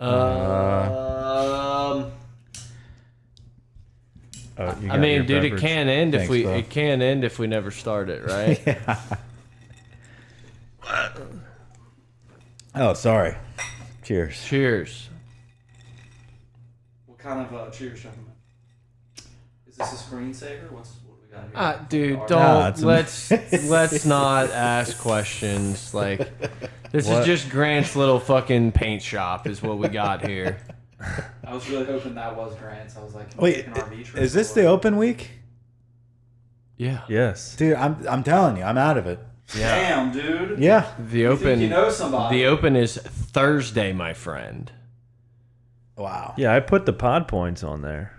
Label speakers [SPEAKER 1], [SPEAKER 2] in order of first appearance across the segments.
[SPEAKER 1] Uh,
[SPEAKER 2] Um,
[SPEAKER 1] Oh, you
[SPEAKER 2] I
[SPEAKER 1] got your
[SPEAKER 2] mean, dude, it
[SPEAKER 1] peppers.
[SPEAKER 2] can end if
[SPEAKER 1] Thanks,
[SPEAKER 2] we
[SPEAKER 1] Bo.
[SPEAKER 2] it can end if we never start it, right?
[SPEAKER 1] Oh, sorry. Cheers.
[SPEAKER 2] Cheers.
[SPEAKER 3] What kind of uh, cheers should I recommend? Is this a screensaver? What's what do we got here?
[SPEAKER 2] Uh, dude, don't
[SPEAKER 1] Nah, it's a-
[SPEAKER 2] let's let's not ask questions. Like this is
[SPEAKER 1] What?
[SPEAKER 2] just Grant's little fucking paint shop is what we got here.
[SPEAKER 3] I was really hoping that was Grant's. I was like,
[SPEAKER 1] Wait,
[SPEAKER 3] an RV trip
[SPEAKER 1] is this
[SPEAKER 3] or
[SPEAKER 1] the
[SPEAKER 3] whatever.
[SPEAKER 1] open week?
[SPEAKER 2] Yeah.
[SPEAKER 1] Yes. Dude, I'm I'm telling you, I'm out of it.
[SPEAKER 3] Damn, dude.
[SPEAKER 1] Yeah.
[SPEAKER 2] The
[SPEAKER 3] You think
[SPEAKER 2] open
[SPEAKER 3] you know somebody?
[SPEAKER 2] the open is Thursday, my friend.
[SPEAKER 1] Wow.
[SPEAKER 4] Yeah, I put the pod points on there.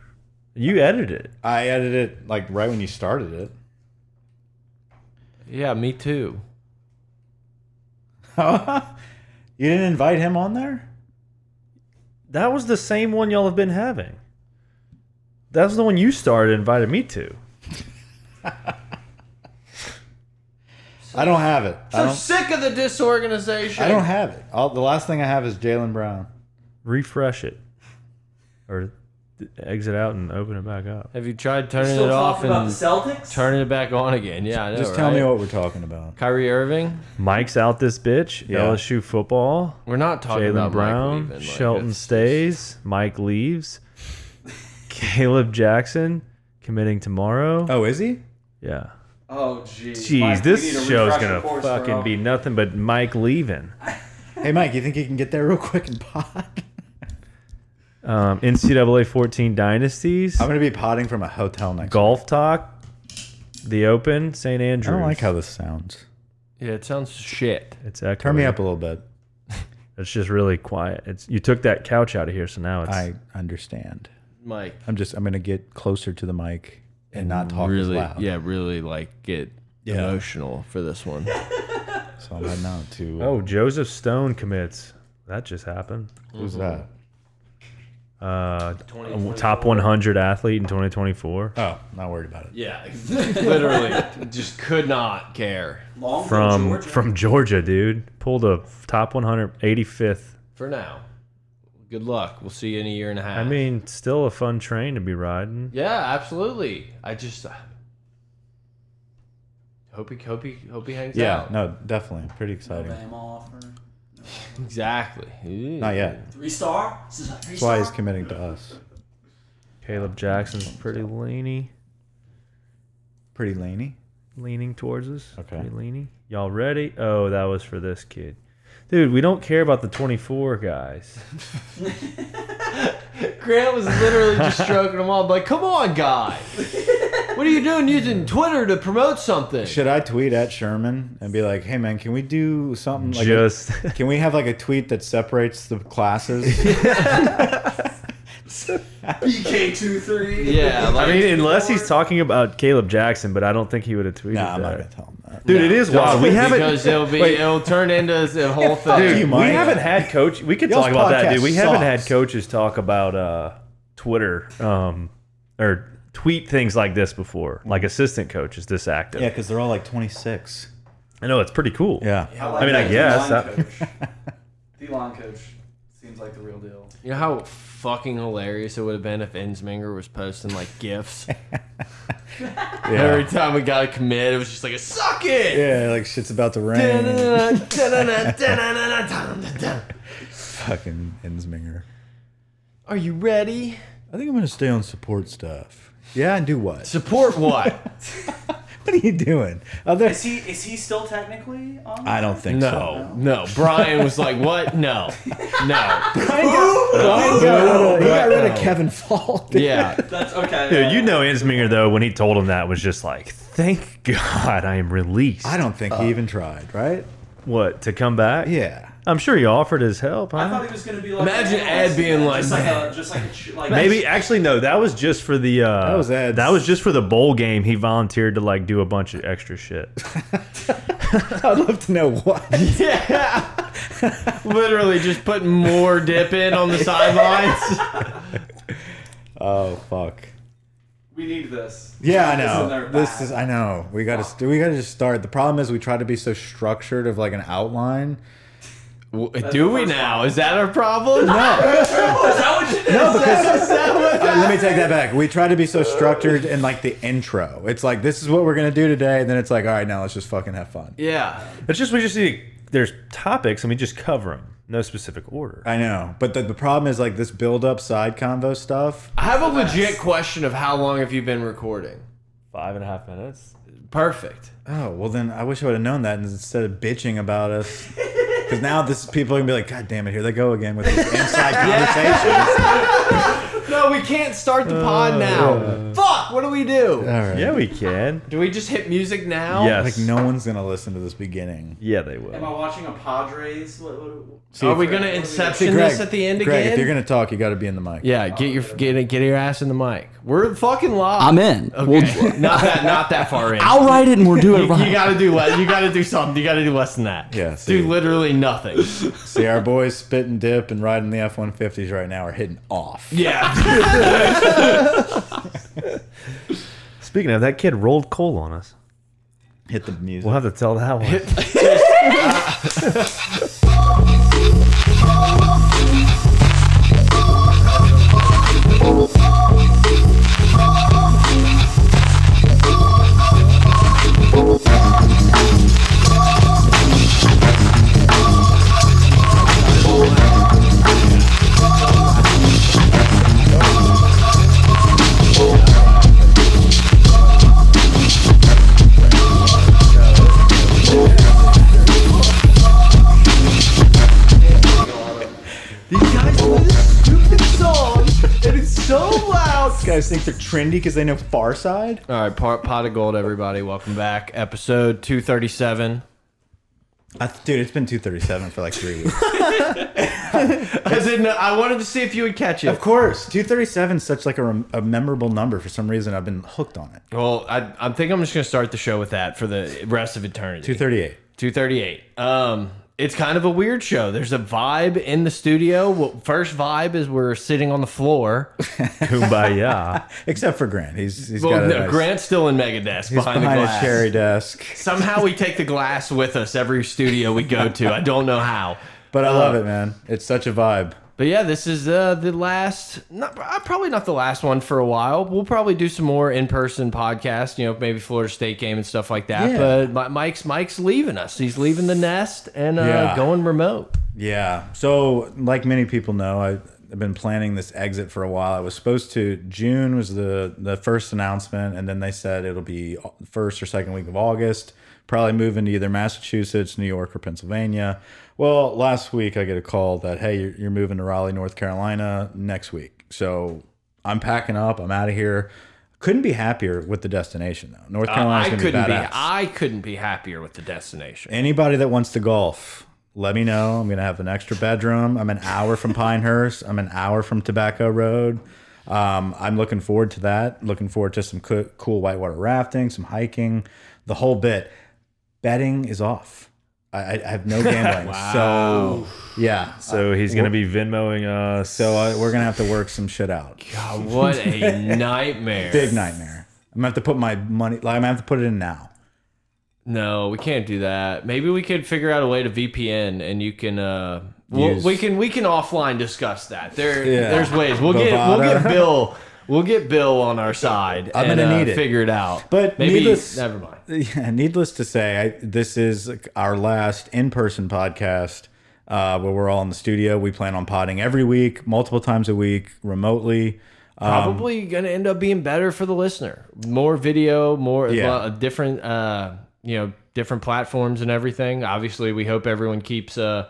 [SPEAKER 4] You edit it.
[SPEAKER 1] I edited it like right when you started it.
[SPEAKER 2] Yeah, me too.
[SPEAKER 1] you didn't invite him on there?
[SPEAKER 4] That was the same one y'all have been having. That was the one you started and invited me to.
[SPEAKER 1] I don't have it. I
[SPEAKER 2] I'm
[SPEAKER 1] don't,
[SPEAKER 2] sick of the disorganization.
[SPEAKER 1] I don't have it. All, the last thing I have is Jalen Brown.
[SPEAKER 4] Refresh it. Or th- exit out and open it back up.
[SPEAKER 2] Have you tried
[SPEAKER 3] You're
[SPEAKER 2] turning
[SPEAKER 3] still
[SPEAKER 2] it off
[SPEAKER 3] talking about
[SPEAKER 2] and
[SPEAKER 3] the Celtics?
[SPEAKER 2] turning it back on again? Yeah, I know,
[SPEAKER 1] Just tell me
[SPEAKER 2] right?
[SPEAKER 1] what we're talking about.
[SPEAKER 2] Kyrie Irving.
[SPEAKER 4] Mike's out this bitch.
[SPEAKER 1] Yeah.
[SPEAKER 4] LSU football.
[SPEAKER 2] We're not talking
[SPEAKER 4] Jalen
[SPEAKER 2] about
[SPEAKER 4] Brown.
[SPEAKER 2] Mike leaving, like,
[SPEAKER 4] Shelton
[SPEAKER 2] it's-
[SPEAKER 4] stays. Mike leaves. Caleb Jackson committing tomorrow.
[SPEAKER 1] Oh, is he?
[SPEAKER 4] Yeah.
[SPEAKER 3] Oh, jeez.
[SPEAKER 4] Jeez,
[SPEAKER 3] Mike, we need to
[SPEAKER 4] this show's
[SPEAKER 3] refresh
[SPEAKER 4] gonna
[SPEAKER 3] the course,
[SPEAKER 4] fucking
[SPEAKER 3] bro.
[SPEAKER 4] be nothing but Mike leaving.
[SPEAKER 1] Hey, Mike, you think you can get there real quick and pod?
[SPEAKER 4] Um, NCAA 14 dynasties.
[SPEAKER 1] I'm going to be potting from a hotel next
[SPEAKER 4] golf talk. The Open, St.
[SPEAKER 1] I
[SPEAKER 4] Andrews.
[SPEAKER 1] don't like how this sounds.
[SPEAKER 2] Yeah, it sounds shit.
[SPEAKER 4] it's echoing.
[SPEAKER 1] Turn me up a little bit.
[SPEAKER 4] It's just really quiet. It's you took that couch out of here, so now it's
[SPEAKER 1] I understand.
[SPEAKER 2] Mike.
[SPEAKER 1] I'm just, I'm going to get closer to the mic and not talk
[SPEAKER 2] really,
[SPEAKER 1] as loud.
[SPEAKER 2] yeah, really like get
[SPEAKER 1] Yeah.
[SPEAKER 2] emotional for this one.
[SPEAKER 1] So I'm not too.
[SPEAKER 4] Oh, Joseph Stone commits. That just happened.
[SPEAKER 1] who's that?
[SPEAKER 4] Uh, top 100 athlete in 2024
[SPEAKER 1] Oh, not worried about it.
[SPEAKER 2] yeah, literally, just could not care
[SPEAKER 3] Long
[SPEAKER 4] from
[SPEAKER 3] Georgia.
[SPEAKER 4] from Georgia, dude. Pulled a top 185th.
[SPEAKER 2] for now. Good luck. We'll see you in a year and a half.
[SPEAKER 4] I mean, still a fun train to be riding.
[SPEAKER 2] yeah, absolutely. I just uh, hope he, hope he, hope he hangs
[SPEAKER 1] Yeah,
[SPEAKER 2] out.
[SPEAKER 1] no, definitely. Pretty exciting.
[SPEAKER 3] Alabama offer.
[SPEAKER 2] Exactly. Ew.
[SPEAKER 1] Not yet.
[SPEAKER 3] Three star. This is a three
[SPEAKER 1] That's why
[SPEAKER 3] star.
[SPEAKER 1] he's committing to us.
[SPEAKER 4] Caleb Jackson's pretty leany,
[SPEAKER 1] Pretty laney.
[SPEAKER 4] leaning towards us.
[SPEAKER 1] Okay.
[SPEAKER 4] Pretty leany. Y'all ready? Oh, that was for this kid. Dude, we don't care about the 24 guys.
[SPEAKER 2] Grant was literally just stroking him all like, "Come on, guy, what are you doing using Twitter to promote something?"
[SPEAKER 1] Should I tweet at Sherman and be like, "Hey man, can we do something like
[SPEAKER 4] Just
[SPEAKER 1] can we have like a tweet that separates the classes?"
[SPEAKER 3] BK two three.
[SPEAKER 2] Yeah, like,
[SPEAKER 4] I mean, unless he's talking about Caleb Jackson, but I don't think he would have tweeted
[SPEAKER 1] nah, I'm not
[SPEAKER 4] that.
[SPEAKER 1] gonna tell him that.
[SPEAKER 4] Dude, it is wild. We haven't
[SPEAKER 2] because it'll be
[SPEAKER 4] Wait.
[SPEAKER 2] it'll turn into a whole
[SPEAKER 1] Dude,
[SPEAKER 2] thing.
[SPEAKER 1] you,
[SPEAKER 4] we
[SPEAKER 1] Mike.
[SPEAKER 4] haven't had coach. We could
[SPEAKER 1] Y'all's
[SPEAKER 4] talk about that,
[SPEAKER 1] podcast
[SPEAKER 4] dude. We haven't had
[SPEAKER 1] sucks.
[SPEAKER 4] coaches talk about uh, Twitter um, or tweet things like this before. Like assistant coaches this active.
[SPEAKER 1] Yeah, because they're all like 26.
[SPEAKER 4] I know it's pretty cool.
[SPEAKER 1] Yeah.
[SPEAKER 4] I mean, I guess uh,
[SPEAKER 3] The line coach seems like the real deal.
[SPEAKER 2] You know how fucking hilarious it would have been if Ensminger was posting like gifts every
[SPEAKER 1] Yeah.
[SPEAKER 2] time we got a commit. It was just like a suck it.
[SPEAKER 1] yeah, like shit's about to rain.
[SPEAKER 2] Are
[SPEAKER 1] Fucking Ensminger.
[SPEAKER 2] you ready?
[SPEAKER 1] I think I'm gonna stay on support stuff. Yeah, and do what?
[SPEAKER 2] Support what?
[SPEAKER 1] What are you doing? Other
[SPEAKER 3] Is he is he still technically on?
[SPEAKER 1] I don't think so.
[SPEAKER 2] No, no. Brian was like, "What? No, no."
[SPEAKER 1] I got, I got, he got rid of
[SPEAKER 2] No.
[SPEAKER 1] Kevin Fall. dude.
[SPEAKER 2] Yeah,
[SPEAKER 3] That's okay.
[SPEAKER 4] Dude,
[SPEAKER 3] yeah.
[SPEAKER 4] you know Insminger though when he told him that was just like, thank God I am released.
[SPEAKER 1] I don't think he even tried, right?
[SPEAKER 4] what to come back.
[SPEAKER 1] Uh, Yeah.
[SPEAKER 4] I'm sure he offered his help.
[SPEAKER 3] I
[SPEAKER 4] Huh?
[SPEAKER 3] thought he was gonna be like.
[SPEAKER 2] Imagine
[SPEAKER 3] an
[SPEAKER 2] Ed being
[SPEAKER 3] analyst,
[SPEAKER 2] like,
[SPEAKER 3] just like a, just like a, like
[SPEAKER 4] Maybe actually no, that was just for the uh,
[SPEAKER 1] That was Ed's.
[SPEAKER 4] that was just for the bowl game. He volunteered to like do a bunch of extra shit.
[SPEAKER 1] I'd love to know why.
[SPEAKER 2] yeah. Literally, just putting more dip in on the sidelines.
[SPEAKER 1] Oh fuck.
[SPEAKER 3] we need this.
[SPEAKER 1] Yeah, I
[SPEAKER 3] This is their
[SPEAKER 1] know. This
[SPEAKER 3] back.
[SPEAKER 1] is I know. We gotta st- we gotta just start. The problem is we try to be so structured of like an outline.
[SPEAKER 2] W- Do we
[SPEAKER 3] first
[SPEAKER 2] now? Is that our problem? No.
[SPEAKER 3] Oh, is that what you did?
[SPEAKER 1] Uh, let me take that back. We try to be so structured in like the intro. It's like this is what we're gonna do today, and then it's like, all right, now let's just fucking have fun.
[SPEAKER 2] yeah.
[SPEAKER 4] It's just we just need there's topics and we just cover them, no specific order.
[SPEAKER 1] I know, but the, the problem is like this build up side convo stuff.
[SPEAKER 2] I have a legit question of how long have you been recording?
[SPEAKER 4] Five and a half minutes.
[SPEAKER 2] Perfect.
[SPEAKER 1] Oh well, then I wish I would have known that instead of bitching about us. Because now this people are gonna be like, God damn it, here they go again with this inside conversation.
[SPEAKER 2] No, we can't start the
[SPEAKER 1] Uh,
[SPEAKER 2] pod now. Fuck, what do we do?
[SPEAKER 1] All right.
[SPEAKER 4] Yeah, we can.
[SPEAKER 2] Do we just hit music now?
[SPEAKER 4] Yes.
[SPEAKER 1] Like no one's gonna listen to this beginning.
[SPEAKER 4] Yeah, they
[SPEAKER 3] Am I
[SPEAKER 4] will.
[SPEAKER 3] watching a Padres? What, what,
[SPEAKER 1] See,
[SPEAKER 2] Are
[SPEAKER 1] if-
[SPEAKER 2] we gonna
[SPEAKER 3] See,
[SPEAKER 2] inception
[SPEAKER 1] Greg,
[SPEAKER 2] this at the end
[SPEAKER 1] Greg,
[SPEAKER 2] again?
[SPEAKER 1] if you're gonna talk, you got to be in the mic.
[SPEAKER 2] yeah, get your get, get your ass in the mic. We're fucking live.
[SPEAKER 5] I'm in.
[SPEAKER 2] Okay.
[SPEAKER 5] We'll,
[SPEAKER 2] not that not that far in.
[SPEAKER 5] I'll write it and we'll do
[SPEAKER 2] you,
[SPEAKER 5] it right.
[SPEAKER 2] you gotta do less. You gotta do something. You gotta do less than that.
[SPEAKER 1] Yeah, see.
[SPEAKER 2] do literally nothing.
[SPEAKER 1] See, our boys spit and dip and riding the F 150s right now are hitting off.
[SPEAKER 2] Yeah.
[SPEAKER 4] Speaking of, that kid rolled coal on us.
[SPEAKER 1] Hit the music.
[SPEAKER 4] We'll have to tell that one.
[SPEAKER 2] These guys play this stupid song, and it's so loud.
[SPEAKER 1] These guys think they're trendy because they know Far Side?
[SPEAKER 2] All right, pot, pot of gold, everybody. Welcome back, episode two thirty seven.
[SPEAKER 1] I, dude, it's been 237 for like three weeks.
[SPEAKER 2] As in, I wanted to see if you would catch it.
[SPEAKER 1] of course. 237 is such like a, rem- a memorable number. For some reason, I've been hooked on it.
[SPEAKER 2] Well, I, I think I'm just gonna start the show with that for the rest of eternity.
[SPEAKER 1] 238.
[SPEAKER 2] Two thirty eight. Um, it's kind of a weird show. There's a vibe in the studio. Well, first vibe is we're sitting on the floor.
[SPEAKER 4] Kumbaya.
[SPEAKER 1] Except for Grant. He's, he's got
[SPEAKER 2] Well,
[SPEAKER 1] a
[SPEAKER 2] no,
[SPEAKER 1] nice-
[SPEAKER 2] Grant's still in Megadeth
[SPEAKER 1] he's
[SPEAKER 2] behind,
[SPEAKER 1] behind,
[SPEAKER 2] the
[SPEAKER 1] a
[SPEAKER 2] glass.
[SPEAKER 1] cherry desk.
[SPEAKER 2] Somehow we take the glass with us every studio we go to. I don't know how.
[SPEAKER 1] But I love it, man. It's such a vibe.
[SPEAKER 2] But yeah, this is uh, the last, not, uh, probably not the last one for a while. We'll probably do some more in person podcasts, you know, maybe Florida State game and stuff like that.
[SPEAKER 1] Yeah.
[SPEAKER 2] But Mi- Mike's Mike's leaving us. He's leaving the nest and uh,
[SPEAKER 1] Yeah.
[SPEAKER 2] going remote.
[SPEAKER 1] Yeah. So, like many people know, I, I've been planning this exit for a while. I was supposed to June was the the first announcement, and then they said it'll be first or second week of August. Probably move into either Massachusetts, New York, or Pennsylvania. Well, last week I get a call that hey, you're, you're moving to Raleigh, North Carolina next week. So I'm packing up. I'm out of here. Couldn't be happier with the destination though. North
[SPEAKER 2] Uh,
[SPEAKER 1] Carolina's
[SPEAKER 2] I
[SPEAKER 1] gonna be
[SPEAKER 2] couldn't be,
[SPEAKER 1] badass
[SPEAKER 2] I couldn't be happier with the destination.
[SPEAKER 1] anybody that wants to golf, let me know. I'm gonna have an extra bedroom. I'm an hour from Pinehurst. I'm an hour from Tobacco Road. Um, I'm looking forward to that. Looking forward to some co cool whitewater rafting, some hiking, the whole bit. Betting is off. I, I I have no gambling. So yeah. So,
[SPEAKER 4] so he's gonna be Venmoing us.
[SPEAKER 1] so I, we're gonna have to work some shit out.
[SPEAKER 2] God, Ah, what a nightmare.
[SPEAKER 1] Big nightmare. I'm gonna have to put my money. Like, I'm gonna have to put it in now.
[SPEAKER 2] No, we can't do that. Maybe we could figure out a way to VPN, and you can. Uh, we'll,
[SPEAKER 1] Use-
[SPEAKER 2] we can we can offline discuss that. There,
[SPEAKER 1] Yeah.
[SPEAKER 2] there's ways. We'll get we'll get
[SPEAKER 1] Bovada.
[SPEAKER 2] Bill. We'll get Bill on our side.
[SPEAKER 1] I'm
[SPEAKER 2] and,
[SPEAKER 1] gonna
[SPEAKER 2] uh,
[SPEAKER 1] need it.
[SPEAKER 2] Figure it out.
[SPEAKER 1] But
[SPEAKER 2] maybe
[SPEAKER 1] needless-
[SPEAKER 2] never mind.
[SPEAKER 1] Yeah, needless to say, I, this is our last in-person podcast uh, where we're all in the studio. We plan on potting every week, multiple times a week, remotely. um,
[SPEAKER 2] Probably gonna end up being better for the listener. More video, more
[SPEAKER 1] Yeah.
[SPEAKER 2] uh, different. Uh, you know, different platforms and everything. Obviously, we hope everyone keeps. Uh,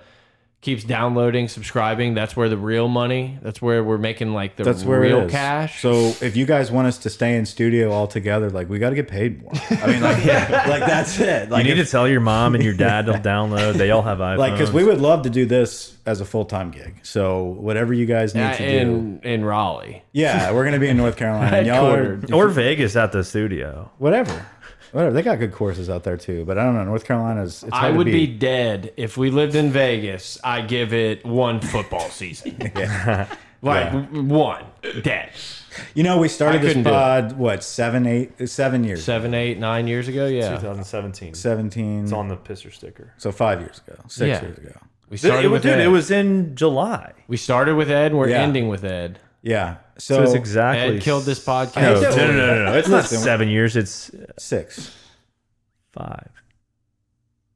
[SPEAKER 2] Keeps downloading, subscribing. That's where the real money. That's where we're making like the
[SPEAKER 1] That's where
[SPEAKER 2] real
[SPEAKER 1] it is.
[SPEAKER 2] cash.
[SPEAKER 1] So if you guys want us to stay in studio all together, like we got to get paid more. I mean, like, like that's it. Like,
[SPEAKER 4] you need to tell your mom and your dad to download. They all have iPhones.
[SPEAKER 1] like because we would love to do this as a full-time gig. So whatever you guys need
[SPEAKER 2] Yeah,
[SPEAKER 1] to do,
[SPEAKER 2] Uh, in in Raleigh.
[SPEAKER 1] yeah, we're gonna be in North Carolina. and Y'all are,
[SPEAKER 2] Headquartered.
[SPEAKER 4] or Vegas at the studio.
[SPEAKER 1] whatever, whatever. They got good courses out there too, but I don't know. North Carolina's. It's
[SPEAKER 2] I
[SPEAKER 1] hard to
[SPEAKER 2] would be
[SPEAKER 1] beat.
[SPEAKER 2] dead if we lived in Vegas. I give it one football season. Like
[SPEAKER 1] Yeah.
[SPEAKER 2] w- one dead.
[SPEAKER 1] You know, we started
[SPEAKER 2] I
[SPEAKER 1] this
[SPEAKER 2] couldn't do
[SPEAKER 1] pod what seven, eight, seven years,
[SPEAKER 2] Seven, eight, nine years ago. Yeah,
[SPEAKER 4] 2017.
[SPEAKER 1] seventeen.
[SPEAKER 4] It's on the pisser sticker.
[SPEAKER 1] So five years ago, six
[SPEAKER 2] Yeah.
[SPEAKER 1] years ago.
[SPEAKER 2] We started
[SPEAKER 4] It, was
[SPEAKER 2] with
[SPEAKER 4] dude,
[SPEAKER 2] Ed.
[SPEAKER 4] it was in July.
[SPEAKER 2] we started with Ed. and We're
[SPEAKER 1] Yeah.
[SPEAKER 2] ending with Ed.
[SPEAKER 1] Yeah. So,
[SPEAKER 4] So, it's exactly.
[SPEAKER 2] Ed killed this podcast.
[SPEAKER 1] I
[SPEAKER 4] No,
[SPEAKER 1] hate
[SPEAKER 4] no,
[SPEAKER 1] that
[SPEAKER 4] no,
[SPEAKER 1] word.
[SPEAKER 4] no, no. It's not
[SPEAKER 1] Listen.
[SPEAKER 4] seven years. It's
[SPEAKER 1] six
[SPEAKER 4] five,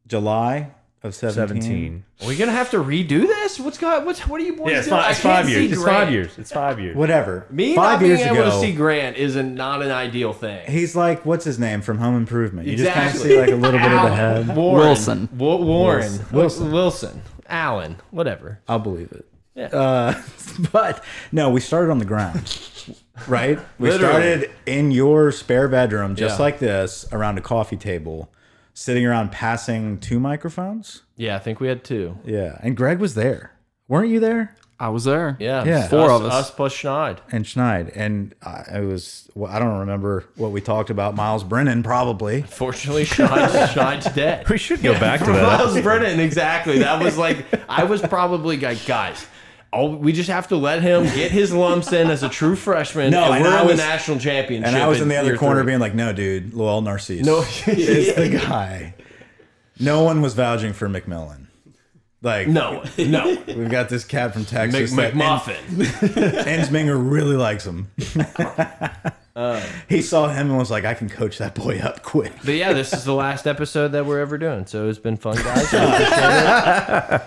[SPEAKER 1] July of 17.
[SPEAKER 4] seventeen.
[SPEAKER 2] Are we gonna have to redo this? What's going? What's what are you boys
[SPEAKER 4] Yeah, it's
[SPEAKER 2] doing?
[SPEAKER 4] five,
[SPEAKER 2] I
[SPEAKER 4] it's
[SPEAKER 2] can't
[SPEAKER 4] five
[SPEAKER 2] see
[SPEAKER 4] years. It's
[SPEAKER 2] Grant.
[SPEAKER 4] five years. It's five years.
[SPEAKER 1] Whatever.
[SPEAKER 2] Me
[SPEAKER 1] Five
[SPEAKER 2] not being
[SPEAKER 1] years
[SPEAKER 2] able
[SPEAKER 1] ago,
[SPEAKER 2] to see Grant is a, not an ideal thing.
[SPEAKER 1] he's like, what's his name from Home Improvement? You just
[SPEAKER 2] Exactly.
[SPEAKER 1] kind of see like a little bit of the head.
[SPEAKER 2] Warren.
[SPEAKER 5] Wilson.
[SPEAKER 2] Wa- Warren.
[SPEAKER 1] Wilson.
[SPEAKER 2] Wilson. Wilson. Allen. Whatever.
[SPEAKER 1] I'll believe it.
[SPEAKER 2] Yeah.
[SPEAKER 1] Uh, but no, we started on the ground, right? We
[SPEAKER 2] Literally.
[SPEAKER 1] started in your spare bedroom, just
[SPEAKER 2] Yeah.
[SPEAKER 1] like this, around a coffee table, sitting around passing two microphones.
[SPEAKER 2] Yeah, I think we had two.
[SPEAKER 1] Yeah. And Greg was there. Weren't you there?
[SPEAKER 5] I was there.
[SPEAKER 2] Yeah,
[SPEAKER 1] Yeah.
[SPEAKER 5] Four of us.
[SPEAKER 2] Us plus Schneid.
[SPEAKER 1] And Schneid. And I, I was, well, I don't remember what we talked about. Miles Brennan, probably.
[SPEAKER 2] Fortunately, Schneid, Schneid's dead.
[SPEAKER 4] We should go back to that.
[SPEAKER 2] Miles Brennan, exactly. That was like I was probably like, guys, all, we just have to let him get his lumps in as a true freshman.
[SPEAKER 1] No,
[SPEAKER 2] and
[SPEAKER 1] and
[SPEAKER 2] we're
[SPEAKER 1] I
[SPEAKER 2] on
[SPEAKER 1] was-
[SPEAKER 2] the national championship.
[SPEAKER 1] And I was in the
[SPEAKER 2] year
[SPEAKER 1] other corner
[SPEAKER 2] three.
[SPEAKER 1] being like, no, dude, Lowell Narcisse
[SPEAKER 2] No,
[SPEAKER 1] is the guy. No one was vouching for McMillan. Like,
[SPEAKER 2] no, no.
[SPEAKER 1] We've got this cat from
[SPEAKER 2] Mc,
[SPEAKER 1] Texas. that-
[SPEAKER 2] McMuffin.
[SPEAKER 1] And Ensminger really likes him.
[SPEAKER 2] Uh.
[SPEAKER 1] he saw him and was like, I can coach that boy up quick.
[SPEAKER 2] But yeah, this is the last episode that we're ever doing, so it's been fun, guys.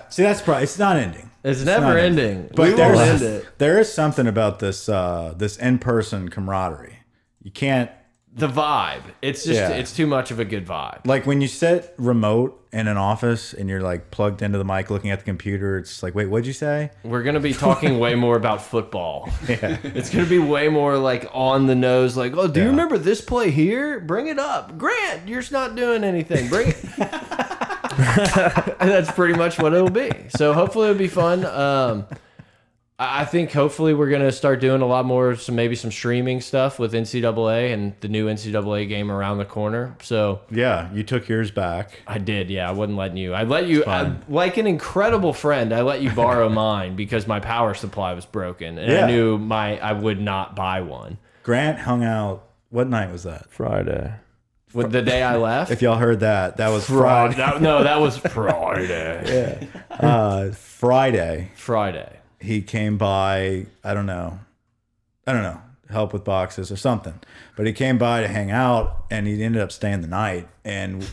[SPEAKER 1] See, that's probably it's not ending.
[SPEAKER 2] It's never
[SPEAKER 1] not-
[SPEAKER 2] ending.
[SPEAKER 1] But
[SPEAKER 2] we will end
[SPEAKER 1] there's
[SPEAKER 2] it.
[SPEAKER 1] there is something about this uh, this in person camaraderie. You can't
[SPEAKER 2] The vibe. It's just
[SPEAKER 1] Yeah.
[SPEAKER 2] it's too much of a good vibe.
[SPEAKER 1] like when you sit remote in an office and you're like plugged into the mic looking at the computer, it's like, wait, what'd you say?
[SPEAKER 2] We're gonna be talking way more about football. It's gonna be way more like on the nose, like, oh, do you
[SPEAKER 1] Yeah.
[SPEAKER 2] remember this play here? Bring it up. Grant, you're just not doing anything. Bring it And that's pretty much what it'll be. So hopefully it'll be fun. Um I I think hopefully we're gonna start doing a lot more some maybe some streaming stuff with NCAA and the new NCAA game around the corner. So
[SPEAKER 1] Yeah, you took yours back.
[SPEAKER 2] I did, yeah. I wasn't letting you. I let you, I, like an incredible friend, I let you borrow mine because my power supply was broken, and
[SPEAKER 1] Yeah.
[SPEAKER 2] I knew my I would not buy one.
[SPEAKER 1] Grant hung out. What night was that?
[SPEAKER 4] Friday.
[SPEAKER 2] With the day I left,
[SPEAKER 1] If y'all heard that, that was
[SPEAKER 2] Friday.
[SPEAKER 1] Friday.
[SPEAKER 2] no, that was Friday.
[SPEAKER 1] Uh, Friday.
[SPEAKER 2] Friday.
[SPEAKER 1] he came by i don't know i don't know help with boxes or something but he came by to hang out and he ended up staying the night and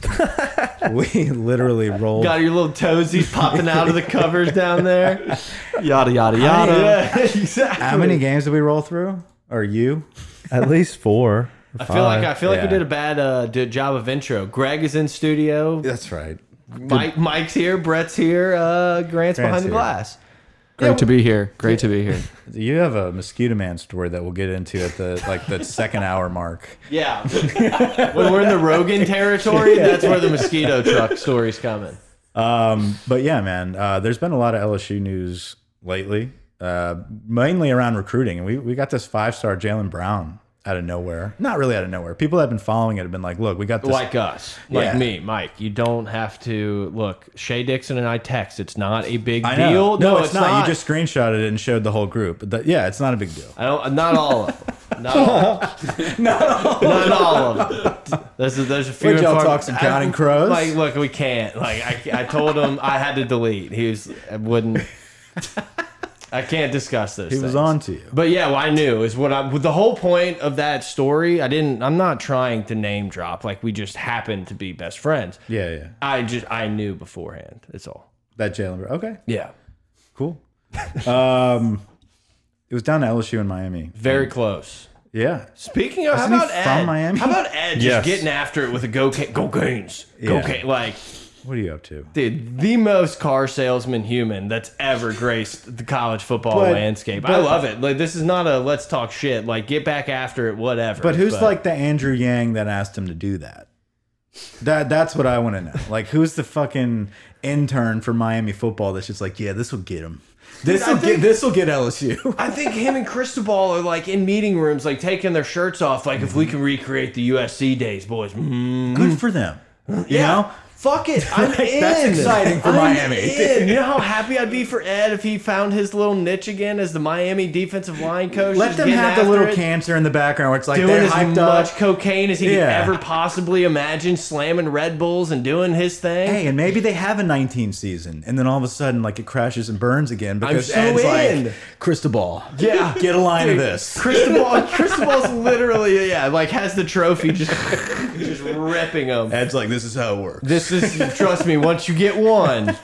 [SPEAKER 1] we literally rolled
[SPEAKER 2] Got your little toesies popping out of the covers down there.
[SPEAKER 5] Yada yada yada.
[SPEAKER 2] Yeah, exactly.
[SPEAKER 1] how many games did we roll through or you
[SPEAKER 4] At least four.
[SPEAKER 2] I feel like I feel like we
[SPEAKER 1] Yeah.
[SPEAKER 2] did a bad uh, did job of intro. Greg is in studio.
[SPEAKER 1] that's right
[SPEAKER 2] Mike, Mike's here. Brett's here. Uh, Grant's, behind the
[SPEAKER 1] here.
[SPEAKER 2] glass.
[SPEAKER 5] Great to be here. Great to be here.
[SPEAKER 1] you have a mosquito man story that we'll get into at the like the second hour mark
[SPEAKER 2] Yeah. when we're in the Rogan territory, that's where the mosquito truck story's coming.
[SPEAKER 1] um but yeah man uh there's been a lot of lsu news lately uh mainly around recruiting and we, we got this five-star jalen brown out of nowhere not really out of nowhere people that have been following it have been like look we got this
[SPEAKER 2] Like us, like
[SPEAKER 1] Yeah.
[SPEAKER 2] me, Mike. You don't have to look. Shay Dixon and I text. It's not a big
[SPEAKER 1] I know.
[SPEAKER 2] deal.
[SPEAKER 1] No, it's, not. You just screenshotted it and showed the whole group. But that, yeah, it's not a big deal.
[SPEAKER 2] I don't. Not all of them. Not all. Of them. not all of them. There's a, there's a few.
[SPEAKER 1] Would
[SPEAKER 2] and
[SPEAKER 1] y'all
[SPEAKER 2] far-
[SPEAKER 1] talk some Counting Crows?
[SPEAKER 2] Like, look, we can't. Like, I, I told him I had to delete. He was I wouldn't. I can't discuss this.
[SPEAKER 1] He was
[SPEAKER 2] things.
[SPEAKER 1] on to you.
[SPEAKER 2] But yeah, well, I knew is what I. The whole point of that story, I didn't. I'm not trying to name drop. Like we just happened to be best friends.
[SPEAKER 1] Yeah, yeah.
[SPEAKER 2] I just I knew beforehand. It's all.
[SPEAKER 1] That Jalen. Brown. Okay,
[SPEAKER 2] Yeah,
[SPEAKER 1] cool. um, it was down to LSU in Miami.
[SPEAKER 2] very close.
[SPEAKER 1] Yeah,
[SPEAKER 2] Speaking of,
[SPEAKER 1] Isn't he
[SPEAKER 2] how about Ed?
[SPEAKER 1] from Miami?
[SPEAKER 2] How about Ed just
[SPEAKER 4] Yes.
[SPEAKER 2] getting after it with a go ca- go gains,
[SPEAKER 1] Yeah.
[SPEAKER 2] go ca- like
[SPEAKER 1] what are you up to?
[SPEAKER 2] dude, the most car salesman human that's ever graced the college football
[SPEAKER 1] But-
[SPEAKER 2] landscape. I
[SPEAKER 1] but-
[SPEAKER 2] love it. Like this is not a let's talk shit. Like get back after it, whatever.
[SPEAKER 1] But who's like the Andrew Yang that asked him to do that? That that's what I want to know. Like, who's the fucking intern for Miami football that's just like, yeah, this will get him. This will get this will get LSU.
[SPEAKER 2] I think him and Cristobal are like in meeting rooms, like taking their shirts off, like if we can recreate the USC days, boys. Mm.
[SPEAKER 1] Good for them. You know,
[SPEAKER 2] Fuck it, I'm in.
[SPEAKER 1] That's exciting for
[SPEAKER 2] I'm
[SPEAKER 1] Miami.
[SPEAKER 2] in. You know how happy I'd be for Ed if he found his little niche again as the Miami defensive line coach.
[SPEAKER 1] Let
[SPEAKER 2] just
[SPEAKER 1] them
[SPEAKER 2] getting
[SPEAKER 1] have the
[SPEAKER 2] after
[SPEAKER 1] little
[SPEAKER 2] it,
[SPEAKER 1] cancer in the background where it's like
[SPEAKER 2] Doing
[SPEAKER 1] they're
[SPEAKER 2] as
[SPEAKER 1] hyped
[SPEAKER 2] much
[SPEAKER 1] up.
[SPEAKER 2] cocaine as he
[SPEAKER 1] Yeah.
[SPEAKER 2] could ever possibly imagine, slamming Red Bulls and doing his thing.
[SPEAKER 1] Hey, and maybe they have a 19 season, and then all of a sudden, like it crashes and burns again because
[SPEAKER 2] so
[SPEAKER 1] Ed's
[SPEAKER 2] in.
[SPEAKER 1] like Cristobal.
[SPEAKER 2] Yeah.
[SPEAKER 1] get a line of
[SPEAKER 2] Dude,
[SPEAKER 1] this.
[SPEAKER 2] Cristobal, Cristobal's literally, yeah, like has the trophy just, just ripping him.
[SPEAKER 1] Ed's like, this is how it works.
[SPEAKER 2] This is trust me. Once you get one,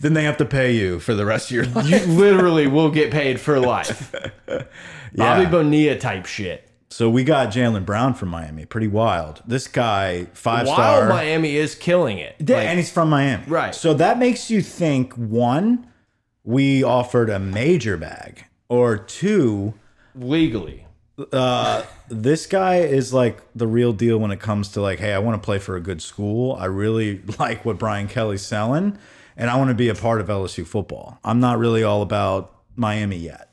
[SPEAKER 1] Then they have to pay you for the rest of your life.
[SPEAKER 2] you literally will get paid for life. Bobby
[SPEAKER 1] Yeah.
[SPEAKER 2] Bonilla type shit.
[SPEAKER 1] So we got Jalen Brown from Miami. Pretty wild. This guy, five
[SPEAKER 2] While
[SPEAKER 1] star,
[SPEAKER 2] Miami is killing it,
[SPEAKER 1] Yeah,
[SPEAKER 2] Like,
[SPEAKER 1] and he's from Miami,
[SPEAKER 2] Right.
[SPEAKER 1] So that makes you think one, we offered a major bag, or two,
[SPEAKER 2] legally,
[SPEAKER 1] this guy is like the real deal when it comes to like, hey, I want to play for a good school. I really like what Brian Kelly's selling, and I want to be a part of LSU football. I'm not really all about Miami yet.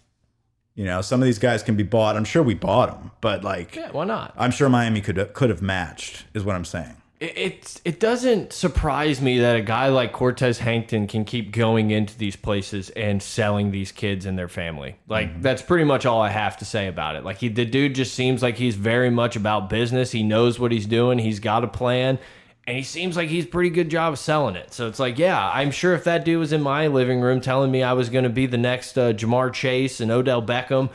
[SPEAKER 1] You know, some of these guys can be bought. I'm sure we bought them, but like,
[SPEAKER 2] yeah, why not?
[SPEAKER 1] I'm sure Miami could could have matched, is what I'm saying.
[SPEAKER 2] It, it it doesn't surprise me that a guy like Cortez Hankton can keep going into these places and selling these kids and their family. Like
[SPEAKER 1] Mm-hmm.
[SPEAKER 2] that's pretty much all I have to say about it. Like he, the dude just seems like he's very much about business. He knows what he's doing. He's got a plan, and he seems like he's pretty good job of selling it. So it's like, yeah, I'm sure if that dude was in my living room telling me I was going to be the next uh, Jamar Chase and Odell Beckham,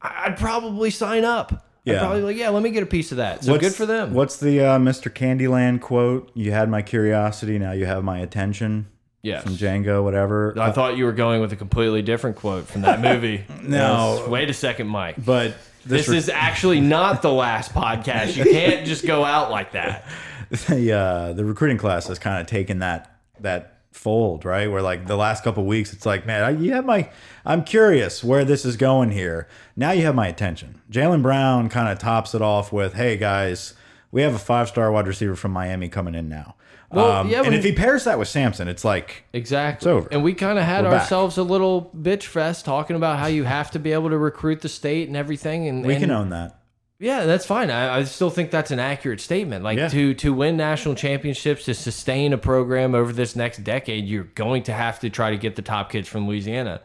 [SPEAKER 2] I- I'd probably sign up. I'd
[SPEAKER 1] Yeah.
[SPEAKER 2] probably be like, yeah, let me get a piece of that. So
[SPEAKER 1] What's-
[SPEAKER 2] good for them.
[SPEAKER 1] What's the uh, Mr. Candyland quote? You had my curiosity, now you have my attention.
[SPEAKER 2] Yes. Uh,
[SPEAKER 1] From Django, whatever.
[SPEAKER 2] I thought you were going with a completely different quote from that movie.
[SPEAKER 1] No.
[SPEAKER 2] Yes. Wait a second, Mike.
[SPEAKER 1] but
[SPEAKER 2] This
[SPEAKER 1] this,
[SPEAKER 2] is actually not the last podcast. You can't just go out like that.
[SPEAKER 1] is the uh, the recruiting class has kind of taken that that fold, right? Where like the last couple weeks, it's like, man, I, you have my. I'm curious where this is going here. Now you have my attention. Jalen Brown kind of tops it off with, "Hey guys, we have a five star wide receiver from Miami coming in now."
[SPEAKER 2] Well,
[SPEAKER 1] um,
[SPEAKER 2] yeah,
[SPEAKER 1] and
[SPEAKER 2] when-
[SPEAKER 1] if he pairs that with Samson, it's like
[SPEAKER 2] Exactly.
[SPEAKER 1] It's over.
[SPEAKER 2] And we kind of had
[SPEAKER 1] We're back.
[SPEAKER 2] ourselves a little bitch fest talking about how you have to be able to recruit the state and everything. And
[SPEAKER 1] we
[SPEAKER 2] and-
[SPEAKER 1] can own that.
[SPEAKER 2] Yeah, that's fine. I, I still think that's an accurate statement. Like
[SPEAKER 1] Yeah.
[SPEAKER 2] to to win national championships, to sustain a program over this next decade, you're going to have to try to get the top kids from Louisiana.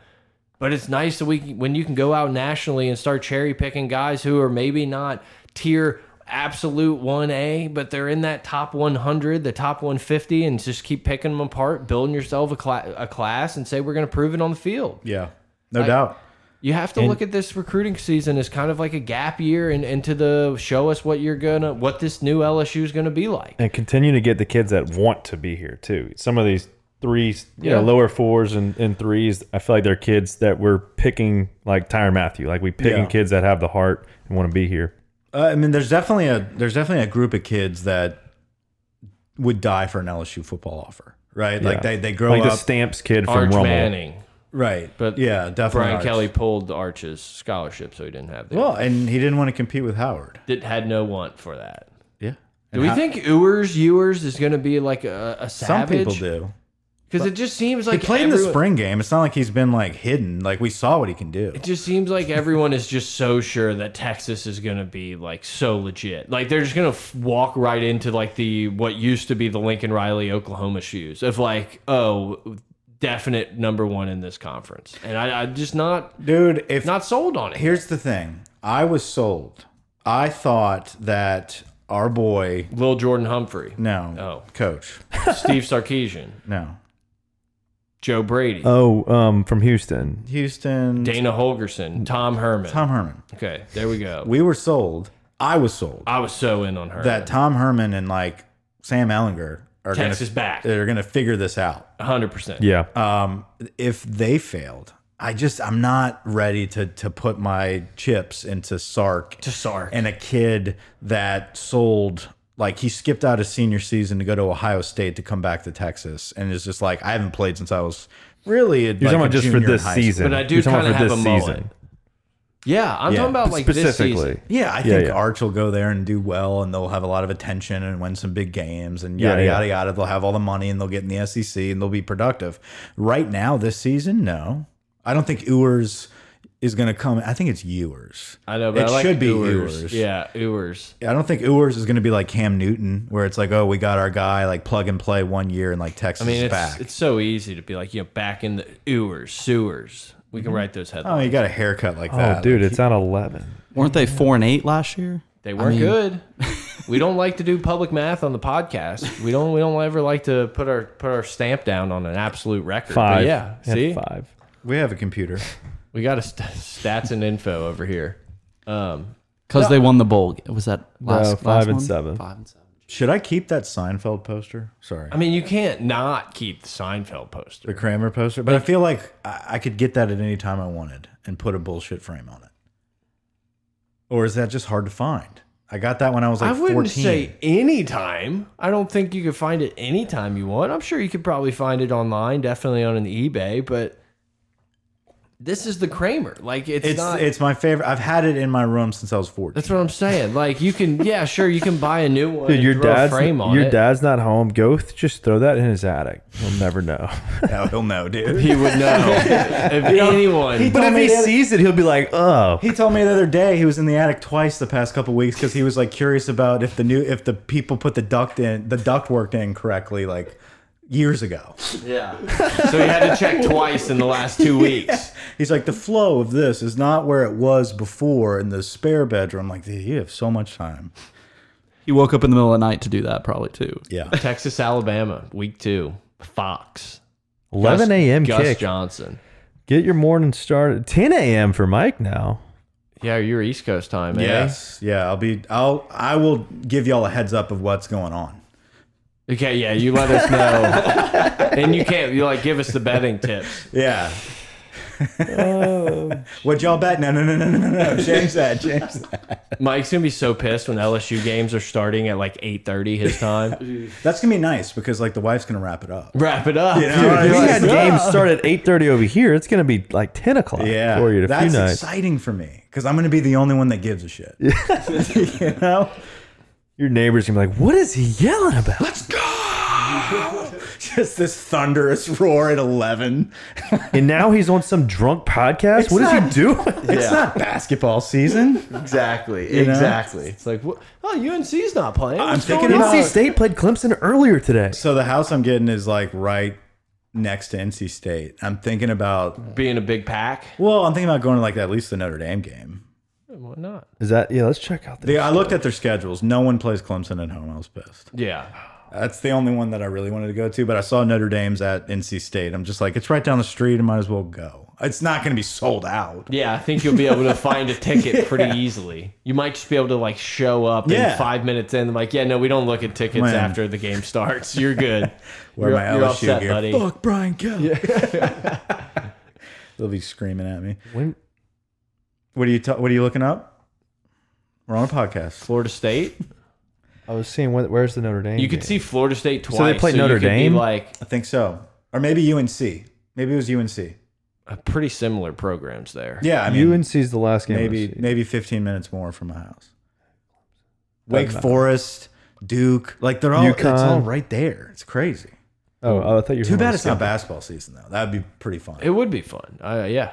[SPEAKER 2] But it's nice that we can- when you can go out nationally and start cherry picking guys who are maybe not tier absolute 1A, but they're in that top 100, the top 150 and just keep picking them apart, building yourself a, cla a class and say we're going to prove it on the field.
[SPEAKER 1] Yeah, no doubt.
[SPEAKER 2] You have to look at this recruiting season as kind of like a gap year and into the show us what you're gonna what this new LSU is gonna be like.
[SPEAKER 4] and continue to get the kids that want to be here too. Some of these threes, you
[SPEAKER 2] Yeah.
[SPEAKER 4] know, lower fours and, and threes, I feel like they're kids that we're picking like Tyron Matthew. Like we picking
[SPEAKER 1] Yeah.
[SPEAKER 4] kids that have the heart and want to be here.
[SPEAKER 1] Uh, I mean, there's definitely a there's definitely a group of kids that would die for an LSU football offer, right? Like
[SPEAKER 4] Yeah.
[SPEAKER 1] they they grow
[SPEAKER 4] like
[SPEAKER 1] up,
[SPEAKER 4] the Stamps kid from
[SPEAKER 2] Arch
[SPEAKER 4] Rummel.
[SPEAKER 2] Manning.
[SPEAKER 1] right?
[SPEAKER 2] But
[SPEAKER 1] yeah, definitely.
[SPEAKER 2] Brian
[SPEAKER 1] ours.
[SPEAKER 2] Kelly pulled Arch's scholarship, so he didn't have that.
[SPEAKER 1] Well, and he didn't want to compete with Howard.
[SPEAKER 2] Did, had no want for that.
[SPEAKER 1] Yeah,
[SPEAKER 2] Do we think Ewers Ewers is gonna be like a, a
[SPEAKER 1] some people
[SPEAKER 2] savage?
[SPEAKER 1] do?
[SPEAKER 2] Because it just seems
[SPEAKER 1] He
[SPEAKER 2] like
[SPEAKER 1] played in the
[SPEAKER 2] everyone-
[SPEAKER 1] spring game. It's not like he's been like hidden. Like we saw what he can do.
[SPEAKER 2] It just seems like everyone is just so sure that Texas is going to be like so legit. Like they're just going to walk right into like the what used to be the Lincoln Riley Oklahoma shoes of like, oh, definite number one in this conference. And I, I'm just not
[SPEAKER 1] Dude, if
[SPEAKER 2] not sold on it.
[SPEAKER 1] here's the thing, I was sold. I thought that our boy,
[SPEAKER 2] Lil Jordan Humphrey,
[SPEAKER 1] no,
[SPEAKER 2] Oh.
[SPEAKER 1] coach,
[SPEAKER 2] Steve Sarkeesian,
[SPEAKER 1] no,
[SPEAKER 2] Joe Brady,
[SPEAKER 1] Uh,
[SPEAKER 4] Oh, um, from Houston.
[SPEAKER 1] Houston,
[SPEAKER 2] Dana Holgerson, Tom Herman.
[SPEAKER 1] Tom Herman.
[SPEAKER 2] Okay, there we go.
[SPEAKER 1] We were sold. I was sold.
[SPEAKER 2] I was so in on her.
[SPEAKER 1] that Tom Herman and like Sam Ellinger are
[SPEAKER 2] Texas
[SPEAKER 1] gonna,
[SPEAKER 2] back.
[SPEAKER 1] They're gonna figure this out.
[SPEAKER 2] 100%.
[SPEAKER 4] Yeah.
[SPEAKER 1] Um, if they failed, I just I'm not ready to to put my chips into Sark
[SPEAKER 2] To Sark.
[SPEAKER 1] and a kid that sold like he skipped out his senior season to go to Ohio State to come back to Texas and is just like I haven't played since I was really you're
[SPEAKER 4] You're talking about just for this season.
[SPEAKER 2] But I do
[SPEAKER 4] You're talking
[SPEAKER 2] kinda
[SPEAKER 4] about for
[SPEAKER 2] have
[SPEAKER 4] this
[SPEAKER 2] a mullet.
[SPEAKER 4] season.
[SPEAKER 2] yeah, I'm
[SPEAKER 1] Yeah,
[SPEAKER 2] talking about like this season.
[SPEAKER 4] Specifically.
[SPEAKER 1] Yeah, I
[SPEAKER 4] Yeah,
[SPEAKER 1] think
[SPEAKER 4] yeah.
[SPEAKER 1] Arch will go there and do well, and they'll have a lot of attention and win some big games, and
[SPEAKER 4] Yeah,
[SPEAKER 1] yada
[SPEAKER 4] yeah.
[SPEAKER 1] yada yada. They'll have all the money, and they'll get in the SEC, and they'll be productive. Right now, this season, no, I don't think Ewers is going to come. I think it's Ewers.
[SPEAKER 2] I know, but
[SPEAKER 1] it
[SPEAKER 2] I like
[SPEAKER 1] should be
[SPEAKER 2] Ewers.
[SPEAKER 1] Ewers.
[SPEAKER 2] Yeah, Ewers.
[SPEAKER 1] I don't think Ewers is going to be like Cam Newton, where it's like, oh, we got our guy, like plug and play one year, and like
[SPEAKER 2] I
[SPEAKER 1] Texas
[SPEAKER 2] mean,
[SPEAKER 1] is
[SPEAKER 2] it's
[SPEAKER 1] back.
[SPEAKER 2] it's so easy to be like, you know, back in the Ewers, sewers. We can write those
[SPEAKER 1] oh,
[SPEAKER 2] headlines.
[SPEAKER 1] you got a haircut like
[SPEAKER 2] Uh,
[SPEAKER 1] that,
[SPEAKER 4] Oh, dude, it's on eleven.
[SPEAKER 5] Weren't they four and eight last year?
[SPEAKER 2] They weren't
[SPEAKER 5] mean-
[SPEAKER 2] good. we don't like to do public math on the podcast. We don't. We don't ever like to put our put our stamp down on an absolute record. But
[SPEAKER 4] Five.
[SPEAKER 2] yeah.
[SPEAKER 4] Had
[SPEAKER 2] See,
[SPEAKER 4] five.
[SPEAKER 1] We have a computer.
[SPEAKER 2] we got a st stats and info over here. Um,
[SPEAKER 5] Because they won the bowl. ga- Was that last,
[SPEAKER 4] five
[SPEAKER 5] last
[SPEAKER 4] and
[SPEAKER 5] one?
[SPEAKER 4] seven.
[SPEAKER 5] Five and seven.
[SPEAKER 1] Should I keep that Seinfeld poster? Sorry,
[SPEAKER 2] I mean, you can't not keep the Seinfeld poster.
[SPEAKER 1] the Kramer poster. But I feel like I, I could get that at any time I wanted and put a bullshit frame on it. Or is that just hard to find? I got that when I was
[SPEAKER 2] I
[SPEAKER 1] like
[SPEAKER 2] wouldn't
[SPEAKER 1] 14.
[SPEAKER 2] say any time. I don't think you could find it any time you want. I'm sure you could probably find it online, definitely on an eBay, but this is the Kramer. Like it's,
[SPEAKER 1] it's
[SPEAKER 2] not
[SPEAKER 1] it's my favorite. I've had it in my room since I was 14.
[SPEAKER 2] That's what I'm saying. Like you can yeah, sure, you can buy a new one
[SPEAKER 4] Dude,
[SPEAKER 2] and
[SPEAKER 4] your
[SPEAKER 2] throw a
[SPEAKER 4] dad's
[SPEAKER 2] frame on
[SPEAKER 4] your
[SPEAKER 2] it.
[SPEAKER 4] dad's not home. Go th just throw that in his attic. You'll never know.
[SPEAKER 1] Hell, he'll know, dude.
[SPEAKER 2] he would know. if anyone
[SPEAKER 1] But if he
[SPEAKER 4] sees it, he'll be like, "Oh,
[SPEAKER 1] He told me the other day he was in the attic twice the past couple weeks because he was like curious about if the new if the people put the duct in the duct worked in correctly like years ago.
[SPEAKER 2] Yeah. So he had to check twice in the last two weeks.
[SPEAKER 1] He's like the flow of this is not where it was before in the spare bedroom. I'm like, dude, you have so much time.
[SPEAKER 5] He woke up in the middle of the night to do that, probably too.
[SPEAKER 1] Yeah.
[SPEAKER 2] Texas, Alabama, week two. Fox.
[SPEAKER 4] 11
[SPEAKER 2] Gus-
[SPEAKER 4] a.m.
[SPEAKER 2] Gus
[SPEAKER 4] kick.
[SPEAKER 2] Johnson.
[SPEAKER 4] Get your morning started. 10 a.m. for Mike now.
[SPEAKER 2] Yeah, you're East Coast time, eh?
[SPEAKER 1] Yes. Yeah. I'll be. I'll. I will give y'all a heads up of what's going on.
[SPEAKER 2] Okay, yeah, you let us know. and you can't you like give us the betting tips.
[SPEAKER 1] Yeah. What Oh. y'all bet? No, no, no, no, no, no, no. Change that. Change that.
[SPEAKER 2] Mike's gonna be so pissed when LSU games are starting at like eight thirty his time.
[SPEAKER 1] That's gonna be nice because like the wife's gonna wrap it up.
[SPEAKER 2] Wrap it up.
[SPEAKER 1] know what I
[SPEAKER 4] If
[SPEAKER 1] mean?
[SPEAKER 4] we had games start at 8:30 over here. It's gonna be like 10 o'clock
[SPEAKER 1] Yeah,
[SPEAKER 4] for you in a few
[SPEAKER 1] that's
[SPEAKER 4] nights.
[SPEAKER 1] exciting for me because I'm gonna be the only one that gives a shit. you know,
[SPEAKER 4] Your neighbors gonna be like, "What is he yelling about?"
[SPEAKER 1] just this thunderous roar at eleven.
[SPEAKER 4] and now he's on some drunk podcast.
[SPEAKER 1] It's
[SPEAKER 4] What is
[SPEAKER 1] not-
[SPEAKER 4] he doing?
[SPEAKER 1] It's not basketball season.
[SPEAKER 2] Exactly.
[SPEAKER 1] know?
[SPEAKER 2] It's like, wh- oh, UNC's not playing.
[SPEAKER 1] I'm
[SPEAKER 2] What's
[SPEAKER 1] thinking
[SPEAKER 2] going
[SPEAKER 1] about-
[SPEAKER 2] on?
[SPEAKER 4] NC State played Clemson earlier today.
[SPEAKER 1] So the house I'm getting is like right next to NC State. I'm thinking about
[SPEAKER 2] being a big pack.
[SPEAKER 1] well, I'm thinking about going to like at least the Notre Dame game.
[SPEAKER 2] Why not?
[SPEAKER 4] Is that yeah? Let's check out the.
[SPEAKER 1] They, I looked at their schedules. No one plays Clemson at home. I was pissed.
[SPEAKER 2] Yeah.
[SPEAKER 1] That's the only one that I really wanted to go to, but I saw Notre Dame's at NC State. I'm just like, it's right down the street. I might as well go. It's not going to be sold out.
[SPEAKER 2] Yeah, I think you'll be able to find a ticket pretty easily. You might just be able to like show up
[SPEAKER 1] Yeah.
[SPEAKER 2] and five minutes in, like, yeah, no, we don't look at tickets
[SPEAKER 1] Man.
[SPEAKER 2] after the game starts. You're good.
[SPEAKER 1] Wear
[SPEAKER 2] You're-
[SPEAKER 1] my
[SPEAKER 2] you're
[SPEAKER 1] LSU
[SPEAKER 2] upset,
[SPEAKER 1] gear.
[SPEAKER 2] buddy.
[SPEAKER 1] Fuck Brian Kelly. They'll be screaming at me.
[SPEAKER 4] When,
[SPEAKER 1] What are you? ta- what are you looking up? We're on a podcast.
[SPEAKER 2] Florida State.
[SPEAKER 4] I was seeing where, where's the Notre Dame.
[SPEAKER 2] You could
[SPEAKER 4] game.
[SPEAKER 2] see Florida State twice.
[SPEAKER 4] they played
[SPEAKER 2] you
[SPEAKER 4] Notre
[SPEAKER 2] could be,
[SPEAKER 4] Dame?
[SPEAKER 2] Like
[SPEAKER 1] I think so, or maybe UNC. Maybe it was UNC.
[SPEAKER 2] uh, pretty similar programs there.
[SPEAKER 1] Yeah, I mean,
[SPEAKER 4] UNC's the last game.
[SPEAKER 1] maybe
[SPEAKER 4] of the season.
[SPEAKER 1] maybe 15 minutes more from my house. Wake Forest, Duke, like they're all it's
[SPEAKER 4] UConn.
[SPEAKER 1] all right there. It's crazy.
[SPEAKER 4] Oh, oh, I thought you. Were
[SPEAKER 1] Too
[SPEAKER 4] gonna
[SPEAKER 1] bad it's not
[SPEAKER 4] skip it.
[SPEAKER 1] basketball season though. That would be pretty fun.
[SPEAKER 2] It would be fun. Uh, yeah.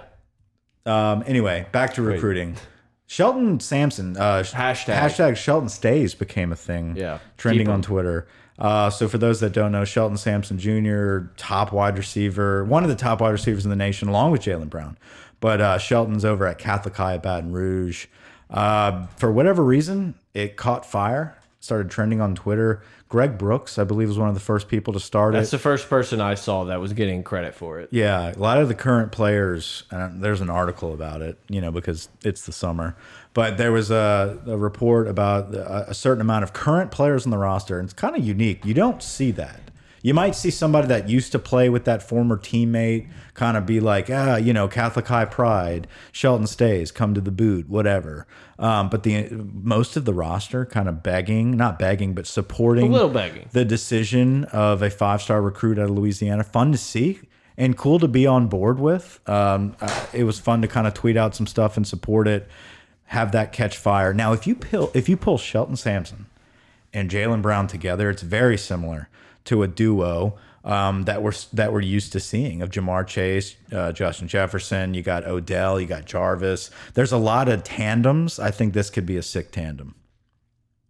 [SPEAKER 1] Um, anyway, back to recruiting. Shelton Sampson, uh, sh-
[SPEAKER 2] Hashtag.
[SPEAKER 1] hashtag Shelton stays became a thing.
[SPEAKER 2] Yeah.
[SPEAKER 1] trending
[SPEAKER 2] Keep 'em.
[SPEAKER 1] on Twitter. Uh, so for those that don't know, Shelton Sampson Jr., top wide receiver, one of the top wide receivers in the nation, along with Jalen Brown. But uh, Shelton's over at Catholic High at Baton Rouge. Uh, for whatever reason, it caught fire, started trending on Twitter. Greg Brooks, I believe, was one of the first people to start it.
[SPEAKER 2] That's the first person I saw that was getting credit for it.
[SPEAKER 1] Yeah, a lot of the current players. Uh, there's an article about it, you know, because it's the summer. But there was a, a report about a, a certain amount of current players on the roster, and it's kind of unique. You don't see that. You might see somebody that used to play with that former teammate kind of be like, ah, you know, Catholic High pride, Shelton stays, come to the boot, whatever. Um, but the most of the roster kind of begging, not begging, but supporting
[SPEAKER 2] A little begging.
[SPEAKER 1] the decision of a five star recruit out of Louisiana. Fun to see and cool to be on board with. Um, uh, it was fun to kind of tweet out some stuff and support it, have that catch fire. Now, if you pull if you pull Shelton Sampson and Jalen Brown together, it's very similar to a duo um, that we're that we're used to seeing of Jamar Chase, uh, Justin Jefferson. You got Odell, you got Jarvis. There's a lot of tandems. I think this could be a sick tandem.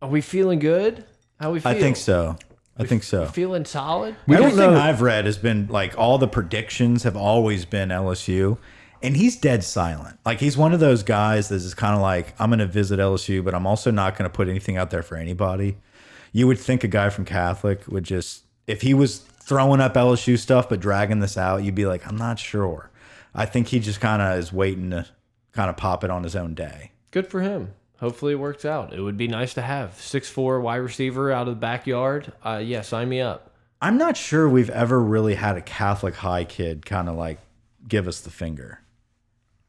[SPEAKER 2] Are we feeling good? How we feel?
[SPEAKER 1] I think so. I think so.
[SPEAKER 2] Feeling solid?
[SPEAKER 1] We Everything I've read has been like all the predictions have always been LSU, and he's dead silent. Like he's one of those guys that is kind of like I'm going to visit LSU, but I'm also not going to put anything out there for anybody. You would think a guy from Catholic would just if he was throwing up LSU stuff but dragging this out, you'd be like, I'm not sure. I think he just kind of is waiting to kind of pop it on his own day.
[SPEAKER 2] Good for him. Hopefully it works out. It would be nice to have six four wide receiver out of the backyard. Uh, yeah, sign me up.
[SPEAKER 1] I'm not sure we've ever really had a Catholic high kid kind of like give us the finger.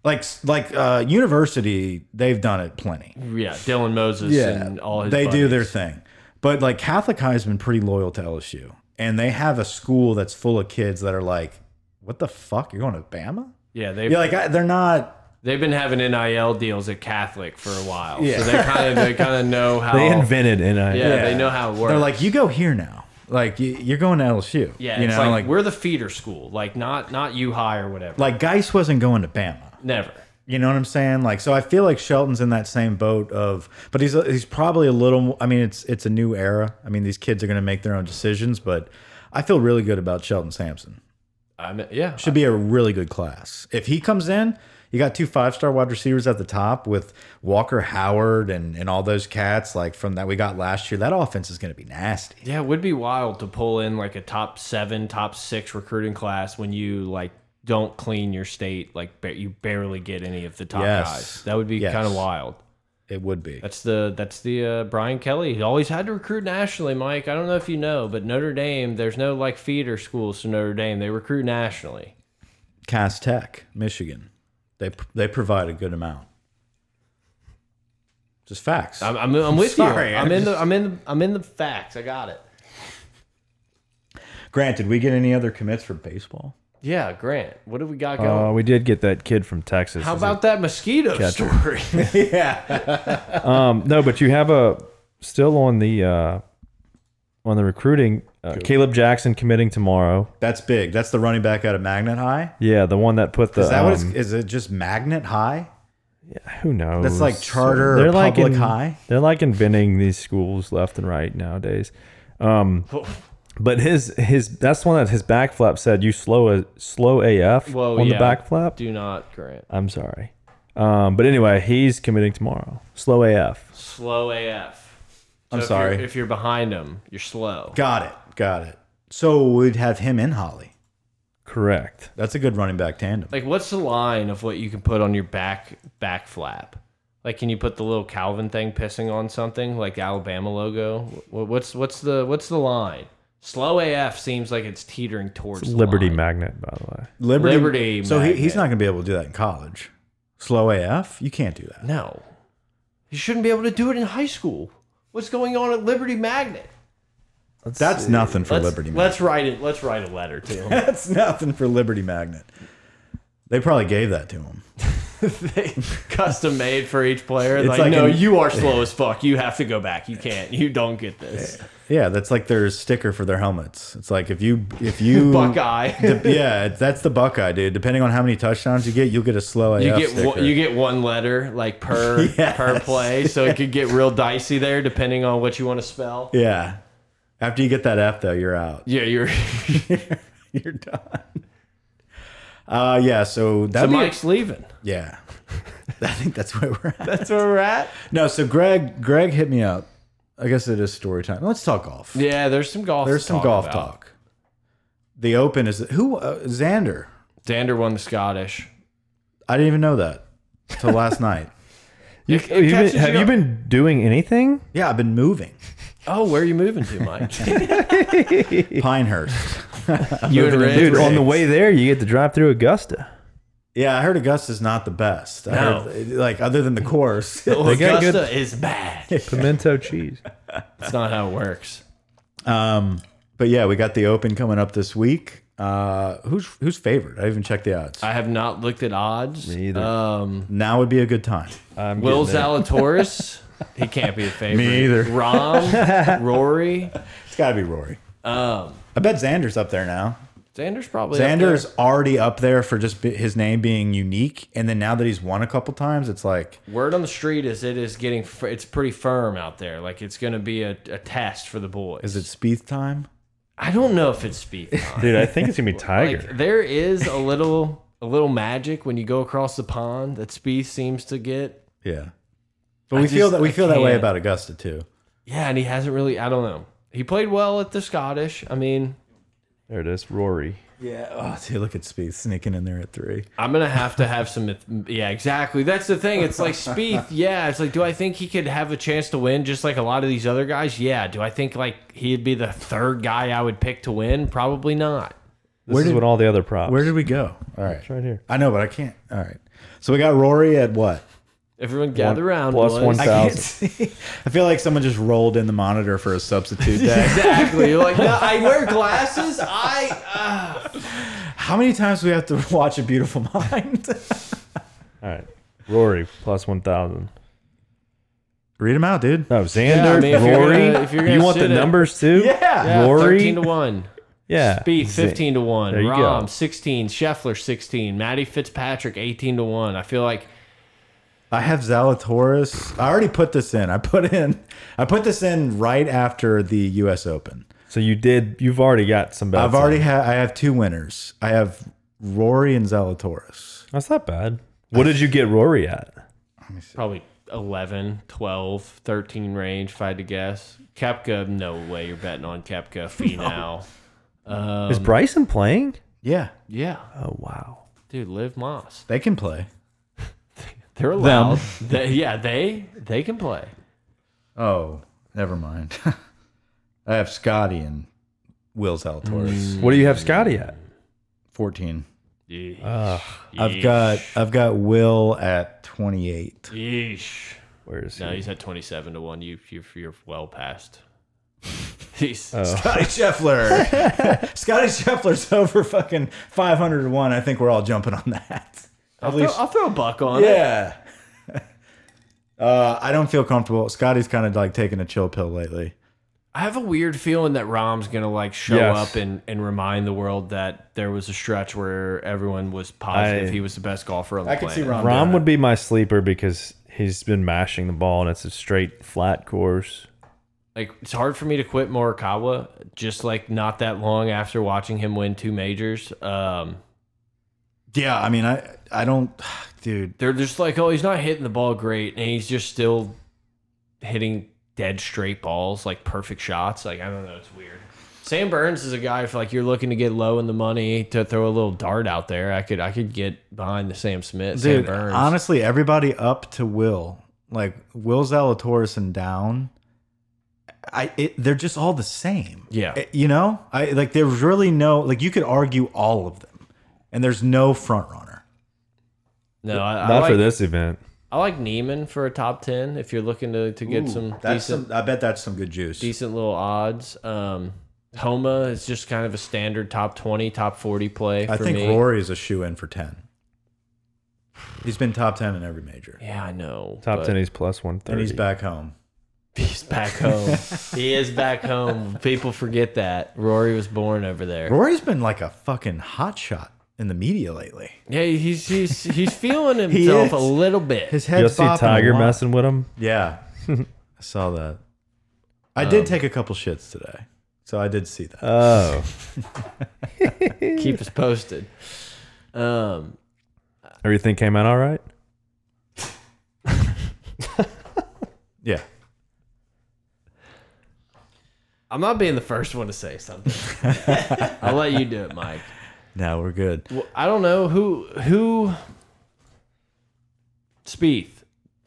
[SPEAKER 1] Like like uh, university, they've done it plenty.
[SPEAKER 2] Yeah, Dylan Moses and all his.
[SPEAKER 1] they do their
[SPEAKER 2] buddies.
[SPEAKER 1] thing, but like Catholic high has been pretty loyal to LSU, and they have a school that's full of kids that are like, "What the fuck? You're going to Bama?"
[SPEAKER 2] Yeah, they
[SPEAKER 1] Yeah, like I, they're not.
[SPEAKER 2] they've been having NIL deals at Catholic for a while, so they kind of they kind of know how.
[SPEAKER 4] They invented and I
[SPEAKER 2] yeah, they know how it works.
[SPEAKER 1] They're like, "You go here now. Like you, you're going to LSU."
[SPEAKER 2] yeah,
[SPEAKER 1] you
[SPEAKER 2] it's
[SPEAKER 1] know,
[SPEAKER 2] like,
[SPEAKER 1] like like,
[SPEAKER 2] we're the feeder school, like not not you high or whatever.
[SPEAKER 1] Geis wasn't going to Bama.
[SPEAKER 2] Never.
[SPEAKER 1] You know what I'm saying? Like, so I feel like Shelton's in that same boat of, but he's he's probably a little. I mean, it's it's a new era. I mean, these kids are going to make their own decisions, but I feel really good about Shelton Sampson.
[SPEAKER 2] I mean, yeah,
[SPEAKER 1] Should be a really good class. If he comes in, you got two five star wide receivers at the top with Walker Howard and and all those cats like from that we got last year. That offense is going to be nasty.
[SPEAKER 2] Yeah, it would be wild to pull in like a top seven, top six recruiting class when you like don't clean your state, like ba you barely get any of the top
[SPEAKER 1] Yes.
[SPEAKER 2] guys. That would be
[SPEAKER 1] Yes.
[SPEAKER 2] kind of wild.
[SPEAKER 1] It would be.
[SPEAKER 2] That's the that's the uh, Brian Kelly. He always had to recruit nationally, Mike. I don't know if you know, but Notre Dame, there's no like feeder schools to Notre Dame. They recruit nationally.
[SPEAKER 1] Cass Tech, Michigan, they they provide a good amount. Just facts.
[SPEAKER 2] I'm I'm, I'm with
[SPEAKER 1] Sorry,
[SPEAKER 2] you.
[SPEAKER 1] I'm
[SPEAKER 2] I'm in the I'm in the, I'm in the facts. I got it.
[SPEAKER 1] Grant, did we get any other commits for baseball?
[SPEAKER 2] Yeah, Grant. What do we got going?
[SPEAKER 4] Uh, we did get that kid from Texas.
[SPEAKER 2] How
[SPEAKER 4] Is it-
[SPEAKER 2] about that mosquito story?
[SPEAKER 4] um, no? But you have a still on the uh, on the recruiting. Uh, Caleb Jackson committing tomorrow.
[SPEAKER 1] That's big. That's the running back out of Magnet High.
[SPEAKER 4] Yeah, the one that put the
[SPEAKER 1] Is that what it's,
[SPEAKER 4] um,
[SPEAKER 1] is it just Magnet High?
[SPEAKER 4] who knows?
[SPEAKER 1] That's like charter or public high?
[SPEAKER 4] They're like inventing these schools left and right nowadays. Um, but his his that's the one that his back flap said you slow a slow AF
[SPEAKER 2] Well,
[SPEAKER 4] on
[SPEAKER 2] yeah.
[SPEAKER 4] the back flap.
[SPEAKER 2] do not, Grant.
[SPEAKER 4] I'm sorry. Um, but anyway, he's committing tomorrow. Slow AF.
[SPEAKER 2] Slow AF.
[SPEAKER 1] I'm
[SPEAKER 2] So if
[SPEAKER 1] sorry.
[SPEAKER 2] you're- if you're behind them, you're slow.
[SPEAKER 1] Got it. Got it. So we'd have him in Holly.
[SPEAKER 4] Correct.
[SPEAKER 1] That's a good running back tandem.
[SPEAKER 2] Like, what's the line of what you can put on your back back flap? Like, can you put the little Calvin thing pissing on something like the Alabama logo? Wh- What's what's the what's the line? Slow AF seems like it's teetering towards the
[SPEAKER 4] Liberty
[SPEAKER 2] line.
[SPEAKER 4] Magnet, by the way.
[SPEAKER 1] Liberty.
[SPEAKER 2] Liberty
[SPEAKER 1] so he,
[SPEAKER 2] Magnet.
[SPEAKER 1] he's not going to be able to do that in college. Slow AF. You can't do that.
[SPEAKER 2] No, you shouldn't be able to do it in high school. What's going on at Liberty Magnet?
[SPEAKER 1] That's nothing for
[SPEAKER 2] let's,
[SPEAKER 1] Liberty. Magnet.
[SPEAKER 2] Let's write it. Let's write a letter to him.
[SPEAKER 1] That's nothing for Liberty Magnet. They probably gave that to him.
[SPEAKER 2] they custom made for each player.
[SPEAKER 1] It's
[SPEAKER 2] like,
[SPEAKER 1] like
[SPEAKER 2] no,
[SPEAKER 1] an-
[SPEAKER 2] you are slow as fuck. You have to go back. You can't. You don't get this.
[SPEAKER 1] Yeah, that's like their sticker for their helmets. It's like if you if you
[SPEAKER 2] Buckeye.
[SPEAKER 1] De- yeah, it's- that's the Buckeye, dude. Depending on how many touchdowns you get, you'll get a slow AF
[SPEAKER 2] You get
[SPEAKER 1] sticker.
[SPEAKER 2] one, you get one letter like per
[SPEAKER 1] Yes.
[SPEAKER 2] per play, so it could get real dicey there depending on what you want to spell.
[SPEAKER 1] yeah. After you get that F though, you're out.
[SPEAKER 2] Yeah, you're.
[SPEAKER 1] You're done. Uh, yeah. So
[SPEAKER 2] So
[SPEAKER 1] that
[SPEAKER 2] Mike's leaving.
[SPEAKER 1] yeah. I think that's where we're at.
[SPEAKER 2] That's where we're at.
[SPEAKER 1] No, so Greg Greg hit me up. I guess it is story time. Let's talk golf.
[SPEAKER 2] Yeah, there's some golf.
[SPEAKER 1] There's
[SPEAKER 2] to
[SPEAKER 1] some
[SPEAKER 2] talk
[SPEAKER 1] golf
[SPEAKER 2] about.
[SPEAKER 1] talk. The Open is who uh, Xander.
[SPEAKER 2] Xander won the Scottish.
[SPEAKER 1] I didn't even know that till last night.
[SPEAKER 4] You,
[SPEAKER 2] It- it
[SPEAKER 4] have you
[SPEAKER 2] catches
[SPEAKER 4] been, have
[SPEAKER 2] you
[SPEAKER 4] you
[SPEAKER 2] up.
[SPEAKER 4] been doing anything?
[SPEAKER 1] Yeah, I've been moving.
[SPEAKER 2] Oh, where are you moving to, Mike?
[SPEAKER 1] Pinehurst.
[SPEAKER 2] you and Rick.
[SPEAKER 4] Dude, on the way there, you get to drive through Augusta.
[SPEAKER 1] Yeah, I heard Augusta's not the best. I
[SPEAKER 2] No.
[SPEAKER 1] heard, eh, like other than the course.
[SPEAKER 2] Augusta
[SPEAKER 4] got good-
[SPEAKER 2] is bad.
[SPEAKER 4] Pimento cheese.
[SPEAKER 2] That's not how it works.
[SPEAKER 1] um, but yeah, we got the Open coming up this week. Uh, who's who's favored? I even checked the odds.
[SPEAKER 2] I have not looked at odds.
[SPEAKER 4] Me either.
[SPEAKER 1] Uh,
[SPEAKER 2] Um,
[SPEAKER 1] now would be a good time.
[SPEAKER 4] I'm
[SPEAKER 2] Will
[SPEAKER 4] getting there.
[SPEAKER 2] Zalatoris, he can't be a favorite.
[SPEAKER 1] Me either.
[SPEAKER 2] Rom, Rory.
[SPEAKER 1] It's got to be Rory.
[SPEAKER 2] Um,
[SPEAKER 1] I bet Xander's up there now.
[SPEAKER 2] Xander's probably up there.
[SPEAKER 1] Xander's already up there for just be- his name being unique, and then now that he's won a couple times, it's like
[SPEAKER 2] Word on the street is it is getting fir- it's pretty firm out there. Like it's going to be a, a test for the boys.
[SPEAKER 1] is it Spieth time?
[SPEAKER 2] I don't know if it's speed.
[SPEAKER 4] Dude, I think it's gonna be Tiger.
[SPEAKER 2] Like there is a little a little magic when you go across the pond that Spieth seems to get.
[SPEAKER 1] Yeah, but
[SPEAKER 2] I
[SPEAKER 1] we feel
[SPEAKER 2] just-
[SPEAKER 1] that we
[SPEAKER 2] I
[SPEAKER 1] feel that way
[SPEAKER 2] can't.
[SPEAKER 1] about Augusta too.
[SPEAKER 2] Yeah, and he hasn't really. I don't know. He played well at the Scottish. I mean,
[SPEAKER 4] there it is, Rory.
[SPEAKER 1] Yeah. Oh, dude, look at Spieth sneaking in there at three.
[SPEAKER 2] I'm gonna have to have some. Yeah, exactly. That's the thing. It's like Spieth. Yeah, it's like, do I think he could have a chance to win just like a lot of these other guys? Yeah. Do I think like he'd be the third guy I would pick to win? Probably not.
[SPEAKER 4] This is what all the other props.
[SPEAKER 1] Where did we go? All right,
[SPEAKER 4] It's right here.
[SPEAKER 1] I know, but I can't. All right, so we got Rory at what?
[SPEAKER 2] Everyone gather
[SPEAKER 4] One-
[SPEAKER 2] round.
[SPEAKER 4] plus
[SPEAKER 2] boys.
[SPEAKER 4] one
[SPEAKER 1] I can't see. I feel like someone just rolled in the monitor for a substitute day.
[SPEAKER 2] Exactly. You're like, no, I wear glasses. I. Uh.
[SPEAKER 1] How many times do we have to watch A Beautiful Mind?
[SPEAKER 4] All right. Rory plus one thousand.
[SPEAKER 1] Read them out, dude.
[SPEAKER 4] No, Xander,
[SPEAKER 2] I mean, if you're
[SPEAKER 4] Rory.
[SPEAKER 2] gonna- if you're gonna
[SPEAKER 4] you want the
[SPEAKER 2] sit it-
[SPEAKER 4] numbers too?
[SPEAKER 1] Yeah.
[SPEAKER 2] Yeah,
[SPEAKER 4] Rory?
[SPEAKER 2] 13 uh, to 1.
[SPEAKER 4] Yeah.
[SPEAKER 2] Speed
[SPEAKER 4] Z-
[SPEAKER 2] 15 to 1.
[SPEAKER 4] There you
[SPEAKER 2] Rom
[SPEAKER 4] go.
[SPEAKER 2] 16. Scheffler 16. Matty Fitzpatrick 18 to 1. I feel like
[SPEAKER 1] I have Zalatoris. I already put this in. I put in. I put this in right after the U.S. Open.
[SPEAKER 4] So you did. You've already got some bets.
[SPEAKER 1] I've already had. I have two winners. I have Rory and Zalatoris.
[SPEAKER 4] in. That's not bad. What did you get Rory at?
[SPEAKER 2] probably 11, 12, 13 range, if I had to guess. Kapka, no way you're betting on Kapka. Finau.
[SPEAKER 4] Is Bryson playing?
[SPEAKER 1] Yeah,
[SPEAKER 2] Yeah.
[SPEAKER 4] Oh wow.
[SPEAKER 2] Dude, Liv Moss.
[SPEAKER 1] they can play.
[SPEAKER 2] They're allowed. They- yeah, they they can play.
[SPEAKER 1] Oh, never mind. I have Scotty and Will Zalatoris.
[SPEAKER 4] What do you have Scotty at?
[SPEAKER 1] Fourteen.
[SPEAKER 2] Yeesh.
[SPEAKER 1] I've got. I've got Will at twenty-eight.
[SPEAKER 2] Yeesh.
[SPEAKER 4] Where is he?
[SPEAKER 2] No, he's at 27 to 1. You, you, you're well past.
[SPEAKER 1] Uh,
[SPEAKER 2] He's,
[SPEAKER 1] Scotty Scheffler. Scotty Scheffler's over fucking 500 to 1. I think we're all jumping on that.
[SPEAKER 2] I'll, throw, I'll throw a buck on it.
[SPEAKER 1] Yeah. Uh, I don't feel comfortable. Scotty's kind of like taking a chill pill lately.
[SPEAKER 2] I have a weird feeling that Rom's gonna like show
[SPEAKER 4] Yes.
[SPEAKER 2] up and, and remind the world that there was a stretch where everyone was positive
[SPEAKER 4] I-
[SPEAKER 2] he was the best golfer on the
[SPEAKER 1] I can
[SPEAKER 2] planet.
[SPEAKER 1] see Rom.
[SPEAKER 4] Rom
[SPEAKER 1] doing
[SPEAKER 4] would be my sleeper because he's been mashing the ball and it's a straight flat course.
[SPEAKER 2] Like it's hard for me to quit Morikawa just like not that long after watching him win two majors. Um,
[SPEAKER 1] it. Yeah, I mean, I I don't, dude.
[SPEAKER 2] they're just like, oh, he's not hitting the ball great, and he's just still hitting dead straight balls, like perfect shots. Like I don't know, it's weird. Sam Burns is a guy if like you're looking to get low in the money to throw a little dart out there. I could I could get behind the Sam Smith, Sam
[SPEAKER 1] Dude,
[SPEAKER 2] Burns.
[SPEAKER 1] honestly, everybody up to Will, like Will Zalatoris and down, I it, they're just all the same.
[SPEAKER 2] Yeah.
[SPEAKER 1] Eh, you know, I like there's really no like you could argue all of them, and there's no front runner.
[SPEAKER 2] no, I, I
[SPEAKER 4] Not
[SPEAKER 2] like,
[SPEAKER 4] for this event.
[SPEAKER 2] I like Neiman for a top ten if you're looking to, to get some
[SPEAKER 1] That's
[SPEAKER 2] decent
[SPEAKER 1] some. I bet that's some good juice.
[SPEAKER 2] decent little odds. Um, Homa is just kind of a standard top twenty, top forty play.
[SPEAKER 1] I
[SPEAKER 2] for
[SPEAKER 1] think
[SPEAKER 2] me.
[SPEAKER 1] Rory is a shoe in for ten. He's been top ten in every major,
[SPEAKER 2] Yeah, I know.
[SPEAKER 4] Top
[SPEAKER 2] but-
[SPEAKER 4] ten, he's plus one thirty.
[SPEAKER 1] and he's back home.
[SPEAKER 2] He's back home. he is back home. People forget that. Rory was born over there.
[SPEAKER 1] Rory's been like a fucking hot shot in the media lately.
[SPEAKER 2] Yeah, he's he's he's feeling himself a
[SPEAKER 1] is.
[SPEAKER 2] little bit.
[SPEAKER 1] His head.
[SPEAKER 4] You'll see Tiger messing with him.
[SPEAKER 1] Yeah, I saw that. I
[SPEAKER 2] Um.
[SPEAKER 1] did take a couple shits today, so I did see that.
[SPEAKER 4] Oh,
[SPEAKER 2] Keep us posted. Um
[SPEAKER 4] everything came out all right.
[SPEAKER 1] yeah,
[SPEAKER 2] I'm not being the first one to say something. I'll let you do it, Mike.
[SPEAKER 1] now we're good.
[SPEAKER 2] Well, I don't know who who Spieth.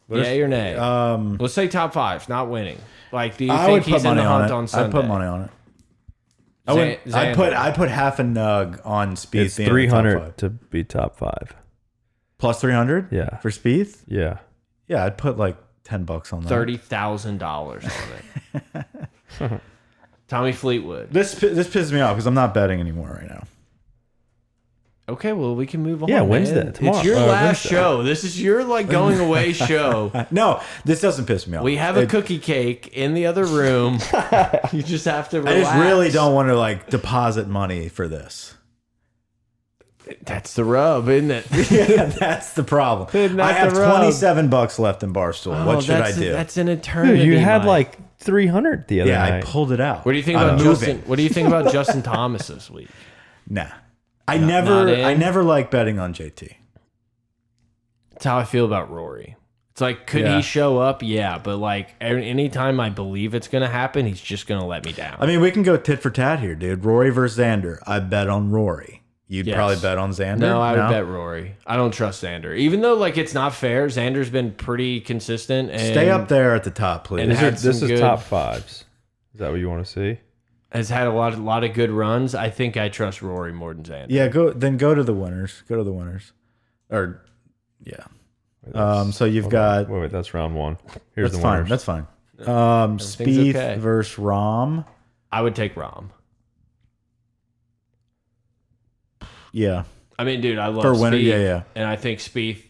[SPEAKER 2] Yay or nay?
[SPEAKER 1] Um,
[SPEAKER 2] Let's say top five, not winning. Like, do you
[SPEAKER 1] I
[SPEAKER 2] think
[SPEAKER 1] would
[SPEAKER 2] he's
[SPEAKER 1] put
[SPEAKER 2] in
[SPEAKER 1] money
[SPEAKER 2] the
[SPEAKER 1] on
[SPEAKER 2] hunt
[SPEAKER 1] it.
[SPEAKER 2] on
[SPEAKER 1] I
[SPEAKER 2] Sunday?
[SPEAKER 1] put money on it. I
[SPEAKER 2] Zan-
[SPEAKER 1] wouldn't. I
[SPEAKER 2] Xander.
[SPEAKER 1] put. I put half a nug on Spieth.
[SPEAKER 4] It's
[SPEAKER 1] being in the top
[SPEAKER 4] three
[SPEAKER 1] five.
[SPEAKER 4] hundred to be top five.
[SPEAKER 1] plus three hundred.
[SPEAKER 4] Yeah.
[SPEAKER 1] for Spieth.
[SPEAKER 4] Yeah,
[SPEAKER 1] Yeah, I'd put like ten bucks on that.
[SPEAKER 2] thirty thousand dollars on it. Tommy Fleetwood.
[SPEAKER 1] This pi- this pisses me off because I'm not betting anymore right now.
[SPEAKER 2] Okay, well we can move on.
[SPEAKER 4] Yeah, Wednesday,
[SPEAKER 2] man.
[SPEAKER 4] tomorrow.
[SPEAKER 2] It's your
[SPEAKER 4] Uh,
[SPEAKER 2] last
[SPEAKER 4] Wednesday.
[SPEAKER 2] show. This is your like going away show.
[SPEAKER 1] Uh, No, this doesn't piss me off.
[SPEAKER 2] We have a
[SPEAKER 1] It-
[SPEAKER 2] cookie cake in the other room. you just have to.
[SPEAKER 1] I
[SPEAKER 2] Relax.
[SPEAKER 1] just really don't want to like deposit money for this.
[SPEAKER 2] That's the rub, isn't it?
[SPEAKER 1] yeah, that's the problem.
[SPEAKER 2] Not
[SPEAKER 1] I have
[SPEAKER 2] the rub.
[SPEAKER 1] 27 bucks left in Barstool.
[SPEAKER 2] Oh,
[SPEAKER 1] what should I
[SPEAKER 2] that's-
[SPEAKER 1] do?
[SPEAKER 2] That's an eternity.
[SPEAKER 4] Dude, you had
[SPEAKER 2] Mike.
[SPEAKER 4] like 300 the other
[SPEAKER 1] yeah, I
[SPEAKER 4] night.
[SPEAKER 1] pulled it out.
[SPEAKER 2] What do you think
[SPEAKER 1] I'm
[SPEAKER 2] about
[SPEAKER 1] moving.
[SPEAKER 2] Justin? What do you think about Justin Thomas this week?
[SPEAKER 1] Nah. I never
[SPEAKER 2] not in?
[SPEAKER 1] I never like betting on JT.
[SPEAKER 2] It's how I feel about Rory. It's like, could
[SPEAKER 1] Yeah.
[SPEAKER 2] he show up? Yeah, but like, a- anytime I believe it's gonna happen, he's just gonna let me down.
[SPEAKER 1] I mean, we can go tit for tat here, dude. Rory versus Xander. I bet on Rory. You'd
[SPEAKER 2] Yes.
[SPEAKER 1] probably bet on Xander.
[SPEAKER 2] no, I would bet Rory. I don't trust Xander, even though like it's not fair. Xander's been pretty consistent. And
[SPEAKER 1] Stay up there at the top, please.
[SPEAKER 2] and
[SPEAKER 4] These are-
[SPEAKER 2] had
[SPEAKER 4] this
[SPEAKER 2] some
[SPEAKER 4] is
[SPEAKER 2] good-
[SPEAKER 4] top fives. Is that what you want to see?
[SPEAKER 2] Has had a lot, a lot of good runs. I think I trust Rory more than Xander.
[SPEAKER 1] yeah, go then go to the winners. Go to the winners. Or yeah. Um so you've got
[SPEAKER 4] Wait, wait, that's round one. Here's
[SPEAKER 1] that's
[SPEAKER 4] the
[SPEAKER 1] fine.
[SPEAKER 4] winners.
[SPEAKER 1] That's fine. Um Spieth
[SPEAKER 2] okay.
[SPEAKER 1] versus Rom.
[SPEAKER 2] I would take Rom.
[SPEAKER 1] Yeah.
[SPEAKER 2] I mean, dude, I love
[SPEAKER 1] For winner,
[SPEAKER 2] Spieth,
[SPEAKER 1] yeah, yeah.
[SPEAKER 2] and I think Spieth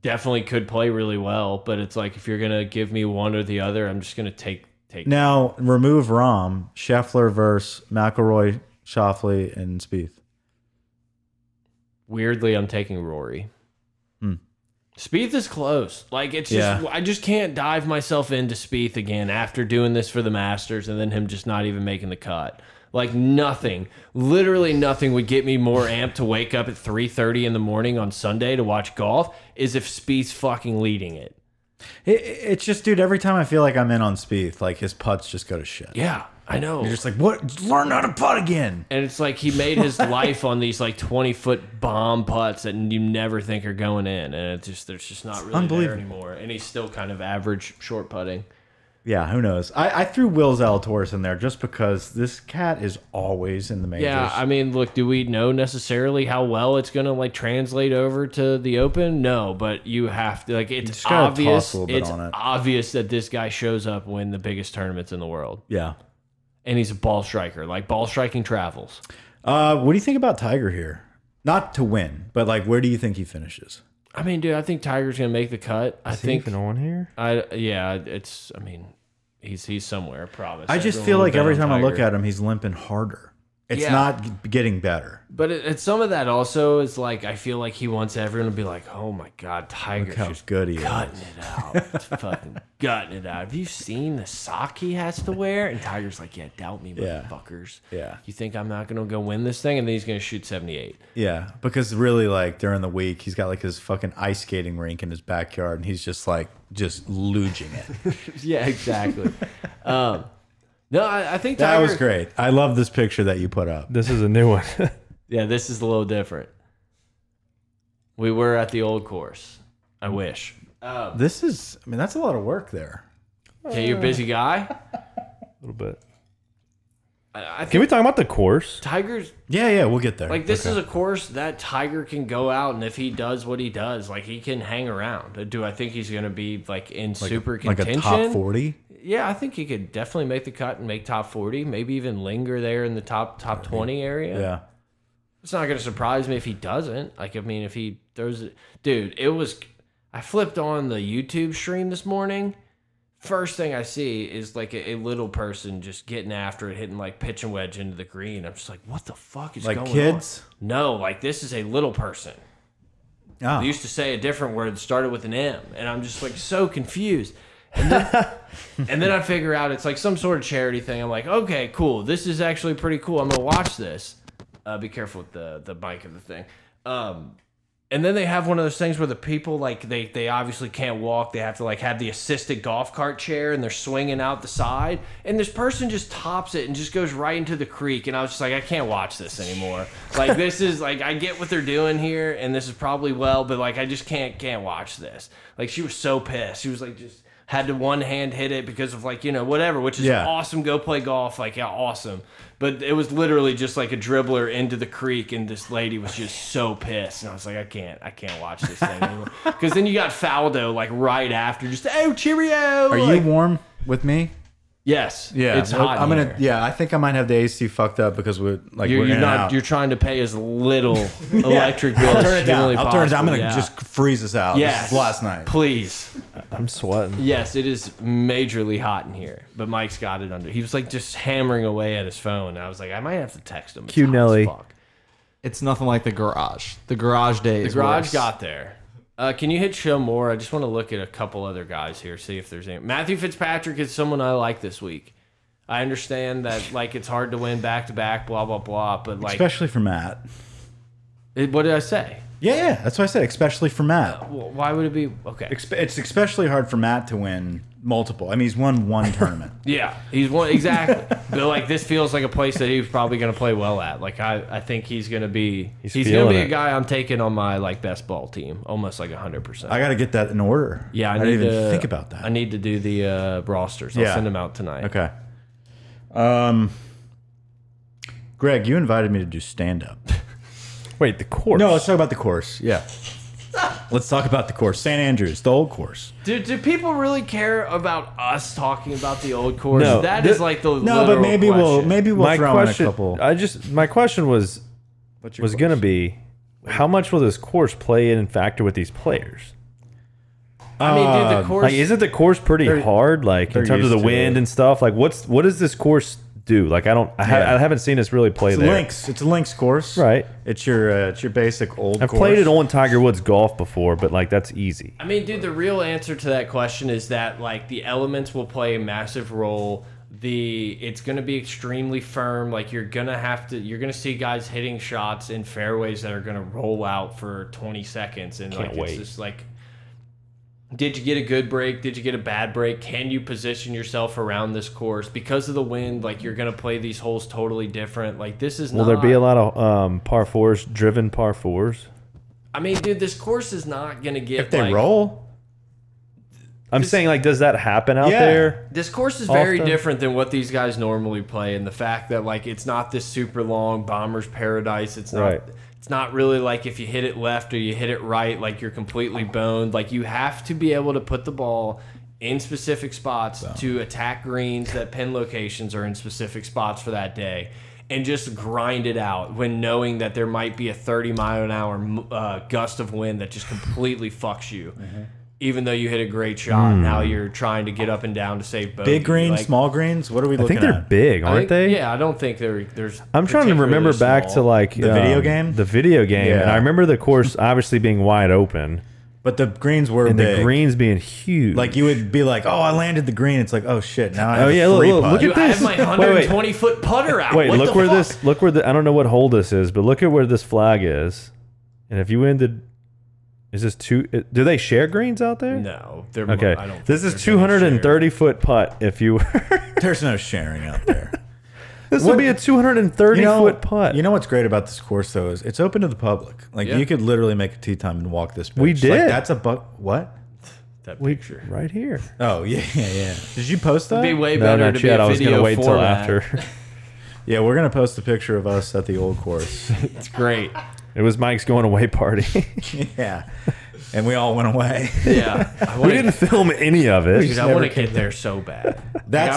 [SPEAKER 2] definitely could play really well. But it's like if you're gonna give me one or the other, I'm just gonna take take.
[SPEAKER 1] Now remove Rom, Scheffler versus McElroy, Shoffley, and Spieth.
[SPEAKER 2] Weirdly, I'm taking Rory.
[SPEAKER 1] Hmm.
[SPEAKER 2] Spieth is close. Like it's
[SPEAKER 1] Yeah.
[SPEAKER 2] just I just can't dive myself into Spieth again after doing this for the Masters and then him just not even making the cut. Like nothing, literally nothing would get me more amped to wake up at 3:30 in the morning on Sunday to watch golf is if Spieth's fucking leading it.
[SPEAKER 1] It, it's just, dude. Every time I feel like I'm in on Spieth, like his putts just go to shit.
[SPEAKER 2] Yeah, I know.
[SPEAKER 1] You're just like, what? Learn how to putt again.
[SPEAKER 2] And it's like he made his life on these like twenty foot bomb putts that you never think are going in, and it's just there's just not really there
[SPEAKER 1] unbelievable.
[SPEAKER 2] anymore. And he's still kind of average short putting.
[SPEAKER 1] Yeah, who knows? I, I threw Will Zalatoris in there just because this cat is always in the majors.
[SPEAKER 2] Yeah, I mean, look, do we know necessarily how well it's gonna like translate over to the Open? No, but you have to like it's
[SPEAKER 1] just gotta toss
[SPEAKER 2] obvious.
[SPEAKER 1] a little bit
[SPEAKER 2] It's
[SPEAKER 1] on it.
[SPEAKER 2] obvious that this guy shows up when the biggest tournaments in the world,
[SPEAKER 1] yeah.
[SPEAKER 2] and he's a ball striker. Like ball striking travels.
[SPEAKER 1] Uh, what do you think about Tiger here? Not to win, but like, where do you think he finishes?
[SPEAKER 2] I mean, dude, I think Tiger's gonna make the cut. I
[SPEAKER 4] Is he
[SPEAKER 2] think
[SPEAKER 4] even on here?
[SPEAKER 2] I yeah, it's. I mean, he's he's somewhere. I promise.
[SPEAKER 1] I just
[SPEAKER 2] Everyone
[SPEAKER 1] feel
[SPEAKER 2] will
[SPEAKER 1] like
[SPEAKER 2] bet
[SPEAKER 1] every
[SPEAKER 2] on
[SPEAKER 1] time I look
[SPEAKER 2] Tiger.
[SPEAKER 1] at him, he's limping harder. It's
[SPEAKER 2] Yeah.
[SPEAKER 1] not getting better.
[SPEAKER 2] but it, it's some of that also is like I feel like he wants everyone to be like, oh my god, Tiger's
[SPEAKER 1] Look how
[SPEAKER 2] just
[SPEAKER 1] good he is.
[SPEAKER 2] gutting it out, Just fucking gutting it out. Have you seen the sock he has to wear? And Tiger's like, yeah, doubt me,
[SPEAKER 1] Yeah.
[SPEAKER 2] motherfuckers.
[SPEAKER 1] Yeah.
[SPEAKER 2] You think I'm not gonna go win this thing? And then he's gonna shoot 78.
[SPEAKER 1] Yeah, because really, like during the week, he's got like his fucking ice skating rink in his backyard, and he's just like just luging it.
[SPEAKER 2] yeah, exactly. um, no, I, I think
[SPEAKER 1] that
[SPEAKER 2] Tiger,
[SPEAKER 1] was great. I love this picture that you put up.
[SPEAKER 4] This is a new one.
[SPEAKER 2] Yeah, this is a little different. We were at the old course. I wish.
[SPEAKER 1] This is, I mean, that's a lot of work there.
[SPEAKER 2] Okay, you're a busy guy.
[SPEAKER 4] a little bit.
[SPEAKER 2] I, I think
[SPEAKER 4] Can we talk about the course?
[SPEAKER 2] Tiger's
[SPEAKER 1] Yeah, yeah, we'll get there.
[SPEAKER 2] like this is a course that Tiger can go out and if he does what he does, like he can hang around. Do I think he's going to be like in super
[SPEAKER 1] like
[SPEAKER 2] contention?
[SPEAKER 1] a top forty.
[SPEAKER 2] Yeah, I think he could definitely make the cut and make top 40, maybe even linger there in the top top 20 area.
[SPEAKER 1] Yeah,
[SPEAKER 2] It's not going to surprise me if he doesn't. Like, I mean, if he throws it, dude, it was. I flipped on the YouTube stream this morning. First thing I see is like a, a little person just getting after it, hitting like pitch and wedge into the green. I'm just like, what the fuck is
[SPEAKER 1] like
[SPEAKER 2] going
[SPEAKER 1] kids.
[SPEAKER 2] on? No, like this is a little person.
[SPEAKER 1] Ah,
[SPEAKER 2] They used to say a different word that started with an M, and I'm just like so confused. And then, and then I figure out it's like some sort of charity thing. I'm like, okay, cool. This is actually pretty cool. I'm gonna watch this. Uh, be careful with the the mic of the thing. Um, and then they have one of those things where the people like they they obviously can't walk. They have to like have the assisted golf cart chair, and they're swinging out the side. And this person just tops it and just goes right into the creek. And I was just like, I can't watch this anymore. Like this is like I get what they're doing here, and this is probably well, but like I just can't can't watch this. Like she was so pissed. She was like just had to one hand hit it because of like you know whatever, which is
[SPEAKER 1] Yeah.
[SPEAKER 2] awesome. Go play golf, like yeah, awesome. But it was literally just like a dribbler into the creek, and this lady was just so pissed, and I was like, I can't, I can't watch this thing anymore. Because then you got Faldo like right after, just oh cheerio.
[SPEAKER 1] are you
[SPEAKER 2] like-
[SPEAKER 1] warm with me?
[SPEAKER 2] Yes.
[SPEAKER 1] Yeah,
[SPEAKER 2] It's hot.
[SPEAKER 1] I'm
[SPEAKER 2] in here.
[SPEAKER 1] gonna. Yeah, I think I might have the AC fucked up because we're like
[SPEAKER 2] You're,
[SPEAKER 1] we're
[SPEAKER 2] you're
[SPEAKER 1] in
[SPEAKER 2] not.
[SPEAKER 1] and out.
[SPEAKER 2] You're trying to pay as little electric bill.
[SPEAKER 1] I'll
[SPEAKER 2] as
[SPEAKER 1] turn it down.
[SPEAKER 2] humanly
[SPEAKER 1] I'll turn it down. I'm
[SPEAKER 2] possible.
[SPEAKER 1] gonna
[SPEAKER 2] Yeah.
[SPEAKER 1] just freeze this out. This
[SPEAKER 2] Yes.
[SPEAKER 1] is last night.
[SPEAKER 2] Please.
[SPEAKER 4] I'm sweating.
[SPEAKER 2] Yes, it is majorly hot in here. But Mike's got it under. He was like just hammering away at his phone. I was like, I might have to text him. It's
[SPEAKER 4] Cue
[SPEAKER 2] hot as
[SPEAKER 4] Nelly.
[SPEAKER 2] fuck.
[SPEAKER 5] It's nothing like the garage. The garage day.
[SPEAKER 2] The garage got there. Uh, can you hit show more? I just want to look at a couple other guys here, see if there's any. Matthew Fitzpatrick is someone I like this week. I understand that like it's hard to win back to back, blah blah blah. But like,
[SPEAKER 1] Especially for Matt.
[SPEAKER 2] it, what did I say?
[SPEAKER 1] Yeah, yeah. That's what I said. Especially for Matt.
[SPEAKER 2] Well, why would it be okay?
[SPEAKER 1] Expe- It's especially hard for Matt to win multiple. I mean, he's won one tournament.
[SPEAKER 2] Yeah, he's one exactly. but like this feels like a place that he's probably going to play well at. Like I, I think he's going to be he's,
[SPEAKER 4] He's
[SPEAKER 2] going to
[SPEAKER 4] feeling
[SPEAKER 2] be a
[SPEAKER 4] it.
[SPEAKER 2] guy I'm taking on my like best ball team, almost like hundred percent.
[SPEAKER 1] I got to get that in order.
[SPEAKER 2] Yeah, I,
[SPEAKER 1] I,
[SPEAKER 2] need
[SPEAKER 1] didn't even
[SPEAKER 2] to
[SPEAKER 1] think about that.
[SPEAKER 2] I need to do the uh, rosters. I'll
[SPEAKER 1] Yeah.
[SPEAKER 2] send them out tonight.
[SPEAKER 1] okay. Um, Greg, you invited me to do stand up.
[SPEAKER 4] Wait, the course.
[SPEAKER 1] No, let's talk about the course. Yeah. let's talk about the course. St. Andrews, the old course.
[SPEAKER 2] Do, do people really care about us talking about the old course?
[SPEAKER 4] No.
[SPEAKER 2] that
[SPEAKER 4] The-
[SPEAKER 2] is like the
[SPEAKER 1] No, but
[SPEAKER 2] literal
[SPEAKER 1] maybe we'll
[SPEAKER 2] question.
[SPEAKER 1] maybe we'll
[SPEAKER 4] my
[SPEAKER 1] throw
[SPEAKER 4] question.
[SPEAKER 1] in a couple.
[SPEAKER 4] I just my question was
[SPEAKER 1] What's your
[SPEAKER 4] was
[SPEAKER 1] course?
[SPEAKER 4] gonna be how much will this course play in and factor with these players?
[SPEAKER 2] I mean,
[SPEAKER 1] um,
[SPEAKER 2] dude, the course
[SPEAKER 4] Like, isn't the course pretty hard? Like in terms of
[SPEAKER 1] used
[SPEAKER 4] the
[SPEAKER 1] to
[SPEAKER 4] wind
[SPEAKER 1] it.
[SPEAKER 4] and stuff. Like, what's what does this course do? Like, I don't. I, ha
[SPEAKER 1] Yeah.
[SPEAKER 4] I haven't seen this really play
[SPEAKER 1] It's
[SPEAKER 4] there.
[SPEAKER 1] links. It's a links course,
[SPEAKER 4] Right.
[SPEAKER 1] It's your uh, it's your basic old.
[SPEAKER 4] I've
[SPEAKER 1] course.
[SPEAKER 4] played it on Tiger Woods golf before, but like that's easy.
[SPEAKER 2] I mean, dude, the real answer to that question is that like the elements will play a massive role. The it's going to be extremely firm. Like you're gonna have to, you're gonna see guys hitting shots in fairways that are gonna roll out for 20 seconds, and
[SPEAKER 4] Can't
[SPEAKER 2] like
[SPEAKER 4] wait.
[SPEAKER 2] it's just like, did you get a good break? Did you get a bad break? Can you position yourself around this course because of the wind? Like you're gonna play these holes totally different. Like this is
[SPEAKER 4] Will
[SPEAKER 2] not,
[SPEAKER 4] there
[SPEAKER 1] Uh,
[SPEAKER 4] be a lot of um, par fours, driven par fours?
[SPEAKER 2] I mean, dude, this course is not gonna get
[SPEAKER 1] If they
[SPEAKER 2] like,
[SPEAKER 1] roll,
[SPEAKER 4] I'm saying like, does that happen out
[SPEAKER 1] Yeah.
[SPEAKER 4] there?
[SPEAKER 2] This course is very
[SPEAKER 4] Often.
[SPEAKER 2] different than what these guys normally play, and the fact that like it's not this super long bomber's paradise. It's not.
[SPEAKER 4] Right.
[SPEAKER 2] It's not really like if you hit it left or you hit it right, like you're completely boned. Like you have to be able to put the ball in specific spots to attack greens that pin locations are in specific spots for that day. And just grind it out when knowing that there might be a 30 mile an hour uh, gust of wind that just completely fucks you
[SPEAKER 1] Mm-hmm.
[SPEAKER 2] even though you hit a great shot, now you're trying to get up and down to save both.
[SPEAKER 1] Hmm. big greens, small greens. What are we
[SPEAKER 4] I
[SPEAKER 1] looking
[SPEAKER 4] think they're
[SPEAKER 1] at?
[SPEAKER 4] big, aren't they?
[SPEAKER 2] Yeah, I don't think there, there's.
[SPEAKER 4] I'm trying to
[SPEAKER 2] particularly
[SPEAKER 4] remember back to
[SPEAKER 2] small.
[SPEAKER 4] like um,
[SPEAKER 1] The video game?
[SPEAKER 4] The video game, and
[SPEAKER 1] Yeah.
[SPEAKER 4] I remember the course obviously being wide open
[SPEAKER 1] But the greens were
[SPEAKER 4] and
[SPEAKER 1] big.
[SPEAKER 4] the greens being huge.
[SPEAKER 1] like you would be like, oh, I landed the green. It's like, oh shit, now I have
[SPEAKER 4] Oh,
[SPEAKER 1] a
[SPEAKER 4] yeah, look-
[SPEAKER 1] free
[SPEAKER 4] look-
[SPEAKER 1] putt.
[SPEAKER 4] look at
[SPEAKER 2] Dude, I have
[SPEAKER 4] this.
[SPEAKER 2] my
[SPEAKER 4] Wait, wait.
[SPEAKER 2] 120 foot putter out.
[SPEAKER 4] wait,
[SPEAKER 2] What
[SPEAKER 4] look
[SPEAKER 2] the
[SPEAKER 4] where
[SPEAKER 2] fuck?
[SPEAKER 4] this, look where the, I don't know what hole this is, but look at where this flag is, and if you ended, is this two? it- Do they share greens out there?
[SPEAKER 2] No, they're.
[SPEAKER 4] Okay,
[SPEAKER 2] I don't
[SPEAKER 4] this
[SPEAKER 2] think
[SPEAKER 4] is
[SPEAKER 2] there's any share.
[SPEAKER 4] 230 foot putt. If you,
[SPEAKER 1] There's no sharing out there.
[SPEAKER 4] this would be a 230 foot putt.
[SPEAKER 1] You know what's great about this course though is it's open to the public. Like
[SPEAKER 2] Yeah.
[SPEAKER 1] you could literally make a tea time and walk this. Pitch.
[SPEAKER 4] We
[SPEAKER 1] Like,
[SPEAKER 4] did.
[SPEAKER 1] that's a buck. What?
[SPEAKER 2] That
[SPEAKER 4] We-
[SPEAKER 2] picture.
[SPEAKER 4] right here.
[SPEAKER 1] Oh yeah, yeah, yeah. Did you post that?
[SPEAKER 2] It'd be way
[SPEAKER 4] No,
[SPEAKER 2] better
[SPEAKER 4] not
[SPEAKER 2] to be
[SPEAKER 4] yet.
[SPEAKER 2] a
[SPEAKER 4] I was
[SPEAKER 2] video
[SPEAKER 4] gonna wait till
[SPEAKER 2] format.
[SPEAKER 4] after.
[SPEAKER 1] yeah, we're gonna post a picture of us at the old course.
[SPEAKER 2] It's great.
[SPEAKER 4] it was Mike's going away party.
[SPEAKER 1] yeah, and we all went away.
[SPEAKER 2] Yeah, I
[SPEAKER 4] we
[SPEAKER 2] wanna-
[SPEAKER 4] didn't film any of
[SPEAKER 2] Dude,
[SPEAKER 4] it.
[SPEAKER 2] I
[SPEAKER 1] never
[SPEAKER 2] want to get there so bad.
[SPEAKER 1] That's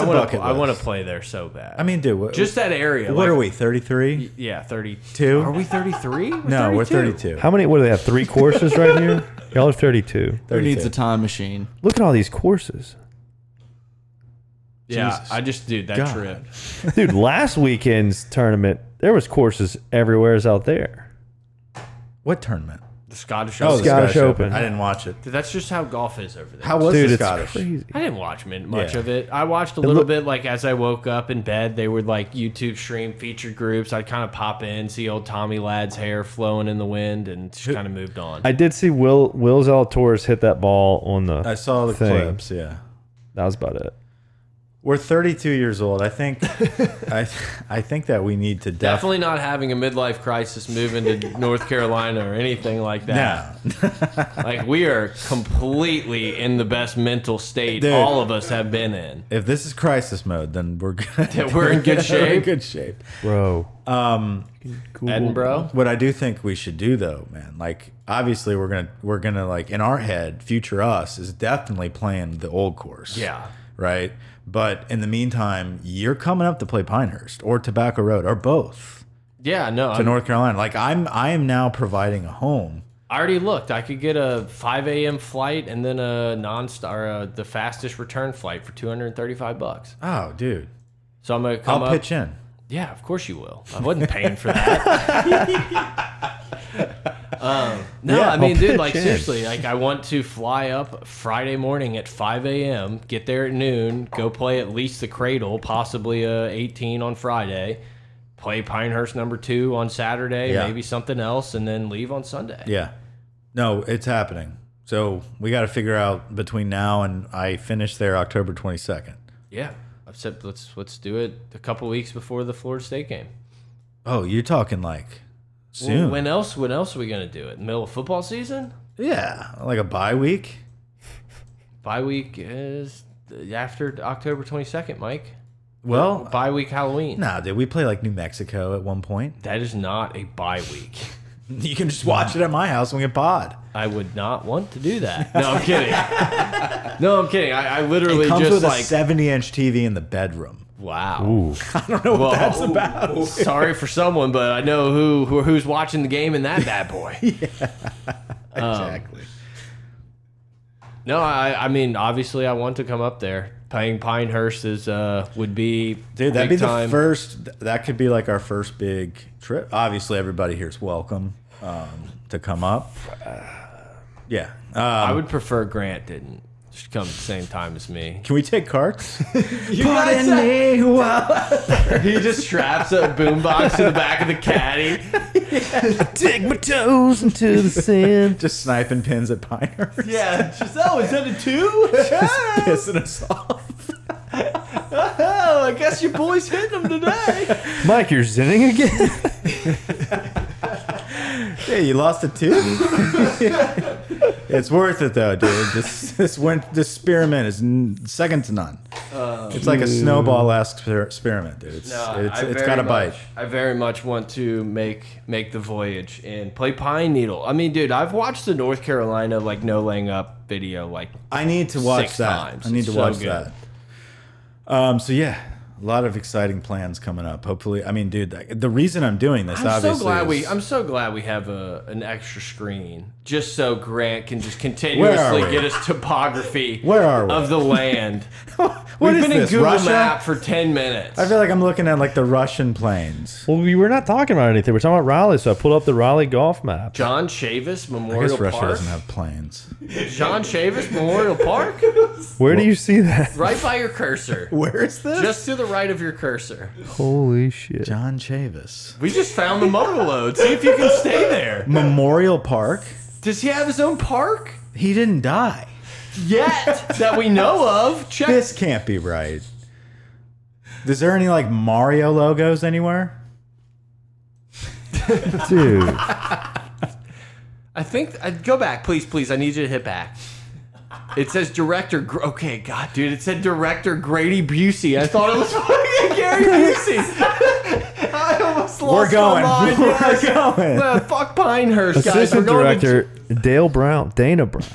[SPEAKER 2] like,
[SPEAKER 1] a
[SPEAKER 2] I wanna,
[SPEAKER 1] bucket
[SPEAKER 2] I want to
[SPEAKER 1] list.
[SPEAKER 2] play there so bad.
[SPEAKER 1] I mean, dude, what,
[SPEAKER 2] just that area.
[SPEAKER 1] what
[SPEAKER 2] like-
[SPEAKER 1] are we? Thirty three?
[SPEAKER 2] Yeah, 32.
[SPEAKER 1] Two?
[SPEAKER 2] Are we 33? We're
[SPEAKER 1] No, we're
[SPEAKER 2] 32.
[SPEAKER 1] thirty two.
[SPEAKER 4] How many? What do they have? Three courses right here. Y'all are 32.
[SPEAKER 5] Who needs a time machine?
[SPEAKER 4] Look at all these courses,
[SPEAKER 2] Yeah,
[SPEAKER 1] Jesus.
[SPEAKER 2] I just dude that
[SPEAKER 1] God.
[SPEAKER 2] trip.
[SPEAKER 4] dude. last weekend's tournament, there was courses everywhere as out there.
[SPEAKER 1] What tournament?
[SPEAKER 2] The Scottish
[SPEAKER 1] Oh,
[SPEAKER 2] Open.
[SPEAKER 1] the
[SPEAKER 4] Scottish Open.
[SPEAKER 1] I didn't watch it.
[SPEAKER 2] Dude, that's just how golf is over there.
[SPEAKER 1] How was
[SPEAKER 4] dude,
[SPEAKER 1] the
[SPEAKER 4] it's
[SPEAKER 1] Scottish?
[SPEAKER 4] crazy.
[SPEAKER 2] I didn't watch min- much
[SPEAKER 1] Yeah.
[SPEAKER 2] of it. I watched a little
[SPEAKER 4] look-
[SPEAKER 2] bit like as I woke up in bed. They would like YouTube stream featured groups. I'd kind of pop in, see old Tommy Ladd's hair flowing in the wind, and just kind of moved on.
[SPEAKER 4] I did see Will Will Zalatoris hit that ball on the.
[SPEAKER 1] I saw the
[SPEAKER 4] thing.
[SPEAKER 1] clips. Yeah.
[SPEAKER 4] That was about it.
[SPEAKER 1] We're 32 years old. I think, I, I think that we need to definitely.
[SPEAKER 2] Definitely not having a midlife crisis moving to North Carolina or anything like that.
[SPEAKER 1] No,
[SPEAKER 2] Like we are completely in the best mental state
[SPEAKER 1] Dude.
[SPEAKER 2] all of us have been in.
[SPEAKER 1] if this is crisis mode, then we're good.
[SPEAKER 2] We're in good
[SPEAKER 1] We're in
[SPEAKER 2] shape.
[SPEAKER 1] good shape.
[SPEAKER 4] Bro. Um,
[SPEAKER 2] Edinburgh.
[SPEAKER 1] What I do think we should do, though, man, like obviously we're gonna we're gonna like in our head, future us is definitely playing the old course.
[SPEAKER 2] Yeah.
[SPEAKER 1] Right. But in the meantime, you're coming up to play Pinehurst or Tobacco Road or both
[SPEAKER 2] Yeah, no,
[SPEAKER 1] to
[SPEAKER 2] I'm,
[SPEAKER 1] North Carolina. Like I'm, I am now providing a home.
[SPEAKER 2] I already looked. I could get a 5 a.m. flight and then a non-star, uh, the fastest return flight for 235 bucks.
[SPEAKER 1] Oh, dude,
[SPEAKER 2] So I'm gonna come
[SPEAKER 1] I'll
[SPEAKER 2] up.
[SPEAKER 1] pitch in.
[SPEAKER 2] Yeah, of course you will. I wasn't paying for that. um, no,
[SPEAKER 1] Yeah,
[SPEAKER 2] I mean,
[SPEAKER 1] I'll
[SPEAKER 2] dude, like
[SPEAKER 1] pitch in.
[SPEAKER 2] seriously, like I want to fly up Friday morning at 5 a.m., get there at noon, go play at least the Cradle, possibly uh, 18 on Friday, play Pinehurst number two on Saturday,
[SPEAKER 1] Yeah.
[SPEAKER 2] maybe something else, and then leave on Sunday.
[SPEAKER 1] Yeah, no, it's happening. So we got to figure out between now and I finish there October 22nd.
[SPEAKER 2] Yeah, I've said let's let's do it a couple weeks before the Florida State game.
[SPEAKER 1] Oh, you're talking like
[SPEAKER 2] Well,
[SPEAKER 1] soon?
[SPEAKER 2] When else? When else are we gonna do it? Middle of football season?
[SPEAKER 1] yeah, like a bye week.
[SPEAKER 2] Bye week is after October 22nd, Mike.
[SPEAKER 1] Well,
[SPEAKER 2] Bye week Halloween.
[SPEAKER 1] nah, did we play like New Mexico at one point?
[SPEAKER 2] That is not a bye week.
[SPEAKER 1] You can just watch it at my house when we get pod.
[SPEAKER 2] I would not want to do that. No, I'm kidding. no, I'm kidding. I, I literally
[SPEAKER 1] It comes
[SPEAKER 2] just
[SPEAKER 1] with
[SPEAKER 2] like
[SPEAKER 1] a 70 inch TV in the bedroom.
[SPEAKER 2] wow.
[SPEAKER 4] Ooh,
[SPEAKER 2] Well, that's about. Sorry for someone, but I know who, who who's watching the game and that bad boy. Oh.
[SPEAKER 1] Exactly.
[SPEAKER 2] No, I I mean obviously I want to come up there. Playing Pinehurst is uh would be
[SPEAKER 1] Dude, that'd be
[SPEAKER 2] big time.
[SPEAKER 1] the first. th- That could be like our first big trip. Obviously, everybody here's welcome um, to come up. Yeah.
[SPEAKER 2] I
[SPEAKER 1] Um,
[SPEAKER 2] would prefer Grant didn't just come at the same time as me.
[SPEAKER 1] can we take carts?
[SPEAKER 2] You
[SPEAKER 1] me well.
[SPEAKER 2] He just straps a boombox to the back of the caddy.
[SPEAKER 4] dig my toes into the sand.
[SPEAKER 1] Just sniping pins at Pinehurst.
[SPEAKER 2] Yeah, Giselle, is that a two?
[SPEAKER 1] Pissing us off.
[SPEAKER 2] Oh, I guess your boy's hitting him today.
[SPEAKER 4] Mike, you're zinning again.
[SPEAKER 1] Yeah, you lost a tooth. it's worth it though, dude. This this went this experiment is n- second to none.
[SPEAKER 2] Uh,
[SPEAKER 1] it's like a snowball esque experiment, dude. It's it's, it's got a bite.
[SPEAKER 2] I very much want to make make the voyage and play Pine Needle. I mean, dude, I've watched the North Carolina like no laying up video like
[SPEAKER 1] I need to watch
[SPEAKER 2] Six
[SPEAKER 1] that.
[SPEAKER 2] times.
[SPEAKER 1] I need to
[SPEAKER 2] So
[SPEAKER 1] watch
[SPEAKER 2] good.
[SPEAKER 1] that. Um. So yeah, a lot of exciting plans coming up. Hopefully, I mean, dude, that, the reason I'm doing this,
[SPEAKER 2] I'm so
[SPEAKER 1] obviously,
[SPEAKER 2] glad we
[SPEAKER 1] is-
[SPEAKER 2] I'm so glad we have a an extra screen just so Grant can just
[SPEAKER 1] Where
[SPEAKER 2] continuously
[SPEAKER 1] are we?
[SPEAKER 2] get us topography
[SPEAKER 1] Where are we?
[SPEAKER 2] of the land.
[SPEAKER 1] What
[SPEAKER 2] We've
[SPEAKER 1] is
[SPEAKER 2] been
[SPEAKER 1] this,
[SPEAKER 2] in Google
[SPEAKER 1] Russia?
[SPEAKER 2] Map for 10 minutes.
[SPEAKER 1] I feel like I'm looking at like the Russian planes.
[SPEAKER 4] well, we were not talking about anything. We're talking about Raleigh, so I pulled up the Raleigh golf map.
[SPEAKER 2] John Chavis
[SPEAKER 1] I guess
[SPEAKER 2] Memorial
[SPEAKER 1] Russia
[SPEAKER 2] Park.
[SPEAKER 1] doesn't have planes.
[SPEAKER 2] John Chavis Memorial Park,
[SPEAKER 4] Where do you see that?
[SPEAKER 2] right by your cursor.
[SPEAKER 1] Where is this?
[SPEAKER 2] Just to the right of your cursor.
[SPEAKER 4] Holy shit!
[SPEAKER 1] John Chavis
[SPEAKER 2] We just found the motor load. See if you can stay there.
[SPEAKER 1] Memorial Park.
[SPEAKER 2] Does he have his own park?
[SPEAKER 1] He didn't die.
[SPEAKER 2] Yet that we know of. Check
[SPEAKER 1] This can't be right. Is there any like Mario logos anywhere?
[SPEAKER 4] Dude,
[SPEAKER 2] I think I, go back, please, please. I need you to hit back. It says director. Gr- Okay, God, dude, it said director Grady Busey. I thought it was fucking Gary Busey. I almost lost
[SPEAKER 1] We're going.
[SPEAKER 2] my mind.
[SPEAKER 1] We're
[SPEAKER 2] yes.
[SPEAKER 1] going.
[SPEAKER 2] Uh, fuck Pinehurst, guys.
[SPEAKER 4] assistant
[SPEAKER 2] We're going to-
[SPEAKER 4] director Dale Brown, Dana Brown.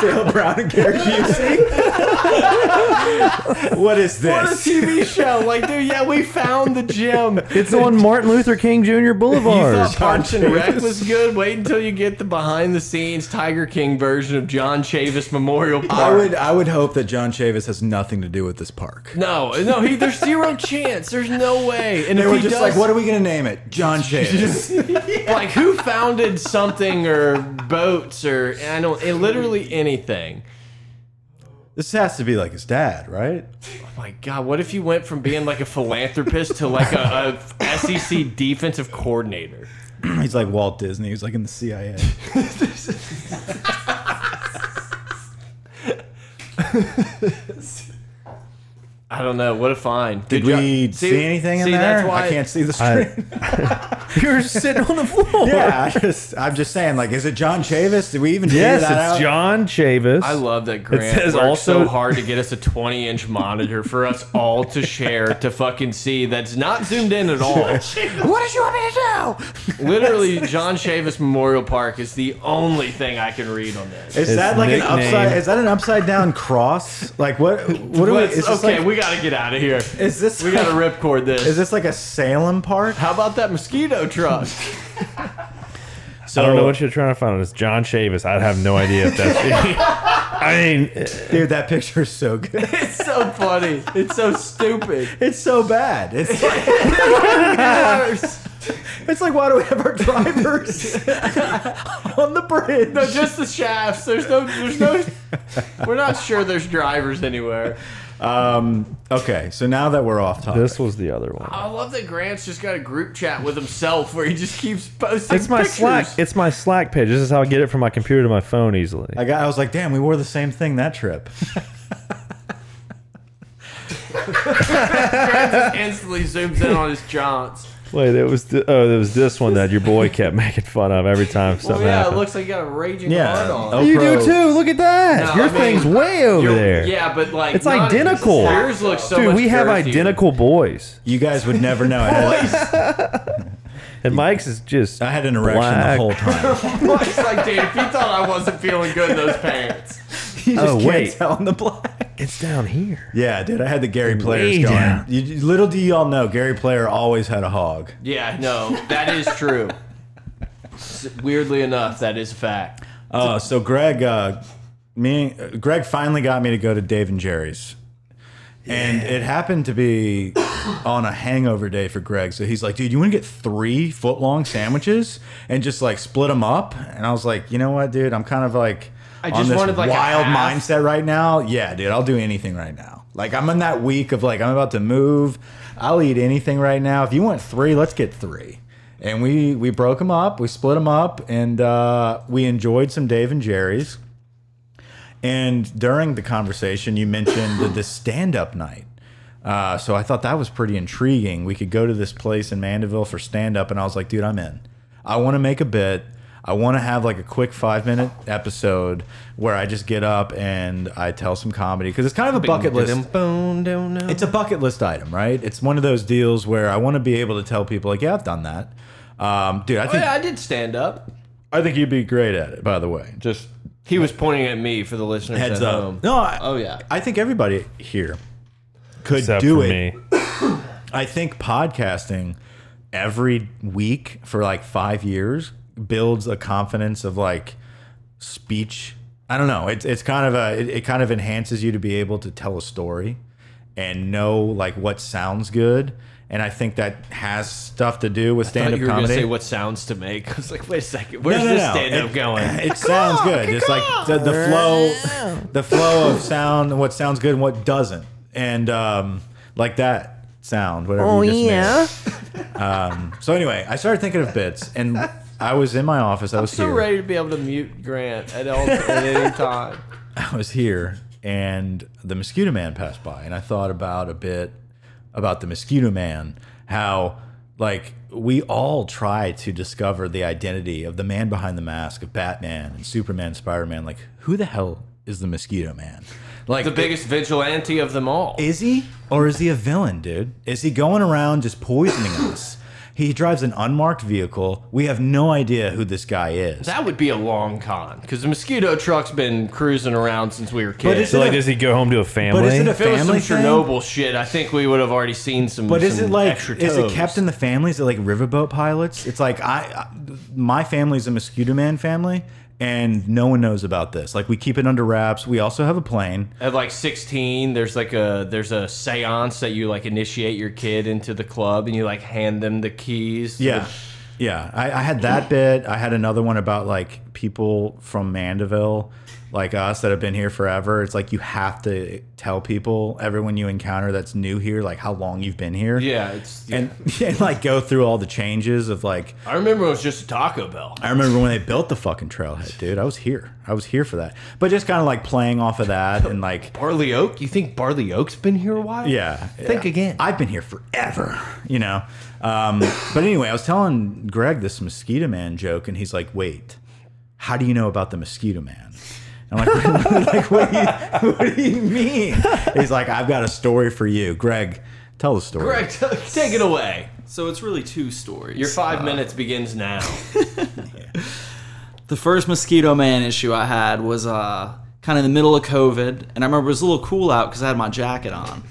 [SPEAKER 1] Bill Brown and Gary Busey. what is
[SPEAKER 2] What a
[SPEAKER 1] this?
[SPEAKER 2] TV show! Like, dude, yeah, we found the gym.
[SPEAKER 4] It's on Martin Luther King Jr.
[SPEAKER 2] You
[SPEAKER 4] Boulevard.
[SPEAKER 2] thought Punch and Wreck was good? Wait until you get the behind-the-scenes Tiger King version of John Chavis Memorial Park.
[SPEAKER 1] I would I would hope that John Chavis has nothing to do with this park.
[SPEAKER 2] No, no, he, there's zero chance. There's no way. And
[SPEAKER 1] They
[SPEAKER 2] if
[SPEAKER 1] were
[SPEAKER 2] he
[SPEAKER 1] just
[SPEAKER 2] does,
[SPEAKER 1] like, what are we gonna name it? John Chavis.
[SPEAKER 2] like who founded something or boats or I don't it, literally anything.
[SPEAKER 1] this has to be like his dad, right?
[SPEAKER 2] Oh my God, what if you went from being like a philanthropist to like a, a SEC defensive coordinator?
[SPEAKER 1] He's like Walt Disney. He's like in the CIA.
[SPEAKER 2] I don't know. What a find.
[SPEAKER 1] Did
[SPEAKER 2] Good
[SPEAKER 1] we
[SPEAKER 2] job.
[SPEAKER 1] see, anything in
[SPEAKER 2] see,
[SPEAKER 1] there?
[SPEAKER 2] That's why
[SPEAKER 1] I can't see the screen.
[SPEAKER 4] I- You're sitting on the floor.
[SPEAKER 1] Yeah, I just, I'm just saying, like, is it John Chavis? Did we even figure
[SPEAKER 4] Yes,
[SPEAKER 1] that out?
[SPEAKER 4] it's John Chavis.
[SPEAKER 2] I love that Grant
[SPEAKER 4] says
[SPEAKER 2] works
[SPEAKER 4] also-
[SPEAKER 2] so hard to get us a 20 inch monitor for us all to share to fucking see that's not zoomed in at all.
[SPEAKER 1] What did you want me to do?
[SPEAKER 2] Literally, John Chavis Memorial Park is the only thing I can read on this.
[SPEAKER 1] Is
[SPEAKER 4] His
[SPEAKER 1] that like
[SPEAKER 4] nickname-
[SPEAKER 1] an upside? Is that an upside down cross? Like what? What are we?
[SPEAKER 2] Let's-
[SPEAKER 1] Is this
[SPEAKER 2] okay,
[SPEAKER 1] like,
[SPEAKER 2] we gotta get out of here.
[SPEAKER 1] is this?
[SPEAKER 2] We gotta ripcord this.
[SPEAKER 1] Is this like a Salem park?
[SPEAKER 2] How about that mosquito truck?
[SPEAKER 1] So
[SPEAKER 4] I don't know what you're trying to find. It's John Chavis. I'd have no idea if that's. I mean,
[SPEAKER 1] Oh, dude. That picture is so good.
[SPEAKER 2] it's so funny. It's so stupid.
[SPEAKER 1] It's so bad. It's like, it's like why do we have our drivers on the bridge?
[SPEAKER 2] No, just the shafts. There's no. There's no. We're not sure there's drivers anywhere.
[SPEAKER 1] Um. Okay. So now that we're off topic,
[SPEAKER 4] this was the other one.
[SPEAKER 2] I love that Grant's just got a group chat with himself where he just keeps posting.
[SPEAKER 4] It's my
[SPEAKER 2] pictures.
[SPEAKER 4] Slack. It's my Slack page. This is how I get it from my computer to my phone easily.
[SPEAKER 1] I got. I was like, damn, we wore the same thing that trip.
[SPEAKER 2] Instantly zooms in on his jaunts.
[SPEAKER 4] Wait, it was th- oh, it was this one that your boy kept making fun of every
[SPEAKER 1] Oh,
[SPEAKER 4] time something
[SPEAKER 2] Well, yeah,
[SPEAKER 4] happened.
[SPEAKER 2] it looks like you got a raging
[SPEAKER 1] Yeah.
[SPEAKER 2] hard on.
[SPEAKER 1] Oh,
[SPEAKER 4] you
[SPEAKER 1] Pro.
[SPEAKER 4] do too. Look at
[SPEAKER 2] No,
[SPEAKER 4] that. Your
[SPEAKER 2] I mean,
[SPEAKER 4] thing's way over
[SPEAKER 2] You're-
[SPEAKER 4] there.
[SPEAKER 2] Yeah, but like
[SPEAKER 4] It's
[SPEAKER 2] not-
[SPEAKER 4] identical.
[SPEAKER 2] Yours looks so
[SPEAKER 4] Dude,
[SPEAKER 2] much
[SPEAKER 4] we have
[SPEAKER 2] girthier.
[SPEAKER 4] identical boys,
[SPEAKER 1] You guys would never know. I had,
[SPEAKER 4] and Mike's is just.
[SPEAKER 1] I had an erection the
[SPEAKER 4] Black.
[SPEAKER 1] whole time.
[SPEAKER 2] Mike's like, dude, if you thought I wasn't feeling good in those pants,
[SPEAKER 1] You just
[SPEAKER 4] Oh,
[SPEAKER 1] can't
[SPEAKER 4] wait.
[SPEAKER 1] tell on the black.
[SPEAKER 4] It's down here.
[SPEAKER 1] Yeah, dude, I had the Gary Players
[SPEAKER 4] Way
[SPEAKER 1] going.
[SPEAKER 4] down.
[SPEAKER 1] You, you- little do y'all know, Gary Player always had a hog.
[SPEAKER 2] yeah, no, that is true. S- Weirdly enough, that is a fact.
[SPEAKER 1] Oh, so Greg, uh, me, uh, Greg finally got me to go to Dave and Jerry's, and it happened to be on a hangover day for Greg. So he's like, "Dude, you want to get three foot long sandwiches and just like split them up?" And I was like, "You know what, dude? I'm kind of like."
[SPEAKER 2] I
[SPEAKER 1] on
[SPEAKER 2] just
[SPEAKER 1] this
[SPEAKER 2] wanted, like, a
[SPEAKER 1] wild
[SPEAKER 2] half.
[SPEAKER 1] mindset right now. Yeah, dude, I'll do anything right now. Like I'm in that week of like I'm about to move. I'll eat anything right now. If you want three, let's get three. And we we broke them up. We split them up, and uh, we enjoyed some Dave and Jerry's. And during the conversation, you mentioned the, the stand up night. Uh, so I thought that was pretty intriguing. We could go to this place in Mandeville for stand up, and I was like, dude, I'm in. I want to make a bit. I want to have like a quick five minute episode where I just get up and I tell some comedy because it's kind of a bucket list. It's a bucket list item, right? It's one of those deals where I want to be able to tell people like, yeah, I've done that. Um, dude, I
[SPEAKER 2] Oh,
[SPEAKER 1] think
[SPEAKER 2] yeah, I did stand up.
[SPEAKER 1] I think you'd be great at it. By the way, just
[SPEAKER 2] He was pointing at me for the listeners
[SPEAKER 1] heads
[SPEAKER 2] at
[SPEAKER 1] up.
[SPEAKER 2] home.
[SPEAKER 1] No, I,
[SPEAKER 2] Oh yeah,
[SPEAKER 1] I think everybody here could
[SPEAKER 4] Except
[SPEAKER 1] do
[SPEAKER 4] for
[SPEAKER 1] it.
[SPEAKER 4] me.
[SPEAKER 1] I think podcasting every week for like five years builds a confidence of like speech. I don't know. It's it's kind of a it, it kind of enhances you to be able to tell a story and know like what sounds good. And I think that has stuff to do with
[SPEAKER 2] I thought
[SPEAKER 1] stand up
[SPEAKER 2] you were gonna
[SPEAKER 1] comedy.
[SPEAKER 2] say what sounds to make. I was like, wait a second, where's
[SPEAKER 1] No, no,
[SPEAKER 2] this
[SPEAKER 1] no.
[SPEAKER 2] stand up
[SPEAKER 1] It-
[SPEAKER 2] going?
[SPEAKER 1] It sounds good. Just like the, the flow, the flow of sound, what sounds good and what doesn't, and um, like that sound, whatever. Oh you just yeah. Um, so anyway, I started thinking of bits, and I was in my office. I was
[SPEAKER 2] So
[SPEAKER 1] here.
[SPEAKER 2] ready to be able to mute Grant at all at any time.
[SPEAKER 1] I was here, and the mosquito man passed by, and I thought about a bit about the mosquito man, how like we all try to discover the identity of the man behind the mask of Batman and Superman, Spider Man. Like, who the hell is the mosquito man? Like
[SPEAKER 2] The biggest vigilante of them all.
[SPEAKER 1] is he? Or is he a villain, dude? Is he going around just poisoning us? He drives an unmarked vehicle. We have no idea who this guy is.
[SPEAKER 2] That would be a long con because the mosquito truck's been cruising around since we were kids.
[SPEAKER 1] is
[SPEAKER 4] So like, does he go home to a family?
[SPEAKER 1] it a
[SPEAKER 2] if it was some
[SPEAKER 1] family thing?
[SPEAKER 2] Chernobyl shit, I think we would have already seen some.
[SPEAKER 1] But is
[SPEAKER 2] some
[SPEAKER 1] it like
[SPEAKER 2] extra
[SPEAKER 1] is it
[SPEAKER 2] toes.
[SPEAKER 1] kept in the family? Is it like riverboat pilots? It's like I, I my family's a mosquito man family, and no one knows about this. Like we keep it under wraps. We also have a plane.
[SPEAKER 2] at like 16 there's like a there's a séance that you like initiate your kid into the club and you like hand them the keys to
[SPEAKER 1] Yeah, yeah. I, I had that bit. I had another one about like people from Mandeville, like us that have been here forever, it's like you have to tell people, everyone you encounter that's new here, like how long you've been here.
[SPEAKER 2] Yeah, it's. yeah.
[SPEAKER 1] And, and like go through all the changes of like
[SPEAKER 2] I remember it was just a Taco Bell.
[SPEAKER 1] I remember when they built the fucking trailhead, dude. I was here. I was here for that. But just kind of like playing off of that and like
[SPEAKER 2] Barley Oak. You think Barley Oak's been here a while?
[SPEAKER 1] yeah.
[SPEAKER 2] Think
[SPEAKER 1] yeah.
[SPEAKER 2] again.
[SPEAKER 1] I've been here forever, you know. Um, but anyway, I was telling Greg this mosquito man joke, and he's like, "Wait, how do you know about the mosquito man?" And I'm like, like what, do you, what do you mean? He's like, "I've got a story for you, Greg. Tell the story."
[SPEAKER 2] Correct. Take it away.
[SPEAKER 5] So it's really two stories.
[SPEAKER 2] Your five minutes begins now.
[SPEAKER 5] the first mosquito man issue I had was uh, kind of in the middle of COVID, and I remember it was a little cool out because I had my jacket on.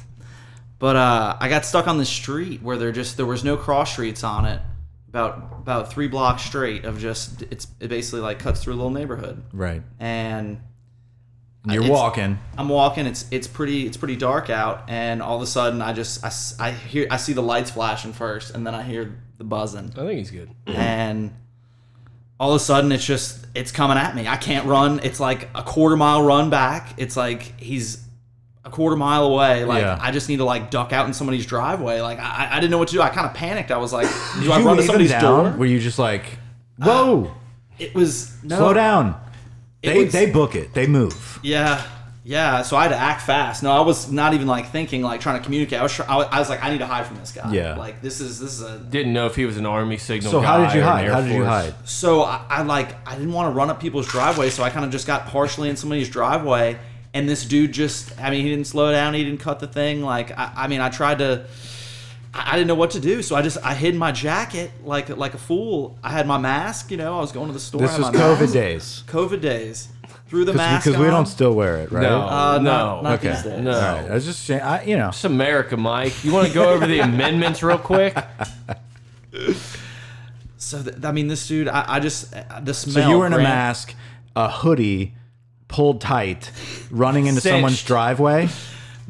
[SPEAKER 5] But uh, I got stuck on the street where there just there was no cross streets on it, about about three blocks straight of just it's it basically like cuts through a little neighborhood,
[SPEAKER 1] Right.
[SPEAKER 5] and
[SPEAKER 1] And you're
[SPEAKER 5] It's-
[SPEAKER 1] walking.
[SPEAKER 5] I'm walking. It's it's pretty it's pretty dark out, and all of a sudden I just I, s- I hear I see the lights flashing first, and then I hear the buzzing,
[SPEAKER 2] I think he's good.
[SPEAKER 5] and all of a sudden it's just it's coming at me. I can't run. It's like a quarter mile run back. It's like he's a quarter mile away. Like
[SPEAKER 1] Yeah.
[SPEAKER 5] I just need to like duck out in somebody's driveway. Like I, I- I didn't know what to do. I kind of panicked. I was like, do I
[SPEAKER 1] You
[SPEAKER 5] run to
[SPEAKER 1] wave him
[SPEAKER 5] somebody's
[SPEAKER 1] down?
[SPEAKER 5] door?
[SPEAKER 1] Were you just like, "Whoa,
[SPEAKER 5] It was no.
[SPEAKER 1] slow down"? They
[SPEAKER 5] Oh. was-
[SPEAKER 1] they book it. They move.
[SPEAKER 5] Yeah, yeah. So I had to act fast. No, I was not even like thinking, like trying to communicate. I was, try- I was, I was like, I need to hide from this guy.
[SPEAKER 1] Yeah.
[SPEAKER 5] Like this is this is a.
[SPEAKER 2] Didn't know if he was an army signal.
[SPEAKER 1] So how did you
[SPEAKER 2] guy or an
[SPEAKER 1] hide?
[SPEAKER 2] Air
[SPEAKER 1] How did you
[SPEAKER 2] Force.
[SPEAKER 1] hide?
[SPEAKER 5] So I, I like I didn't want to run up people's driveway, so I kind of just got partially in somebody's driveway, and this dude just, I mean, he didn't slow down, he didn't cut the thing. Like I, I mean, I tried to. I I didn't know what to do, so I just I hid in my jacket like like a fool. I had my mask, you know. I was going to the store. I
[SPEAKER 1] This
[SPEAKER 5] had
[SPEAKER 1] was
[SPEAKER 5] my
[SPEAKER 1] COVID
[SPEAKER 5] mask.
[SPEAKER 1] days.
[SPEAKER 5] COVID days. Threw the mask
[SPEAKER 1] Because we
[SPEAKER 5] on.
[SPEAKER 1] don't still wear it, right?
[SPEAKER 2] No,
[SPEAKER 5] Uh,
[SPEAKER 2] no,
[SPEAKER 5] not- not
[SPEAKER 1] Okay.
[SPEAKER 5] these days.
[SPEAKER 2] no.
[SPEAKER 1] All right. I was just saying, I, you know,
[SPEAKER 2] It's America, Mike. You want to go over the amendments real quick?
[SPEAKER 5] So th- I mean, this dude, I, I just uh, the
[SPEAKER 1] so
[SPEAKER 5] smell.
[SPEAKER 1] you were in a
[SPEAKER 5] Grant.
[SPEAKER 1] mask, a hoodie, pulled tight, running into
[SPEAKER 2] Cinched.
[SPEAKER 1] someone's driveway.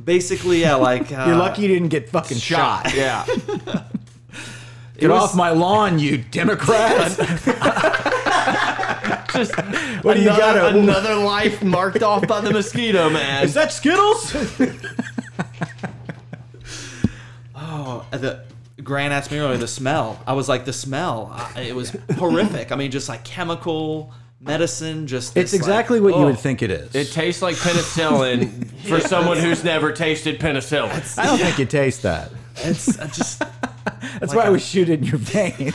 [SPEAKER 5] Basically, yeah, like uh,
[SPEAKER 1] You're lucky you didn't get fucking shot.
[SPEAKER 2] Yeah.
[SPEAKER 5] it
[SPEAKER 1] Get
[SPEAKER 5] was-
[SPEAKER 1] off my lawn, you Democrats!
[SPEAKER 2] Just
[SPEAKER 1] What do you
[SPEAKER 2] another,
[SPEAKER 1] got?
[SPEAKER 2] another life marked off by the mosquito man.
[SPEAKER 1] Is that Skittles?
[SPEAKER 5] Oh, the Grant asked me earlier the smell. I was like the smell. I, it was horrific. I mean, just like chemical medicine. Just
[SPEAKER 1] It's
[SPEAKER 5] this, like-
[SPEAKER 1] exactly what you
[SPEAKER 2] oh.
[SPEAKER 1] would think it is.
[SPEAKER 2] it tastes like penicillin for someone who's never tasted penicillin.
[SPEAKER 1] I don't think you taste that.
[SPEAKER 5] it's uh, just
[SPEAKER 1] That's why we shoot it in your vein.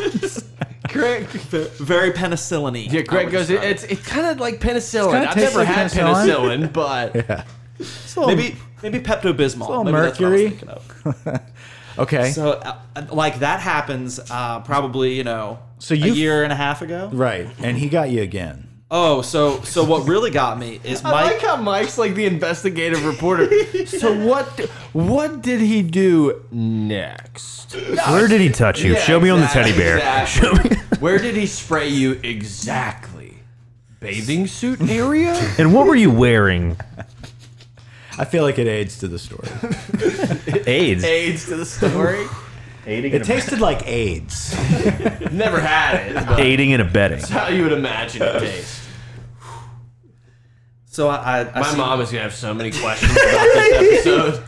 [SPEAKER 2] Greg,
[SPEAKER 5] ve- very penicillin.
[SPEAKER 2] yeah, Greg goes. It's it's kind of like penicillin.
[SPEAKER 1] kinda
[SPEAKER 2] I've
[SPEAKER 1] tastes
[SPEAKER 2] never
[SPEAKER 1] like
[SPEAKER 2] had
[SPEAKER 1] penicillin.
[SPEAKER 2] penicillin, but
[SPEAKER 5] maybe maybe Pepto Bismol.
[SPEAKER 1] little mercury. okay.
[SPEAKER 5] So uh, uh, like that happens uh, probably you know
[SPEAKER 1] So
[SPEAKER 5] a
[SPEAKER 1] you've-
[SPEAKER 5] year and a half ago.
[SPEAKER 1] right, and he got you again.
[SPEAKER 5] Oh, so so what really got me is Mike.
[SPEAKER 2] I like how Mike's like the investigative reporter. so what? What did he do next?
[SPEAKER 4] Where did he touch you? Show me on the teddy bear.
[SPEAKER 2] Exactly. Where did he spray you exactly? Bathing suit area?
[SPEAKER 4] And what were you wearing?
[SPEAKER 1] I feel like it aids to the story.
[SPEAKER 4] AIDS.
[SPEAKER 2] AIDS to the story.
[SPEAKER 1] It tasted like AIDS.
[SPEAKER 2] Never had it. But
[SPEAKER 4] Aiding and abetting.
[SPEAKER 2] that's how you would imagine it tastes.
[SPEAKER 5] so I, I, I
[SPEAKER 2] My
[SPEAKER 5] see-
[SPEAKER 2] mom is gonna have so many questions about this episode.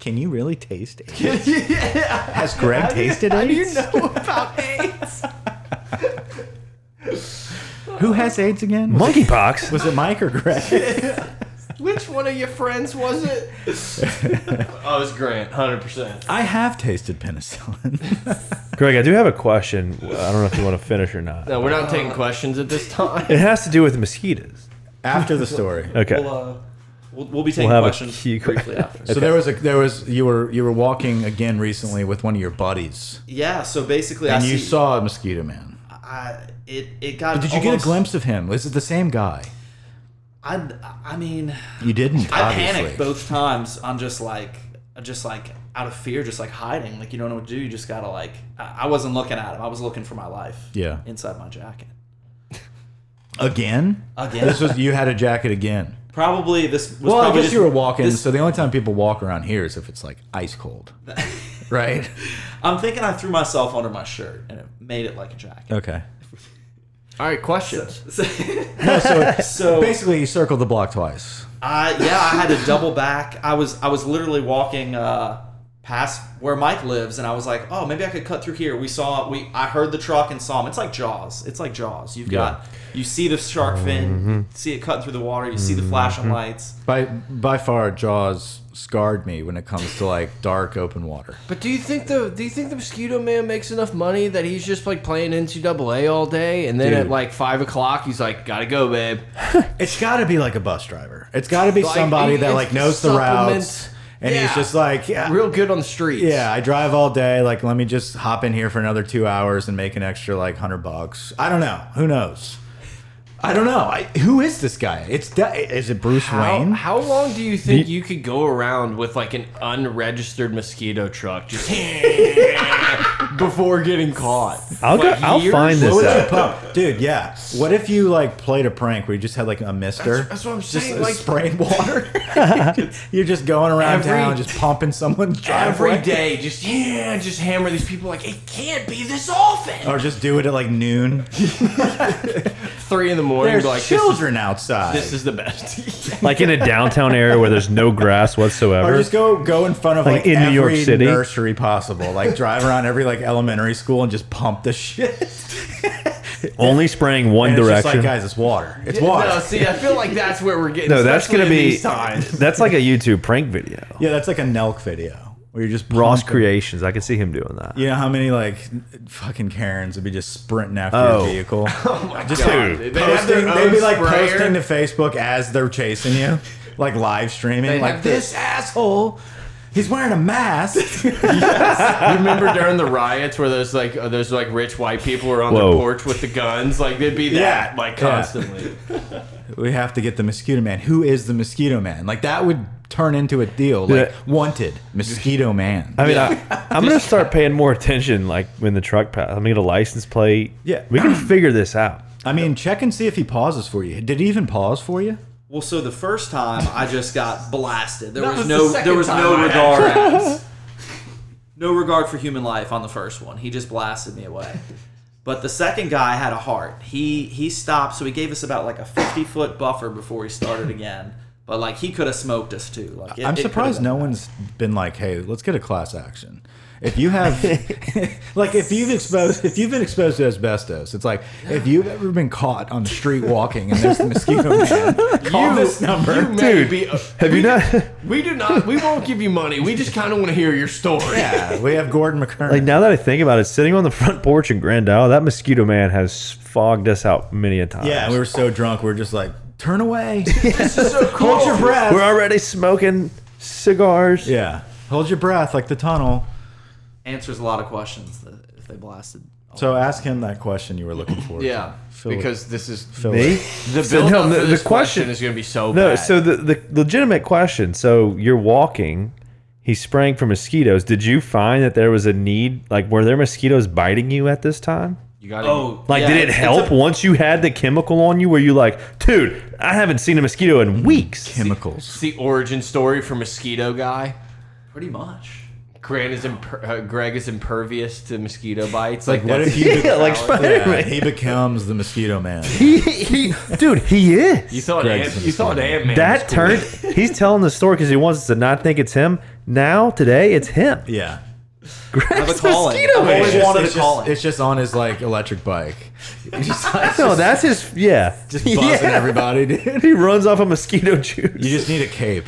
[SPEAKER 1] Can you really taste AIDS? Has Greg tasted AIDS?
[SPEAKER 2] know about AIDS?
[SPEAKER 1] Who has AIDS again? Was it-
[SPEAKER 4] Monkeypox.
[SPEAKER 1] Was it Mike or Greg?
[SPEAKER 2] Which one of your friends was it? oh, it's Grant, hundred percent.
[SPEAKER 1] I have tasted penicillin.
[SPEAKER 4] Greg, I do have a question. I don't know if you want to finish or not.
[SPEAKER 2] No, we're not taking questions at this time.
[SPEAKER 4] It has to do with mosquitoes.
[SPEAKER 1] After the story.
[SPEAKER 4] Okay.
[SPEAKER 5] We'll, uh, we'll, we'll be taking
[SPEAKER 4] have a
[SPEAKER 5] questions
[SPEAKER 4] key-
[SPEAKER 5] briefly after.
[SPEAKER 1] So there was a there was you were you were walking again recently with one of your buddies
[SPEAKER 5] Yeah. So basically,
[SPEAKER 1] and
[SPEAKER 5] I
[SPEAKER 1] you
[SPEAKER 5] see,
[SPEAKER 1] saw a mosquito man.
[SPEAKER 5] I, it it got.
[SPEAKER 1] Did you get a
[SPEAKER 5] almost-
[SPEAKER 1] glimpse of him? Was it the same guy?
[SPEAKER 5] I I mean,
[SPEAKER 1] You didn't.
[SPEAKER 5] I
[SPEAKER 1] obviously.
[SPEAKER 5] panicked both times. I'm just like, just like out of fear, just like hiding. Like you don't know what to do. You just gotta like. I, I wasn't looking at him. I was looking for my life.
[SPEAKER 1] Yeah.
[SPEAKER 5] Inside my jacket.
[SPEAKER 1] Again?
[SPEAKER 5] Again.
[SPEAKER 1] This was you had a jacket again.
[SPEAKER 5] Probably this. Was
[SPEAKER 1] Well, I
[SPEAKER 5] probably
[SPEAKER 1] guess
[SPEAKER 5] just-
[SPEAKER 1] you were walking,
[SPEAKER 5] this-
[SPEAKER 1] so the only time people walk around here is if it's like ice cold. right?
[SPEAKER 5] I'm thinking I threw myself under my shirt and it made it like a jacket.
[SPEAKER 1] Okay.
[SPEAKER 2] All right, questions.
[SPEAKER 1] so,
[SPEAKER 5] So-
[SPEAKER 1] Uh, basically, you circled the block twice.
[SPEAKER 5] I yeah, I had to double back. I was I was literally walking uh, past where Mike lives, and I was like, oh, maybe I could cut through here. We saw we I heard the truck and saw him. It's like Jaws. It's like Jaws. You've
[SPEAKER 2] Yeah.
[SPEAKER 5] got you see the shark fin, you see it cutting through the water, you see the flashing lights.
[SPEAKER 1] By by far, Jaws scarred me when it comes to like dark open water.
[SPEAKER 2] But do you think the do you think the mosquito man makes enough money that he's just like playing NCAA all day and then
[SPEAKER 1] Dude.
[SPEAKER 2] at like five o'clock he's like gotta go babe.
[SPEAKER 1] It's got to be like a bus driver. It's got to be
[SPEAKER 2] Like,
[SPEAKER 1] somebody that
[SPEAKER 2] it's
[SPEAKER 1] like knows the routes,
[SPEAKER 2] supplements.
[SPEAKER 1] and he's
[SPEAKER 2] Yeah.
[SPEAKER 1] just like, yeah,
[SPEAKER 2] Real good on the streets.
[SPEAKER 1] yeah. I drive all day. Like, let me just hop in here for another two hours and make an extra like hundred bucks. I don't know. Who knows? I don't know. I, who is this guy? It's de- is it Bruce
[SPEAKER 2] How,
[SPEAKER 1] Wayne?
[SPEAKER 2] how long do you think you could go around with like an unregistered mosquito truck just before getting caught?
[SPEAKER 4] I'll go.
[SPEAKER 2] Like,
[SPEAKER 4] I'll
[SPEAKER 2] years?
[SPEAKER 4] find
[SPEAKER 1] What
[SPEAKER 4] this
[SPEAKER 1] would you
[SPEAKER 4] out.
[SPEAKER 1] pump, dude? Yeah. What if you like played a prank where you just had like a mister?
[SPEAKER 2] That's- that's what I'm
[SPEAKER 1] just
[SPEAKER 2] saying,
[SPEAKER 1] uh,
[SPEAKER 2] like-
[SPEAKER 1] spraying water. You're just going around
[SPEAKER 2] Every-
[SPEAKER 1] town, just pumping someone's driveway,
[SPEAKER 2] Every day, just yeah, just hammer these people like it can't be this often.
[SPEAKER 1] or just do it at like noon.
[SPEAKER 2] Three in the morning,
[SPEAKER 1] There's
[SPEAKER 2] be like this is,
[SPEAKER 1] children outside.
[SPEAKER 2] this is the best.
[SPEAKER 4] Like in a downtown area where there's no grass
[SPEAKER 1] or
[SPEAKER 4] whatsoever.
[SPEAKER 1] just go go in front of like,
[SPEAKER 4] Like in
[SPEAKER 1] every
[SPEAKER 4] New York City?
[SPEAKER 1] nursery possible. Like drive around every like elementary school and just pump the shit.
[SPEAKER 4] only spraying one
[SPEAKER 1] And it's just
[SPEAKER 4] direction.
[SPEAKER 1] like guys, it's water. It's water.
[SPEAKER 2] No, see, I feel like that's where we're getting.
[SPEAKER 4] no, that's
[SPEAKER 2] especially
[SPEAKER 4] gonna
[SPEAKER 2] in
[SPEAKER 4] be.
[SPEAKER 2] these times.
[SPEAKER 4] That's like a YouTube prank video.
[SPEAKER 1] yeah, that's like a Nelk video where you're just
[SPEAKER 4] Ross
[SPEAKER 1] pumping-
[SPEAKER 4] Creations. I can see him doing that.
[SPEAKER 1] You know how many like fucking Karens would be just sprinting after
[SPEAKER 4] Oh.
[SPEAKER 1] your vehicle?
[SPEAKER 2] Oh my
[SPEAKER 1] Just
[SPEAKER 2] God.
[SPEAKER 4] dude,
[SPEAKER 2] They have their
[SPEAKER 1] posting, they'd be
[SPEAKER 2] own
[SPEAKER 1] like
[SPEAKER 2] sprayer.
[SPEAKER 1] posting to Facebook as they're chasing you, like live streaming,
[SPEAKER 2] They
[SPEAKER 1] like
[SPEAKER 2] have
[SPEAKER 1] this
[SPEAKER 2] this-
[SPEAKER 1] asshole. He's wearing a mask.
[SPEAKER 2] You remember during the riots where those like uh, those like rich white people were on
[SPEAKER 4] Whoa.
[SPEAKER 2] the porch with the guns? Like they'd be
[SPEAKER 1] Yeah.
[SPEAKER 2] that like
[SPEAKER 1] Yeah.
[SPEAKER 2] constantly.
[SPEAKER 1] we have to get the mosquito man. Who is the mosquito man? Like that would turn into a deal. Like
[SPEAKER 4] Yeah.
[SPEAKER 1] wanted mosquito man.
[SPEAKER 4] I mean, I, I'm gonna start paying more attention. Like when the truck pass, I'm gonna get a license plate.
[SPEAKER 1] Yeah.
[SPEAKER 4] we can figure this out.
[SPEAKER 1] I mean, check and see if he pauses for you. Did he even pause for you?
[SPEAKER 5] Well, so the first time I just got blasted. There
[SPEAKER 2] That
[SPEAKER 5] was,
[SPEAKER 2] was the
[SPEAKER 5] no
[SPEAKER 2] second
[SPEAKER 5] there was no
[SPEAKER 2] time I
[SPEAKER 5] regard. no regard for human life on the first one. He just blasted me away. But the second guy had a heart. He he stopped, so he gave us about like a fifty foot buffer before he started again. But like he could have smoked us too. Like it-
[SPEAKER 1] I'm
[SPEAKER 5] it could've
[SPEAKER 1] surprised
[SPEAKER 5] been
[SPEAKER 1] no
[SPEAKER 5] bad.
[SPEAKER 1] one's been like, "Hey, let's get a class action." If you have, like, if you've exposed, if you've been exposed to asbestos, it's like if you've ever been caught on the street walking and there's the mosquito man, call
[SPEAKER 2] You-
[SPEAKER 1] this number.
[SPEAKER 2] you may
[SPEAKER 4] Dude,
[SPEAKER 2] be- uh,
[SPEAKER 4] Have
[SPEAKER 2] we,
[SPEAKER 4] you not?
[SPEAKER 2] We do not. We won't give you money. We just kind of want to hear your story.
[SPEAKER 1] yeah, we have Gordon McKern.
[SPEAKER 4] Like now that I think about it, sitting on the front porch in Grand Isle, that mosquito man has fogged us out many a time.
[SPEAKER 1] yeah, we were so drunk, we were just like, "Turn away,
[SPEAKER 2] This is so cool.
[SPEAKER 1] hold your breath."
[SPEAKER 4] we're already smoking cigars.
[SPEAKER 1] yeah, hold your breath, like the tunnel.
[SPEAKER 5] answers a lot of questions that if they blasted.
[SPEAKER 1] So ask him that question you were looking for.
[SPEAKER 2] Yeah,
[SPEAKER 1] Fill it.
[SPEAKER 2] because this is
[SPEAKER 1] Fill
[SPEAKER 4] Me?
[SPEAKER 1] it.
[SPEAKER 2] the
[SPEAKER 4] So,
[SPEAKER 2] build
[SPEAKER 4] no,
[SPEAKER 2] the,
[SPEAKER 4] the-
[SPEAKER 2] this
[SPEAKER 4] the
[SPEAKER 2] question,
[SPEAKER 4] question-
[SPEAKER 2] is going to be so
[SPEAKER 4] No,
[SPEAKER 2] bad.
[SPEAKER 4] so the, the legitimate question. So you're walking, he's spraying for mosquitoes. Did you find that there was a need? Like, were there mosquitoes biting you at this time?
[SPEAKER 2] you got
[SPEAKER 5] Oh,
[SPEAKER 4] Like,
[SPEAKER 5] yeah,
[SPEAKER 4] did it
[SPEAKER 5] it's- it's
[SPEAKER 4] help
[SPEAKER 5] a-
[SPEAKER 4] once you had the chemical on you? Were you like, dude, I haven't seen a mosquito in weeks?
[SPEAKER 1] Chemicals.
[SPEAKER 2] the origin story for mosquito guy.
[SPEAKER 5] pretty much.
[SPEAKER 2] Grant is imper- uh, Greg is impervious to mosquito bites.
[SPEAKER 1] Like,
[SPEAKER 2] Like,
[SPEAKER 1] what
[SPEAKER 2] that's-
[SPEAKER 1] if you?
[SPEAKER 4] Yeah, like
[SPEAKER 1] Yeah,
[SPEAKER 4] Spider-Man.
[SPEAKER 1] he becomes the mosquito man.
[SPEAKER 4] He, he, dude, he is.
[SPEAKER 2] you saw an
[SPEAKER 1] Greg's
[SPEAKER 2] ant, you saw an ant man?
[SPEAKER 4] that turned. He's telling the story because he wants us to not think it's him. Now today, it's him.
[SPEAKER 1] Yeah.
[SPEAKER 5] I have a
[SPEAKER 4] Greg's
[SPEAKER 5] calling.
[SPEAKER 4] mosquito
[SPEAKER 5] I've always
[SPEAKER 4] man.
[SPEAKER 5] wanted
[SPEAKER 1] it's
[SPEAKER 5] to call
[SPEAKER 1] just,
[SPEAKER 5] it.
[SPEAKER 1] it's just on his like electric bike. He's just,
[SPEAKER 4] No, that's his. Yeah,
[SPEAKER 1] just buzzing everybody, dude.
[SPEAKER 4] He runs off a mosquito juice.
[SPEAKER 1] You just need a cape.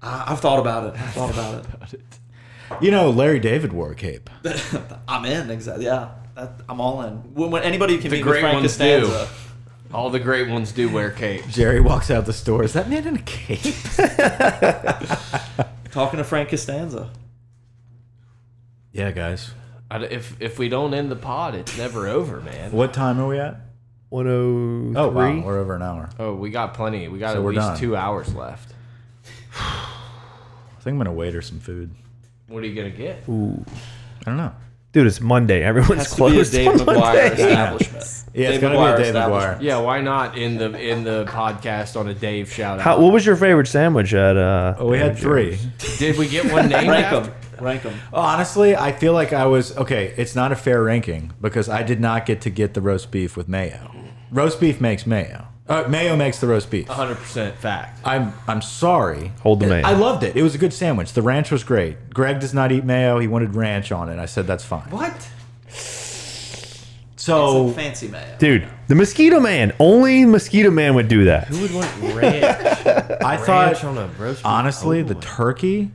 [SPEAKER 5] I, I've thought about it. I've thought about it.
[SPEAKER 1] You know, Larry David wore a cape.
[SPEAKER 5] I'm in. Exactly. Yeah. That, I'm all in. When, when anybody who can
[SPEAKER 2] The
[SPEAKER 5] meet
[SPEAKER 2] great
[SPEAKER 5] with Frank
[SPEAKER 2] ones
[SPEAKER 5] Costanza.
[SPEAKER 2] All the great ones do wear capes.
[SPEAKER 1] Jerry walks out the store. Is that man in a cape?
[SPEAKER 5] Talking to Frank Costanza.
[SPEAKER 1] yeah, guys.
[SPEAKER 2] I d if if we don't end the pod, it's never over, man.
[SPEAKER 1] What time are we at?
[SPEAKER 4] One oh
[SPEAKER 1] Oh, wow,
[SPEAKER 4] three.
[SPEAKER 1] we're over an hour.
[SPEAKER 2] Oh, we got plenty. We got
[SPEAKER 1] So
[SPEAKER 2] at
[SPEAKER 1] we're
[SPEAKER 2] least
[SPEAKER 1] done.
[SPEAKER 2] two hours left.
[SPEAKER 1] I think I'm gonna waiter some food.
[SPEAKER 2] What are you gonna get?
[SPEAKER 1] I don't know.
[SPEAKER 4] Dude, it's Monday. Everyone's
[SPEAKER 5] Has to be a
[SPEAKER 4] closed.
[SPEAKER 5] Dave
[SPEAKER 4] on
[SPEAKER 5] McGuire
[SPEAKER 4] Monday.
[SPEAKER 5] establishment.
[SPEAKER 1] Yeah, it's gonna
[SPEAKER 5] McGuire
[SPEAKER 1] be a David
[SPEAKER 5] establishment.
[SPEAKER 1] McGuire.
[SPEAKER 2] Yeah, why not in the in the podcast on a Dave shout out?
[SPEAKER 4] How, what was your favorite sandwich at? uh
[SPEAKER 1] Oh, we had
[SPEAKER 4] Dave
[SPEAKER 1] three.
[SPEAKER 4] Jones?
[SPEAKER 2] Did we get one named
[SPEAKER 5] Rank
[SPEAKER 2] after?
[SPEAKER 5] them. Rank them.
[SPEAKER 1] Honestly, I feel like I was okay. It's not a fair ranking because I did not get to get the roast beef with mayo. roast beef makes mayo. Uh, mayo makes the roast beef.
[SPEAKER 2] 100% fact.
[SPEAKER 1] I'm I'm sorry.
[SPEAKER 4] Hold the mayo.
[SPEAKER 1] I loved it. It was a good sandwich. The ranch was great. Greg does not eat mayo. He wanted ranch on it. I said that's fine.
[SPEAKER 5] What?
[SPEAKER 1] So
[SPEAKER 5] fancy mayo.
[SPEAKER 4] Dude, the Mosquito Man. Only Mosquito Man would do that.
[SPEAKER 2] Who would want ranch,
[SPEAKER 1] I
[SPEAKER 2] ranch on
[SPEAKER 1] thought
[SPEAKER 2] a roast? beef?
[SPEAKER 1] honestly
[SPEAKER 2] Oh,
[SPEAKER 1] the
[SPEAKER 2] my-
[SPEAKER 1] turkey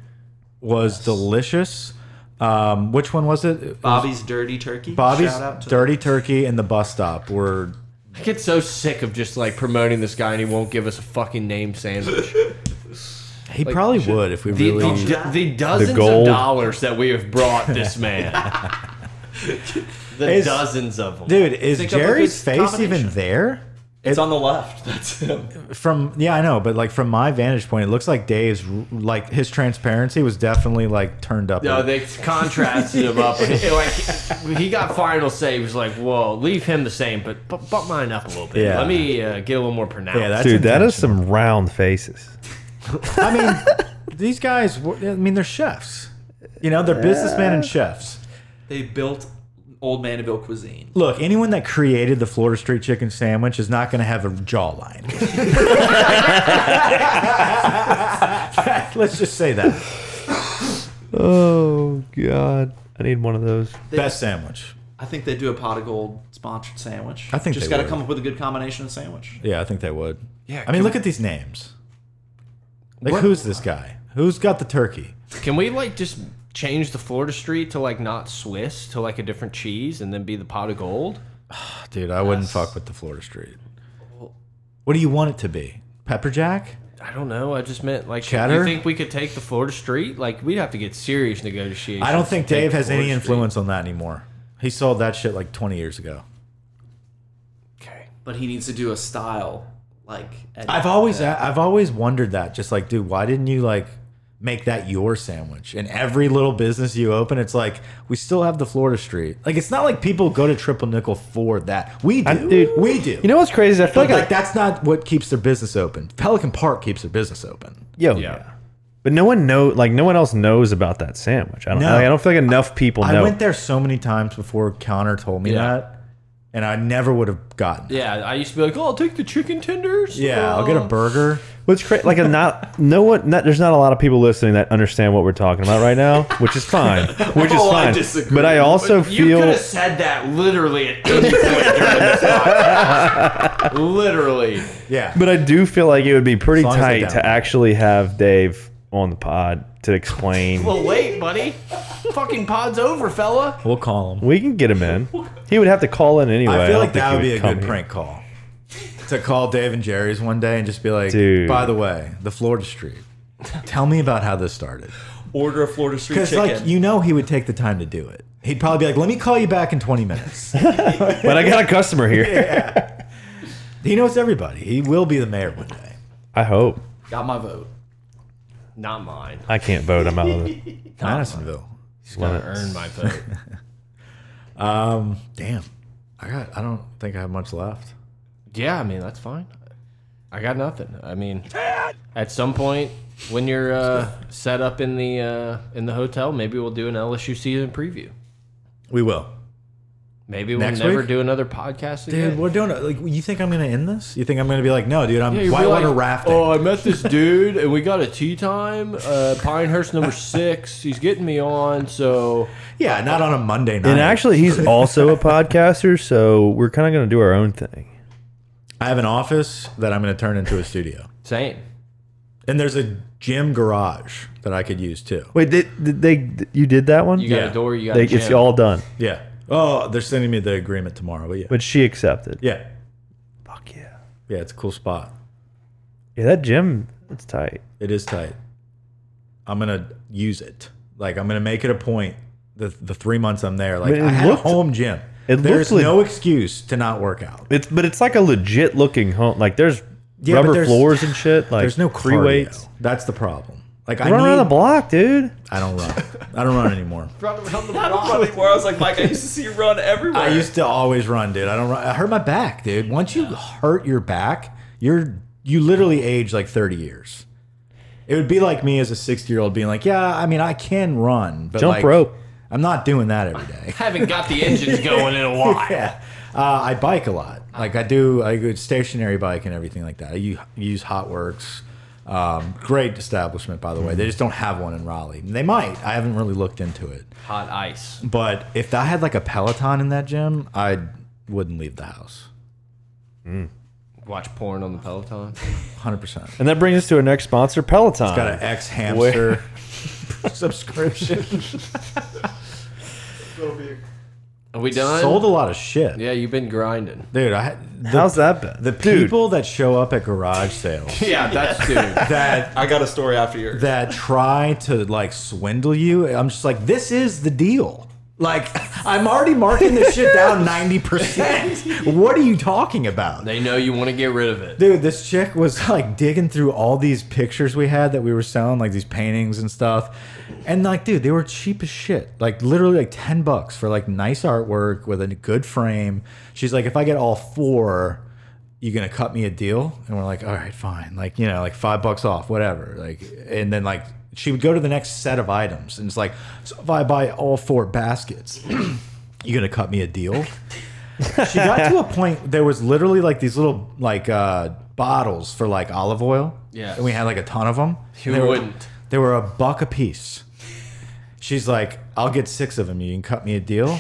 [SPEAKER 1] was delicious. Um, which one was it? It was
[SPEAKER 5] Bobby's dirty turkey.
[SPEAKER 1] Bobby's
[SPEAKER 5] Shout out to
[SPEAKER 1] dirty turkey and the bus stop were
[SPEAKER 2] I get so sick of just like promoting this guy and he won't give us a fucking name sandwich.
[SPEAKER 1] he probably would if we
[SPEAKER 2] The,
[SPEAKER 1] really
[SPEAKER 2] the, the dozens
[SPEAKER 4] gold.
[SPEAKER 2] of dollars that we have brought this man. the
[SPEAKER 1] It's-
[SPEAKER 2] dozens of them.
[SPEAKER 1] Dude, is
[SPEAKER 5] Think of a good
[SPEAKER 1] Jerry's face even
[SPEAKER 5] combination.
[SPEAKER 1] there?
[SPEAKER 5] It's on the left. That's him.
[SPEAKER 1] From yeah, I know, but like from my vantage point, it looks like Dave's like his transparency was definitely like turned up.
[SPEAKER 2] No, they contrasted him up. It, like when he got final say. He was like, "Whoa, leave him the same, but bu- bump mine up a little bit.
[SPEAKER 1] Yeah.
[SPEAKER 2] Let me uh, get a little more pronounced."
[SPEAKER 1] yeah, that's
[SPEAKER 4] Dude, that is
[SPEAKER 1] intentional.
[SPEAKER 4] some round faces.
[SPEAKER 1] I mean, these guys. were- I mean, they're chefs. You know, they're businessmen and chefs.
[SPEAKER 5] They built Old Mandeville cuisine.
[SPEAKER 1] Look, anyone that created the Florida Street Chicken Sandwich is not going to have a jawline. Let's just say that
[SPEAKER 4] Oh God, I need one of those.
[SPEAKER 1] best sandwich.
[SPEAKER 5] I think they do a pot of gold sponsored sandwich.
[SPEAKER 1] I think
[SPEAKER 5] just
[SPEAKER 1] they
[SPEAKER 5] gotta
[SPEAKER 1] would.
[SPEAKER 5] come up with a good combination of sandwich.
[SPEAKER 1] Yeah, I think they would.
[SPEAKER 2] Yeah,
[SPEAKER 1] I mean, look at these names. Like, who's this guy? Who's got the turkey?
[SPEAKER 2] Can we like just change the Florida Street to like not Swiss to like a different cheese and then be the pot of gold?
[SPEAKER 1] Oh, Dude, I wouldn't fuck with the Florida Street. What do you want it to be? Pepper Jack?
[SPEAKER 2] I don't know. I just meant like
[SPEAKER 1] Cheddar?
[SPEAKER 2] You think we could take the Florida Street? Like we'd have to get serious negotiations.
[SPEAKER 1] I don't think
[SPEAKER 2] to take
[SPEAKER 1] Dave
[SPEAKER 2] the
[SPEAKER 1] has any
[SPEAKER 2] Florida Street.
[SPEAKER 1] influence on that anymore. He sold that shit like 20 years ago.
[SPEAKER 2] Okay.
[SPEAKER 5] But he needs to do a style like at-
[SPEAKER 1] I've always uh, I've always wondered that. Just like, dude, why didn't you like make that your sandwich? And every little business you open, it's like we still have the Florida Street. Like, it's not like people go to Triple Nickel for that. We do.
[SPEAKER 4] I- dude,
[SPEAKER 1] we do.
[SPEAKER 4] You know what's crazy? is I feel
[SPEAKER 1] But,
[SPEAKER 4] like,
[SPEAKER 1] like,
[SPEAKER 4] I,
[SPEAKER 1] that's not what keeps their business open. Pelican Park keeps their business open.
[SPEAKER 4] yo,
[SPEAKER 2] Yeah.
[SPEAKER 4] but no one know, like no one else knows about that sandwich. I don't.
[SPEAKER 1] No.
[SPEAKER 4] like, I don't feel like enough people
[SPEAKER 1] I
[SPEAKER 4] know.
[SPEAKER 1] went there so many times before Connor told me
[SPEAKER 2] Yeah.
[SPEAKER 1] that, and I never would have gotten. it.
[SPEAKER 2] Yeah, I used to be like, "Oh, I'll take the chicken tenders." Uh,
[SPEAKER 1] Yeah, I'll get a burger.
[SPEAKER 4] What's cra Like a not no one. Not, there's not a lot of people listening that understand what we're talking about right now, which is fine. Which is
[SPEAKER 5] Oh, I
[SPEAKER 4] fine.
[SPEAKER 5] disagree.
[SPEAKER 4] but I also
[SPEAKER 2] You could
[SPEAKER 4] feel
[SPEAKER 2] have said that literally at any point during this podcast. literally.
[SPEAKER 1] Yeah,
[SPEAKER 4] But I do feel like it would be pretty
[SPEAKER 1] As long as they don't.
[SPEAKER 4] tight to actually have Dave on the pod to explain.
[SPEAKER 2] Well, wait, buddy. Fucking pod's over, fella.
[SPEAKER 1] we'll call him.
[SPEAKER 4] we can get him in. He would have to call in anyway.
[SPEAKER 1] I
[SPEAKER 4] don't
[SPEAKER 1] feel like
[SPEAKER 4] think
[SPEAKER 1] that
[SPEAKER 4] he
[SPEAKER 1] would be a
[SPEAKER 4] come
[SPEAKER 1] good
[SPEAKER 4] here.
[SPEAKER 1] prank call. To call Dave and Jerry's one day and just be like,
[SPEAKER 4] Dude.
[SPEAKER 1] by the way, the Florida Street. Tell me about how this started.
[SPEAKER 5] order a Florida Street
[SPEAKER 1] Because,
[SPEAKER 5] chicken.
[SPEAKER 1] like, you know, he would take the time to do it. He'd probably be like, let me call you back in 20 minutes.
[SPEAKER 4] But I got a customer here.
[SPEAKER 1] he knows everybody. He will be the mayor one day.
[SPEAKER 4] I hope.
[SPEAKER 5] Got my vote.
[SPEAKER 2] Not mine.
[SPEAKER 4] I can't vote. I'm out of it.
[SPEAKER 1] Madisonville.
[SPEAKER 2] He's gonna earn my vote.
[SPEAKER 1] Damn. I got, I don't think I have much left.
[SPEAKER 2] Yeah, I mean that's fine. I got nothing. I mean, at some point when you're uh, set up in the uh, in the hotel, maybe we'll do an LSU season preview.
[SPEAKER 1] We will.
[SPEAKER 2] Maybe we'll
[SPEAKER 1] Next
[SPEAKER 2] never
[SPEAKER 1] week?
[SPEAKER 2] do another podcast again.
[SPEAKER 1] Dude, we're doing it. Like, you think I'm going to end this? You think I'm going to be like, no, dude, I'm
[SPEAKER 2] Yeah, you'd be
[SPEAKER 1] whitewater
[SPEAKER 2] like,
[SPEAKER 1] rafting.
[SPEAKER 2] Oh, I met this dude and we got a tea time. Uh, Pinehurst number six. He's getting me on, so
[SPEAKER 1] yeah, not on a Monday night.
[SPEAKER 4] And actually, he's also a podcaster, so we're kind of going to do our own thing.
[SPEAKER 1] I have an office that I'm going to turn into a studio.
[SPEAKER 2] same.
[SPEAKER 1] And there's a gym garage that I could use too.
[SPEAKER 4] Wait, did, did they? You did that one?
[SPEAKER 2] You got
[SPEAKER 1] Yeah.
[SPEAKER 2] a door. You got
[SPEAKER 4] They-
[SPEAKER 2] a gym.
[SPEAKER 4] it's all done,
[SPEAKER 1] Yeah. Oh, they're sending me the agreement tomorrow. But yeah.
[SPEAKER 4] but she accepted.
[SPEAKER 1] yeah.
[SPEAKER 4] Fuck yeah.
[SPEAKER 1] Yeah, it's a cool spot.
[SPEAKER 4] Yeah, that gym. It's tight.
[SPEAKER 1] It is tight. I'm gonna use it. Like I'm gonna make it a point. The the three months I'm there, like
[SPEAKER 4] But it
[SPEAKER 1] I had
[SPEAKER 4] looked-
[SPEAKER 1] a home gym.
[SPEAKER 4] it
[SPEAKER 1] There's
[SPEAKER 4] looked like-
[SPEAKER 1] no excuse to not work out.
[SPEAKER 4] It's but it's like a legit looking home. Like there's
[SPEAKER 1] Yeah, but
[SPEAKER 4] rubber
[SPEAKER 1] there's-
[SPEAKER 4] floors and shit. Like
[SPEAKER 1] There's no
[SPEAKER 4] free
[SPEAKER 1] cardio.
[SPEAKER 4] weights.
[SPEAKER 1] That's the problem. Like I
[SPEAKER 4] Run around
[SPEAKER 1] need,
[SPEAKER 4] the block, dude.
[SPEAKER 1] I don't run. I don't run anymore.
[SPEAKER 5] Where I was like, Mike, I used to see you run everywhere.
[SPEAKER 1] I used to always run, dude. I don't run. I hurt my back, dude. Once you hurt your back, you're you literally age like 30 years. It would be like me as a 60 year old being like, yeah, I mean, I can run, but
[SPEAKER 4] Jump
[SPEAKER 1] like,
[SPEAKER 4] rope.
[SPEAKER 1] I'm not doing that every day.
[SPEAKER 2] Haven't got the engines going in a while.
[SPEAKER 1] yeah, uh, I bike a lot. Like I do, I go stationary bike and everything like that. I u- use Hotworks. Um, great establishment, by the way. They just don't have one in Raleigh. They might. I haven't really looked into it.
[SPEAKER 2] Hot ice.
[SPEAKER 1] But if I had like a Peloton in that gym, I wouldn't leave the house.
[SPEAKER 2] Watch porn on the Peloton.
[SPEAKER 1] 100%.
[SPEAKER 4] And that brings us to our next sponsor, Peloton.
[SPEAKER 1] Got an ex hamster subscription.
[SPEAKER 2] Are we done?
[SPEAKER 1] Sold a lot of shit.
[SPEAKER 2] Yeah, you've been grinding.
[SPEAKER 1] Dude, I had the,
[SPEAKER 4] How's that been?
[SPEAKER 1] the
[SPEAKER 4] Dude.
[SPEAKER 1] people that show up at garage sales
[SPEAKER 2] Yeah, that's dude.
[SPEAKER 1] that
[SPEAKER 5] I got a story after yours.
[SPEAKER 1] that try to like swindle you, I'm just like, this is the deal. Like, I'm already marking this shit down 90%. What are you talking about?
[SPEAKER 2] They know you want to get rid of it.
[SPEAKER 1] Dude, this chick was like digging through all these pictures we had that we were selling, like these paintings and stuff. And like, dude, they were cheap as shit. Like literally like 10 bucks for like nice artwork with a good frame. She's like, if I get all four, you gonna cut me a deal? And we're like, all right, fine. Like, you know, like five bucks off, whatever. Like, and then like she would go to the next set of items and it's like, so if I buy all four baskets, you gonna cut me a deal? she got to a point there was literally like these little like uh bottles for like olive oil
[SPEAKER 2] Yes.
[SPEAKER 1] and we had like a ton of them
[SPEAKER 2] Who
[SPEAKER 1] they were,
[SPEAKER 2] wouldn't?
[SPEAKER 1] they were a buck a piece she's like i'll get six of them you can cut me a deal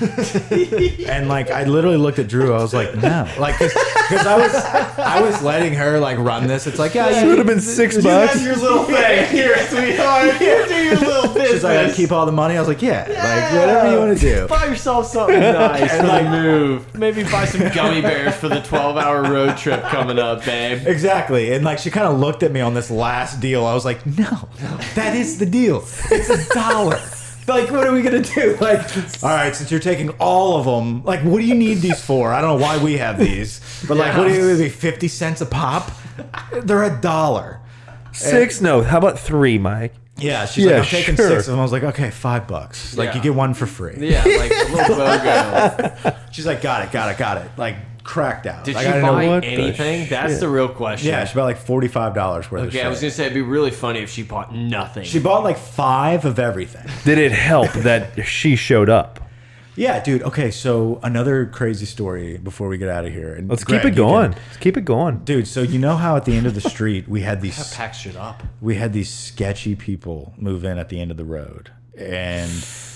[SPEAKER 1] and like i literally looked at drew i was like no like because i was i was letting her like run this it's like yeah
[SPEAKER 4] It
[SPEAKER 1] you
[SPEAKER 4] would have been six bucks.
[SPEAKER 5] your little thing here, sweetheart. Here, do your little
[SPEAKER 1] she's like i keep all the money i was like yeah like whatever you want to do
[SPEAKER 2] Buy yourself something nice for the move. Maybe buy some gummy bears for the 12 hour road trip coming up, babe.
[SPEAKER 1] Exactly. And like she kind of looked at me on this last deal. I was like, no, that is the deal. It's a dollar. like, what are we going to do? Like, all right, since you're taking all of them, like, what do you need these for? I don't know why we have these, but like, what do you need? 50 cents a pop? They're a dollar.
[SPEAKER 4] Six? No. How about three, Mike?
[SPEAKER 1] Yeah. She's
[SPEAKER 4] Yeah,
[SPEAKER 1] like, I'm taking
[SPEAKER 4] sure.
[SPEAKER 1] six of them. I was like, okay, five bucks. Like,
[SPEAKER 2] Yeah.
[SPEAKER 1] you get one for free.
[SPEAKER 2] Yeah, like a little BOGO.
[SPEAKER 1] She's like, got it, got it, got it. Like, cracked out.
[SPEAKER 2] Did
[SPEAKER 1] like,
[SPEAKER 2] she
[SPEAKER 1] I
[SPEAKER 4] know
[SPEAKER 2] buy
[SPEAKER 4] what the
[SPEAKER 2] anything? That's the real question.
[SPEAKER 1] yeah, she bought like $45 worth of
[SPEAKER 2] Okay,
[SPEAKER 1] shit.
[SPEAKER 2] I was gonna say it'd be really funny if she bought nothing.
[SPEAKER 1] she bought like five of everything.
[SPEAKER 4] Did it help that she showed up?
[SPEAKER 1] Yeah, dude. Okay, so another crazy story before we get out of here. And
[SPEAKER 4] Let's
[SPEAKER 1] Greg,
[SPEAKER 4] keep it
[SPEAKER 1] you
[SPEAKER 4] going.
[SPEAKER 1] can-
[SPEAKER 4] Let's keep it going.
[SPEAKER 1] dude. So you know how at the end of the street we had these
[SPEAKER 2] packed shit up.
[SPEAKER 1] we had these sketchy people move in at the end of the road, and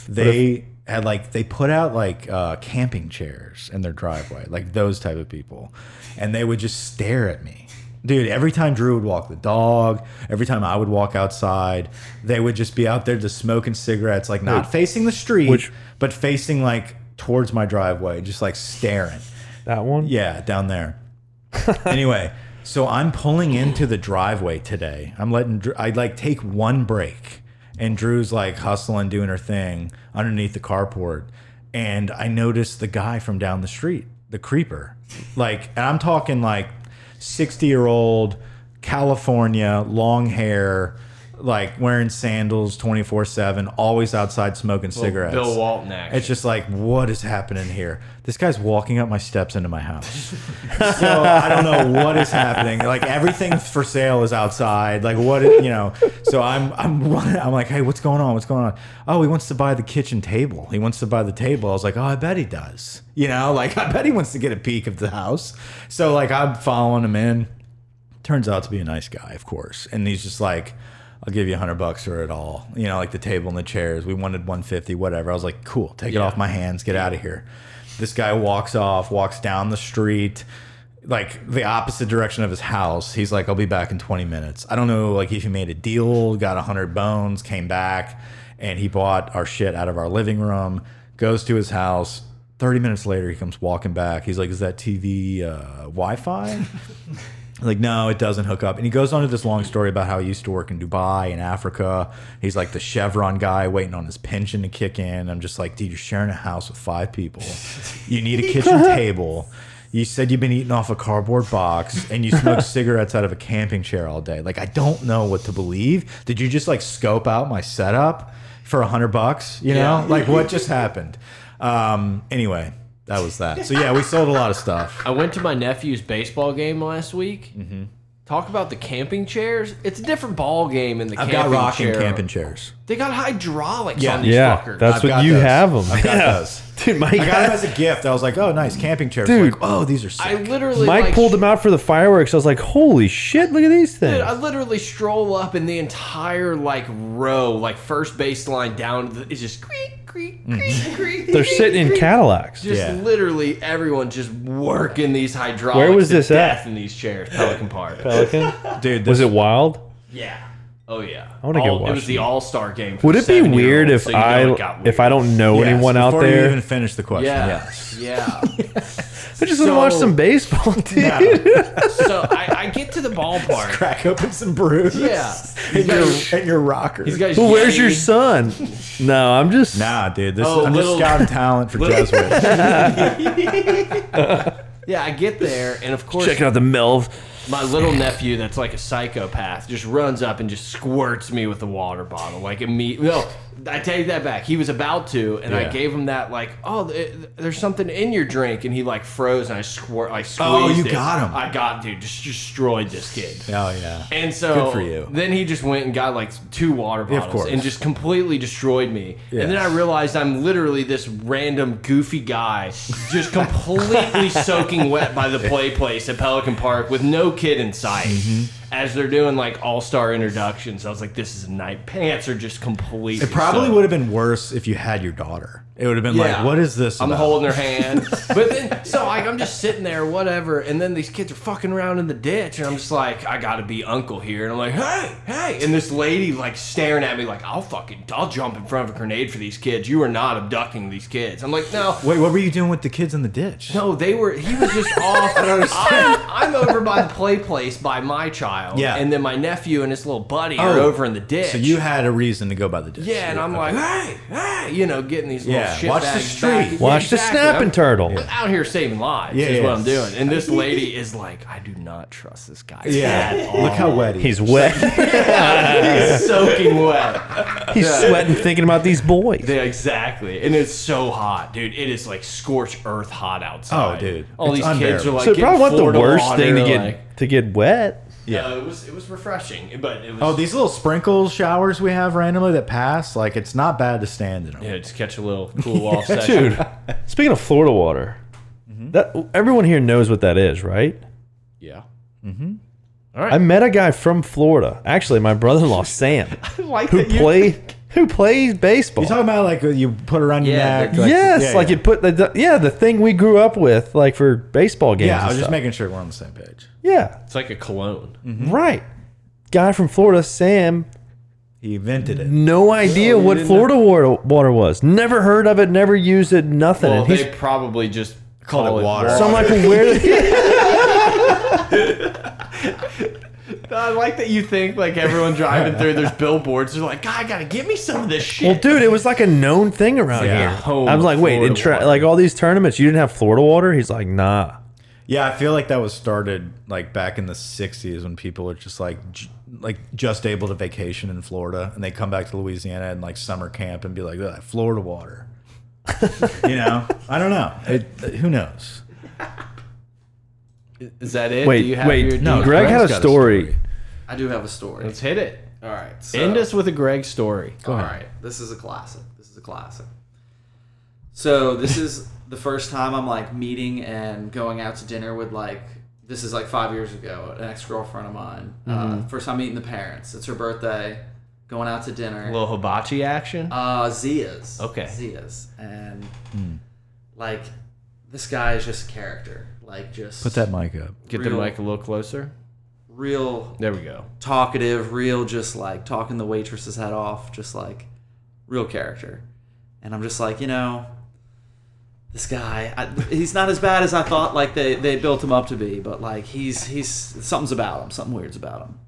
[SPEAKER 1] they had like they put out like uh, camping chairs in their driveway, like those type of people, and they would just stare at me. Dude, every time Drew would walk the dog, every time I would walk outside, they would just be out there just smoking cigarettes, like not facing the street,
[SPEAKER 4] which-
[SPEAKER 1] but facing like towards my driveway, just like staring.
[SPEAKER 4] That one?
[SPEAKER 1] Yeah, down there. anyway, so I'm pulling into the driveway today. I'm letting Dr- I like take one break, and Drew's like hustling, doing her thing underneath the carport, and I notice the guy from down the street, the creeper, like, and I'm talking like sixty year old California, long hair. Like wearing sandals 24 7, always outside smoking cigarettes.
[SPEAKER 2] Bill Walton action.
[SPEAKER 1] It's just like, what is happening here? This guy's walking up my steps into my house. so I don't know what is happening. Like everything for sale is outside. Like what is, you know? So I'm I'm running. I'm like, hey, what's going on? What's going on? Oh, he wants to buy the kitchen table. He wants to buy the table. I was like, oh, I bet he does. You know, like I bet he wants to get a peek of the house. So like I'm following him in turns out to be a nice guy, of course. And he's just like, I'll give you a hundred bucks for it all. You know, like the table and the chairs. We wanted one fifty, whatever. I was like, cool, take it off my hands, get out of here. This guy walks off, walks down the street, like the opposite direction of his house. He's like, I'll be back in twenty minutes. I don't know, like if he made a deal, got a hundred bones, came back, and he bought our shit out of our living room. Goes to his house. Thirty minutes later, he comes walking back. He's like, "Is that TV uh, Wi-Fi?" like no it doesn't hook up and he goes on to this long story about how he used to work in dubai and africa he's like the chevron guy waiting on his pension to kick in i'm just like dude you're sharing a house with five people you need a kitchen table you said you've been eating off a cardboard box and you smoke cigarettes out of a camping chair all day like i don't know what to believe did you just like scope out my setup for a hundred bucks you know like what just happened um anyway that was that so yeah we sold a lot of stuff Mm-hmm.
[SPEAKER 2] I went to my nephew's baseball game last week. Talk about the camping chairs. It's a different ball game in the
[SPEAKER 1] I've got
[SPEAKER 2] camping
[SPEAKER 1] rocking
[SPEAKER 2] chair.
[SPEAKER 1] camping chairs.
[SPEAKER 2] They got hydraulics
[SPEAKER 1] Yeah.
[SPEAKER 2] on these
[SPEAKER 4] Yeah,
[SPEAKER 2] fuckers.
[SPEAKER 4] that's
[SPEAKER 1] I've
[SPEAKER 4] what
[SPEAKER 1] got
[SPEAKER 4] you
[SPEAKER 1] those.
[SPEAKER 4] have them.
[SPEAKER 1] I've got
[SPEAKER 4] Yeah.
[SPEAKER 1] those.
[SPEAKER 4] dude. Mike,
[SPEAKER 1] I got them as a gift. I was like, oh, nice camping chairs.
[SPEAKER 4] Dude.
[SPEAKER 1] Like, oh, these are sick.
[SPEAKER 2] I literally
[SPEAKER 4] Mike
[SPEAKER 2] like,
[SPEAKER 4] pulled them out for the fireworks. I was like, holy shit, look at these things.
[SPEAKER 2] Dude, I literally stroll up and the entire like row, like first baseline down, to the- it's just creak, creak, creak, creak.
[SPEAKER 4] Mm. They're sitting in
[SPEAKER 2] creak.
[SPEAKER 4] Cadillacs.
[SPEAKER 2] Just
[SPEAKER 1] Yeah.
[SPEAKER 2] literally everyone just working these hydraulics.
[SPEAKER 4] Where was
[SPEAKER 2] to
[SPEAKER 4] this at?
[SPEAKER 2] death in these chairs, Pelican Park.
[SPEAKER 4] Pelican.
[SPEAKER 1] Dude, this,
[SPEAKER 4] Was it wild?
[SPEAKER 2] yeah. Oh yeah. I
[SPEAKER 4] wanna go watch
[SPEAKER 2] It was the
[SPEAKER 4] these.
[SPEAKER 2] All Star game. for
[SPEAKER 4] Would
[SPEAKER 2] the
[SPEAKER 4] it be
[SPEAKER 2] seven-year-olds,
[SPEAKER 4] weird if
[SPEAKER 2] so you know
[SPEAKER 4] I
[SPEAKER 2] it got
[SPEAKER 4] if
[SPEAKER 2] weird.
[SPEAKER 4] I don't know
[SPEAKER 1] Yes,
[SPEAKER 4] anyone out
[SPEAKER 1] before You
[SPEAKER 4] there?
[SPEAKER 1] even finish the question.
[SPEAKER 2] Yeah.
[SPEAKER 1] Yes.
[SPEAKER 2] Yeah.
[SPEAKER 4] I just want to watch
[SPEAKER 2] So-
[SPEAKER 4] some baseball, dude.
[SPEAKER 2] so I, I get to the ballpark.
[SPEAKER 1] Crack open some brews.
[SPEAKER 2] Yeah.
[SPEAKER 1] And your, and your rocker.
[SPEAKER 2] These guys.
[SPEAKER 4] Well, where's your
[SPEAKER 2] Yeti.
[SPEAKER 4] son? No, I'm just.
[SPEAKER 1] Nah, dude. This
[SPEAKER 2] Oh,
[SPEAKER 1] I'm
[SPEAKER 2] little-
[SPEAKER 1] just scouting talent for
[SPEAKER 2] little-
[SPEAKER 1] Jesuit.
[SPEAKER 2] Yeah, I get there, and of course,
[SPEAKER 4] Checking out the Melv.
[SPEAKER 2] my little nephew that's like a psychopath just runs up and just squirts me with the water bottle like immediately no i take that back he was about to and i
[SPEAKER 1] Yeah.
[SPEAKER 2] gave him that like oh th- th- there's something in your drink and he like froze and i squirt i squeezed
[SPEAKER 1] Oh, you
[SPEAKER 2] it.
[SPEAKER 1] got him.
[SPEAKER 2] i got dude just destroyed this kid
[SPEAKER 1] oh yeah.
[SPEAKER 2] and so
[SPEAKER 1] Good for you.
[SPEAKER 2] then he just went and got like two water
[SPEAKER 1] of
[SPEAKER 2] bottles
[SPEAKER 1] course.
[SPEAKER 2] and just completely destroyed me. And then
[SPEAKER 1] Yes.
[SPEAKER 2] I realized I'm literally this random goofy guy just completely soaking wet by the play place at Pelican Park with no kid in sight.
[SPEAKER 1] Mm-hmm.
[SPEAKER 2] As they're doing like all-star introductions, I was like this is a night pants are just completely
[SPEAKER 1] It probably
[SPEAKER 2] soaked.
[SPEAKER 1] would have been worse if you had your daughter. It would have been
[SPEAKER 2] Yeah.
[SPEAKER 1] like, what is this?
[SPEAKER 2] I'm
[SPEAKER 1] about?
[SPEAKER 2] holding her hand. But then, so like, I'm just sitting there, whatever. And then these kids are fucking around in the ditch. And I'm just like, I gotta be uncle here. And I'm like, hey, hey. And this lady, like, staring at me, like, I'll fucking, I'll jump in front of a grenade for these kids. You are not abducting these kids. I'm like, no.
[SPEAKER 1] Wait, what were you doing with the kids in the ditch?
[SPEAKER 2] No, they were. He was just off. I'm, I'm over by the play place by my child,
[SPEAKER 1] Yeah.
[SPEAKER 2] and then my nephew and his little buddy are
[SPEAKER 1] Oh.
[SPEAKER 2] over in the ditch.
[SPEAKER 1] So you had a reason to go by the ditch.
[SPEAKER 2] yeah, and I'm like, hey, hey, you know, getting these
[SPEAKER 1] Yeah,
[SPEAKER 2] little shit
[SPEAKER 1] watch the
[SPEAKER 2] bags
[SPEAKER 1] street.
[SPEAKER 2] back. Yeah,
[SPEAKER 4] Watch the
[SPEAKER 2] exactly.
[SPEAKER 4] snapping
[SPEAKER 2] I'm-
[SPEAKER 4] turtle.
[SPEAKER 2] I'm out here saving lives
[SPEAKER 1] Yeah,
[SPEAKER 2] is what
[SPEAKER 1] yeah.
[SPEAKER 2] I'm doing. And this lady is like, I do not trust this guy.
[SPEAKER 1] yeah.
[SPEAKER 2] At all.
[SPEAKER 1] Look how wet he
[SPEAKER 4] He's wet.
[SPEAKER 2] He's soaking wet.
[SPEAKER 4] He's sweating thinking about these boys.
[SPEAKER 2] Yeah, exactly. And it's so hot, dude. It is like scorched earth hot outside.
[SPEAKER 1] Oh, dude.
[SPEAKER 2] All
[SPEAKER 1] It's
[SPEAKER 2] these kids are
[SPEAKER 1] unbearable.
[SPEAKER 2] like,
[SPEAKER 4] so it probably
[SPEAKER 2] getting
[SPEAKER 4] wasn't the
[SPEAKER 2] Florida
[SPEAKER 4] worst
[SPEAKER 2] water,
[SPEAKER 4] thing to get
[SPEAKER 2] like-
[SPEAKER 4] to get wet.
[SPEAKER 1] Yeah.
[SPEAKER 2] No, it was it was refreshing, but it was.
[SPEAKER 1] Oh, these little sprinkle showers we have randomly that pass, like it's not bad to stand in them.
[SPEAKER 2] yeah, just catch a little cool off session.
[SPEAKER 4] Dude, speaking of Florida water,
[SPEAKER 1] Mm-hmm.
[SPEAKER 4] that everyone here knows what that is, right?
[SPEAKER 2] Yeah.
[SPEAKER 4] I met a guy from Florida. Actually, my brother-in-law Sam,
[SPEAKER 2] Like
[SPEAKER 4] who played who plays baseball.
[SPEAKER 1] You talking about like uh, you put around your
[SPEAKER 2] Yeah,
[SPEAKER 1] neck?
[SPEAKER 2] the-
[SPEAKER 1] Like,
[SPEAKER 4] yes,
[SPEAKER 1] yeah,
[SPEAKER 4] like
[SPEAKER 1] yeah.
[SPEAKER 4] you put the, the yeah the thing we grew up with, like for baseball games.
[SPEAKER 1] Yeah, I
[SPEAKER 4] and
[SPEAKER 1] was just
[SPEAKER 4] stuff.
[SPEAKER 1] making sure we're on the same page.
[SPEAKER 4] Yeah,
[SPEAKER 2] It's like a cologne.
[SPEAKER 1] Mm-hmm.
[SPEAKER 4] right. Guy from Florida, Sam,
[SPEAKER 1] He invented it.
[SPEAKER 4] no idea
[SPEAKER 1] Oh,
[SPEAKER 4] what Florida water, water was. Never heard of it. Never used it. Nothing.
[SPEAKER 2] Well,
[SPEAKER 4] And he's-
[SPEAKER 2] they probably just
[SPEAKER 1] Called
[SPEAKER 2] call
[SPEAKER 1] it water.
[SPEAKER 4] so I'm like, well, where? Did,
[SPEAKER 2] I like that you think like everyone driving through. There's billboards. They're like, God, I gotta get me some of this shit.
[SPEAKER 4] well, dude, it was like a known thing around
[SPEAKER 1] Yeah.
[SPEAKER 4] here.
[SPEAKER 2] Home
[SPEAKER 4] I was like, wait, in
[SPEAKER 2] Florida
[SPEAKER 4] tra-
[SPEAKER 2] water.
[SPEAKER 4] like all these tournaments, you didn't have Florida water? He's like, nah.
[SPEAKER 1] Yeah, I feel like that was started like back in the '60s when people were just like, j like just able to vacation in Florida, and they come back to Louisiana and like summer camp and be like, "Ugh, Florida water. you know, I don't know. It, uh, who knows?
[SPEAKER 2] Is that it?
[SPEAKER 4] Wait,
[SPEAKER 2] Do you have
[SPEAKER 4] wait,
[SPEAKER 2] your, do
[SPEAKER 4] no,
[SPEAKER 2] you-
[SPEAKER 4] Greg had
[SPEAKER 1] Greg's
[SPEAKER 4] a
[SPEAKER 1] got a
[SPEAKER 4] story.
[SPEAKER 1] story.
[SPEAKER 5] I do have a story.
[SPEAKER 2] Let's hit it.
[SPEAKER 5] All right. So,
[SPEAKER 2] End us with a Greg story.
[SPEAKER 5] All right. This is a classic. This is a classic. So this is the first time I'm like meeting and going out to dinner with like this is like five years ago an ex girlfriend of mine. Uh, first time meeting the parents. It's her birthday. Going out to dinner.
[SPEAKER 2] A little hibachi action.
[SPEAKER 5] Uh, Zia's.
[SPEAKER 2] Okay.
[SPEAKER 5] Zia's. And like, this guy is just a character. Like, just
[SPEAKER 1] Put that mic up.
[SPEAKER 2] Get the
[SPEAKER 5] real-
[SPEAKER 2] mic a little closer.
[SPEAKER 5] real
[SPEAKER 2] There we go.
[SPEAKER 5] talkative, real, just like talking the waitress's head off, just like real character. And I'm just like, you know, this guy, I, he's not as bad as I thought. Like they, they built him up to be, but like he's he's something's about him, something weird's about him.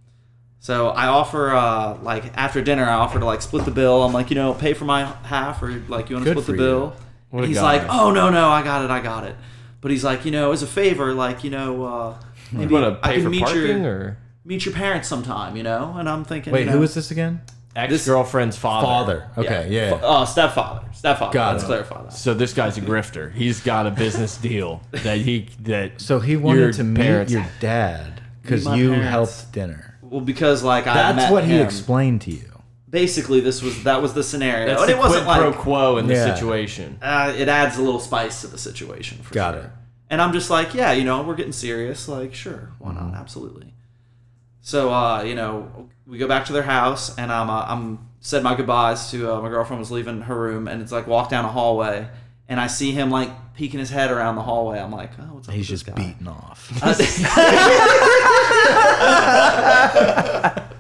[SPEAKER 5] So I offer uh, like after dinner, I offer to like split the bill. I'm like, you know, pay for my half, or like you want to
[SPEAKER 1] Good
[SPEAKER 5] split
[SPEAKER 1] for
[SPEAKER 5] the
[SPEAKER 1] you.
[SPEAKER 5] bill.
[SPEAKER 2] What a
[SPEAKER 5] he's
[SPEAKER 2] guy.
[SPEAKER 5] like, oh no no, I got it, I got it. But he's like, you know, as a favor, like you know, uh,
[SPEAKER 2] You
[SPEAKER 5] maybe
[SPEAKER 2] want to
[SPEAKER 5] I
[SPEAKER 2] pay
[SPEAKER 5] can
[SPEAKER 2] for
[SPEAKER 5] meet
[SPEAKER 2] parking
[SPEAKER 5] your
[SPEAKER 2] or
[SPEAKER 5] meet your parents sometime, you know? And I'm thinking,
[SPEAKER 1] Wait,
[SPEAKER 5] you know,
[SPEAKER 1] who is this again?
[SPEAKER 2] ex girlfriend's father?
[SPEAKER 1] Okay, yeah.
[SPEAKER 5] Fa- uh, stepfather, stepfather.
[SPEAKER 1] Got
[SPEAKER 5] Let's
[SPEAKER 1] it.
[SPEAKER 5] clarify that.
[SPEAKER 2] So this guy's a grifter. He's got a business deal that he that.
[SPEAKER 1] So he
[SPEAKER 2] your
[SPEAKER 1] wanted to meet
[SPEAKER 2] parents-
[SPEAKER 1] your dad. because
[SPEAKER 5] my
[SPEAKER 1] you
[SPEAKER 5] parents.
[SPEAKER 1] helped dinner.
[SPEAKER 5] Well, because like I
[SPEAKER 1] That's
[SPEAKER 5] met
[SPEAKER 1] what he
[SPEAKER 5] him.
[SPEAKER 1] explained to you.
[SPEAKER 5] Basically, this was that was the scenario,
[SPEAKER 2] That's
[SPEAKER 5] and
[SPEAKER 2] the
[SPEAKER 5] it wasn't
[SPEAKER 2] quid pro
[SPEAKER 5] like
[SPEAKER 2] quo in the
[SPEAKER 1] Yeah.
[SPEAKER 2] situation.
[SPEAKER 5] uh, it adds a little spice to the situation. For
[SPEAKER 1] Got
[SPEAKER 5] sure.
[SPEAKER 1] it.
[SPEAKER 5] And I'm just like, yeah, you know, we're getting serious. Like, sure, why
[SPEAKER 1] Mm-hmm.
[SPEAKER 5] not? Absolutely. So, uh, you know, we go back to their house, and I'm, uh, I'm said my goodbyes to uh, my girlfriend was leaving her room, and it's like walk down a hallway, and I see him like peeking his head around the hallway. I'm like, oh, what's up?
[SPEAKER 1] He's
[SPEAKER 5] with
[SPEAKER 1] just
[SPEAKER 5] this guy?
[SPEAKER 1] beaten off.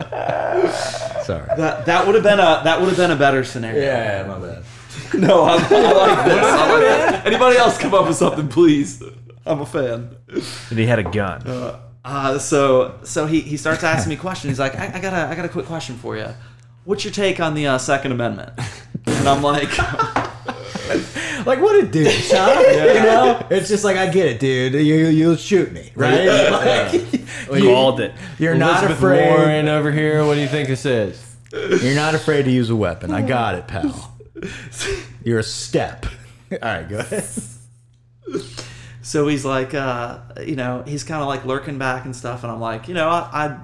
[SPEAKER 1] Sorry.
[SPEAKER 5] that that would have been a that would have been a better scenario.
[SPEAKER 1] Yeah, my bad.
[SPEAKER 5] No, I'm, I like this. I like this. Anybody else come up with something, please? I'm a fan.
[SPEAKER 4] And he had a gun.
[SPEAKER 5] Uh, so so he, he starts asking me questions. He's like, I, I got a I got a quick question for you. What's your take on the uh, Second Amendment? And I'm like,
[SPEAKER 1] Like what a dude, huh? You know, it's just like I get it, dude. You you'll shoot me, right? Like,
[SPEAKER 4] Called it.
[SPEAKER 1] You're not
[SPEAKER 2] Elizabeth
[SPEAKER 1] afraid.
[SPEAKER 2] Warren over here. What do you think this is?
[SPEAKER 1] You're not afraid to use a weapon. I got it, pal. You're a step. All right, go ahead.
[SPEAKER 5] so he's like, uh, you know, he's kind of like lurking back and stuff. And I'm like, you know, I, I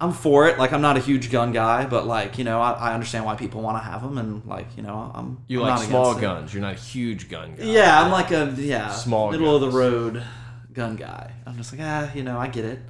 [SPEAKER 5] I'm for it. Like, I'm not a huge gun guy, but like, you know, I, I understand why people want to have them. And like, you know, I'm
[SPEAKER 2] You
[SPEAKER 5] I'm
[SPEAKER 2] like
[SPEAKER 5] not
[SPEAKER 2] small
[SPEAKER 5] against it.
[SPEAKER 2] guns. You're not a huge gun guy.
[SPEAKER 5] Yeah, I'm like a yeah
[SPEAKER 2] Small
[SPEAKER 5] middle of
[SPEAKER 2] guns.
[SPEAKER 5] the road gun guy. I'm just like ah, you know, I get it.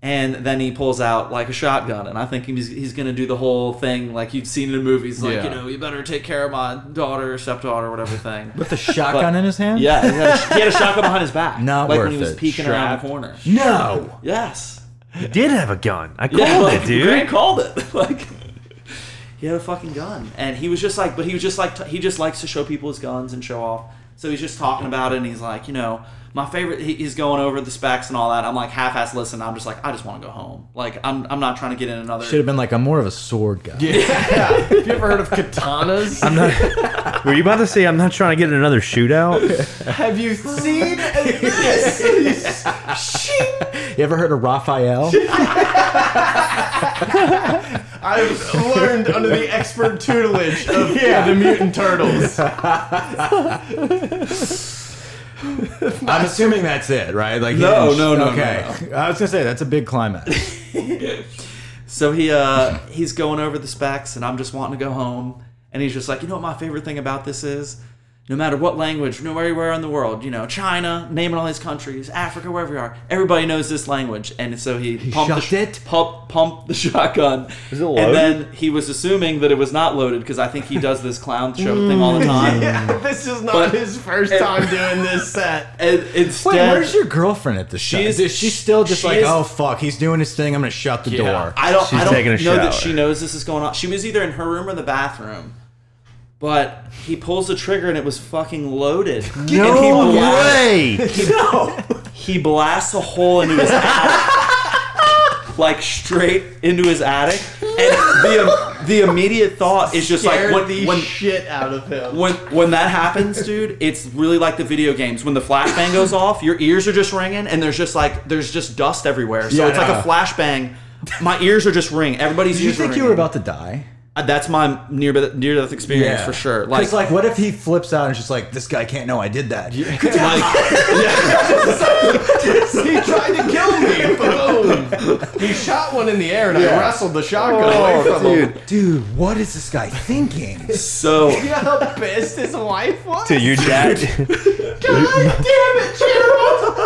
[SPEAKER 5] And then he pulls out like a shotgun, and I think he's he's gonna do the whole thing like you've seen in movies, like
[SPEAKER 2] Yeah.
[SPEAKER 5] you know, you better take care of my daughter, stepdaughter, whatever thing.
[SPEAKER 1] With a shotgun in his hand?
[SPEAKER 5] yeah, he had, a, he had a shotgun behind his back,
[SPEAKER 1] Not
[SPEAKER 5] like
[SPEAKER 1] worth
[SPEAKER 5] when he was
[SPEAKER 1] it.
[SPEAKER 5] peeking around the corner.
[SPEAKER 1] No.
[SPEAKER 5] Yes,
[SPEAKER 4] He did have a gun. I called
[SPEAKER 5] yeah,
[SPEAKER 4] it,
[SPEAKER 5] like,
[SPEAKER 4] dude.
[SPEAKER 5] Grant called it. like he had a fucking gun, and he was just like, but he was just like, t- he just likes to show people his guns and show off. So he's just talking about it, and he's like, you know, my favorite. He, he's going over the specs and all that. I'm like half-ass listen. I'm just like, I just want to go home. Like I'm, I'm not trying to get in another.
[SPEAKER 1] Should have been like I'm more of a sword guy.
[SPEAKER 2] Have you ever heard of katanas?
[SPEAKER 4] I'm not. Were you about to say I'm not trying to get in another shootout?
[SPEAKER 2] Have you seen?
[SPEAKER 1] You ever heard of Raphael?
[SPEAKER 2] I've learned under the expert tutelage of the mutant turtles.
[SPEAKER 1] I'm assuming that's it, right? Like he
[SPEAKER 5] No,
[SPEAKER 1] didn't-
[SPEAKER 5] no, no, no,
[SPEAKER 1] Okay, I was gonna say that's a big climax.
[SPEAKER 5] So he, uh, he's going over the specs, and I'm just wanting to go home. And he's just like, you know what my favorite thing about this is? No matter what language, no matter where in the world, you know, China, naming all these countries, Africa, wherever you are, everybody knows this language. And so he, pumped the,
[SPEAKER 1] shot
[SPEAKER 5] sh-
[SPEAKER 1] it?
[SPEAKER 5] Pump, pumped the shotgun.
[SPEAKER 4] Is it
[SPEAKER 5] And
[SPEAKER 4] loaded?
[SPEAKER 5] then he was assuming that it was not loaded because I think he does this clown show thing all the time.
[SPEAKER 2] this is not
[SPEAKER 5] But-
[SPEAKER 2] his first time doing this set.
[SPEAKER 5] And
[SPEAKER 1] Wait,
[SPEAKER 5] instead,
[SPEAKER 1] where's your girlfriend at the show?
[SPEAKER 5] is-
[SPEAKER 1] Is she still just
[SPEAKER 5] she
[SPEAKER 1] like,
[SPEAKER 5] is-
[SPEAKER 1] oh fuck, he's doing his thing. I'm gonna shut the
[SPEAKER 2] Yeah.
[SPEAKER 1] door.
[SPEAKER 5] I don't.
[SPEAKER 4] She's
[SPEAKER 5] I don't
[SPEAKER 4] taking a
[SPEAKER 5] know that
[SPEAKER 4] shower.
[SPEAKER 5] she knows this is going on. She was either in her room or the bathroom. But he pulls the trigger and it was fucking loaded. and he blasts,
[SPEAKER 4] way.
[SPEAKER 5] He blasts a hole into his attic, like straight into his attic. And the the immediate thought is just like
[SPEAKER 2] Scared
[SPEAKER 5] when
[SPEAKER 2] the
[SPEAKER 5] when
[SPEAKER 2] shit out of him.
[SPEAKER 5] when when that happens, dude, it's really like the video games. When the flashbang goes off, your ears are just ringing, and there's just like there's just dust everywhere. So
[SPEAKER 1] Yeah, I
[SPEAKER 5] it's like
[SPEAKER 1] know.
[SPEAKER 5] a flashbang. My ears are just ringing. Everybody's
[SPEAKER 1] Did you
[SPEAKER 5] ears are
[SPEAKER 1] think you were
[SPEAKER 5] ringing.
[SPEAKER 1] about to die?
[SPEAKER 5] Uh, That's my near near death experience for sure. Like,
[SPEAKER 1] Because like, what if he flips out and is just like, this guy can't know I did that.
[SPEAKER 5] like
[SPEAKER 2] he tried to kill me. Boom. He shot one in the air and I wrestled the shotgun
[SPEAKER 4] Oh,
[SPEAKER 2] away from him.
[SPEAKER 1] Dude, what is this guy thinking?
[SPEAKER 5] so.
[SPEAKER 2] You know how pissed his wife was?
[SPEAKER 4] Dude, your dad.
[SPEAKER 2] God damn it, Gerald!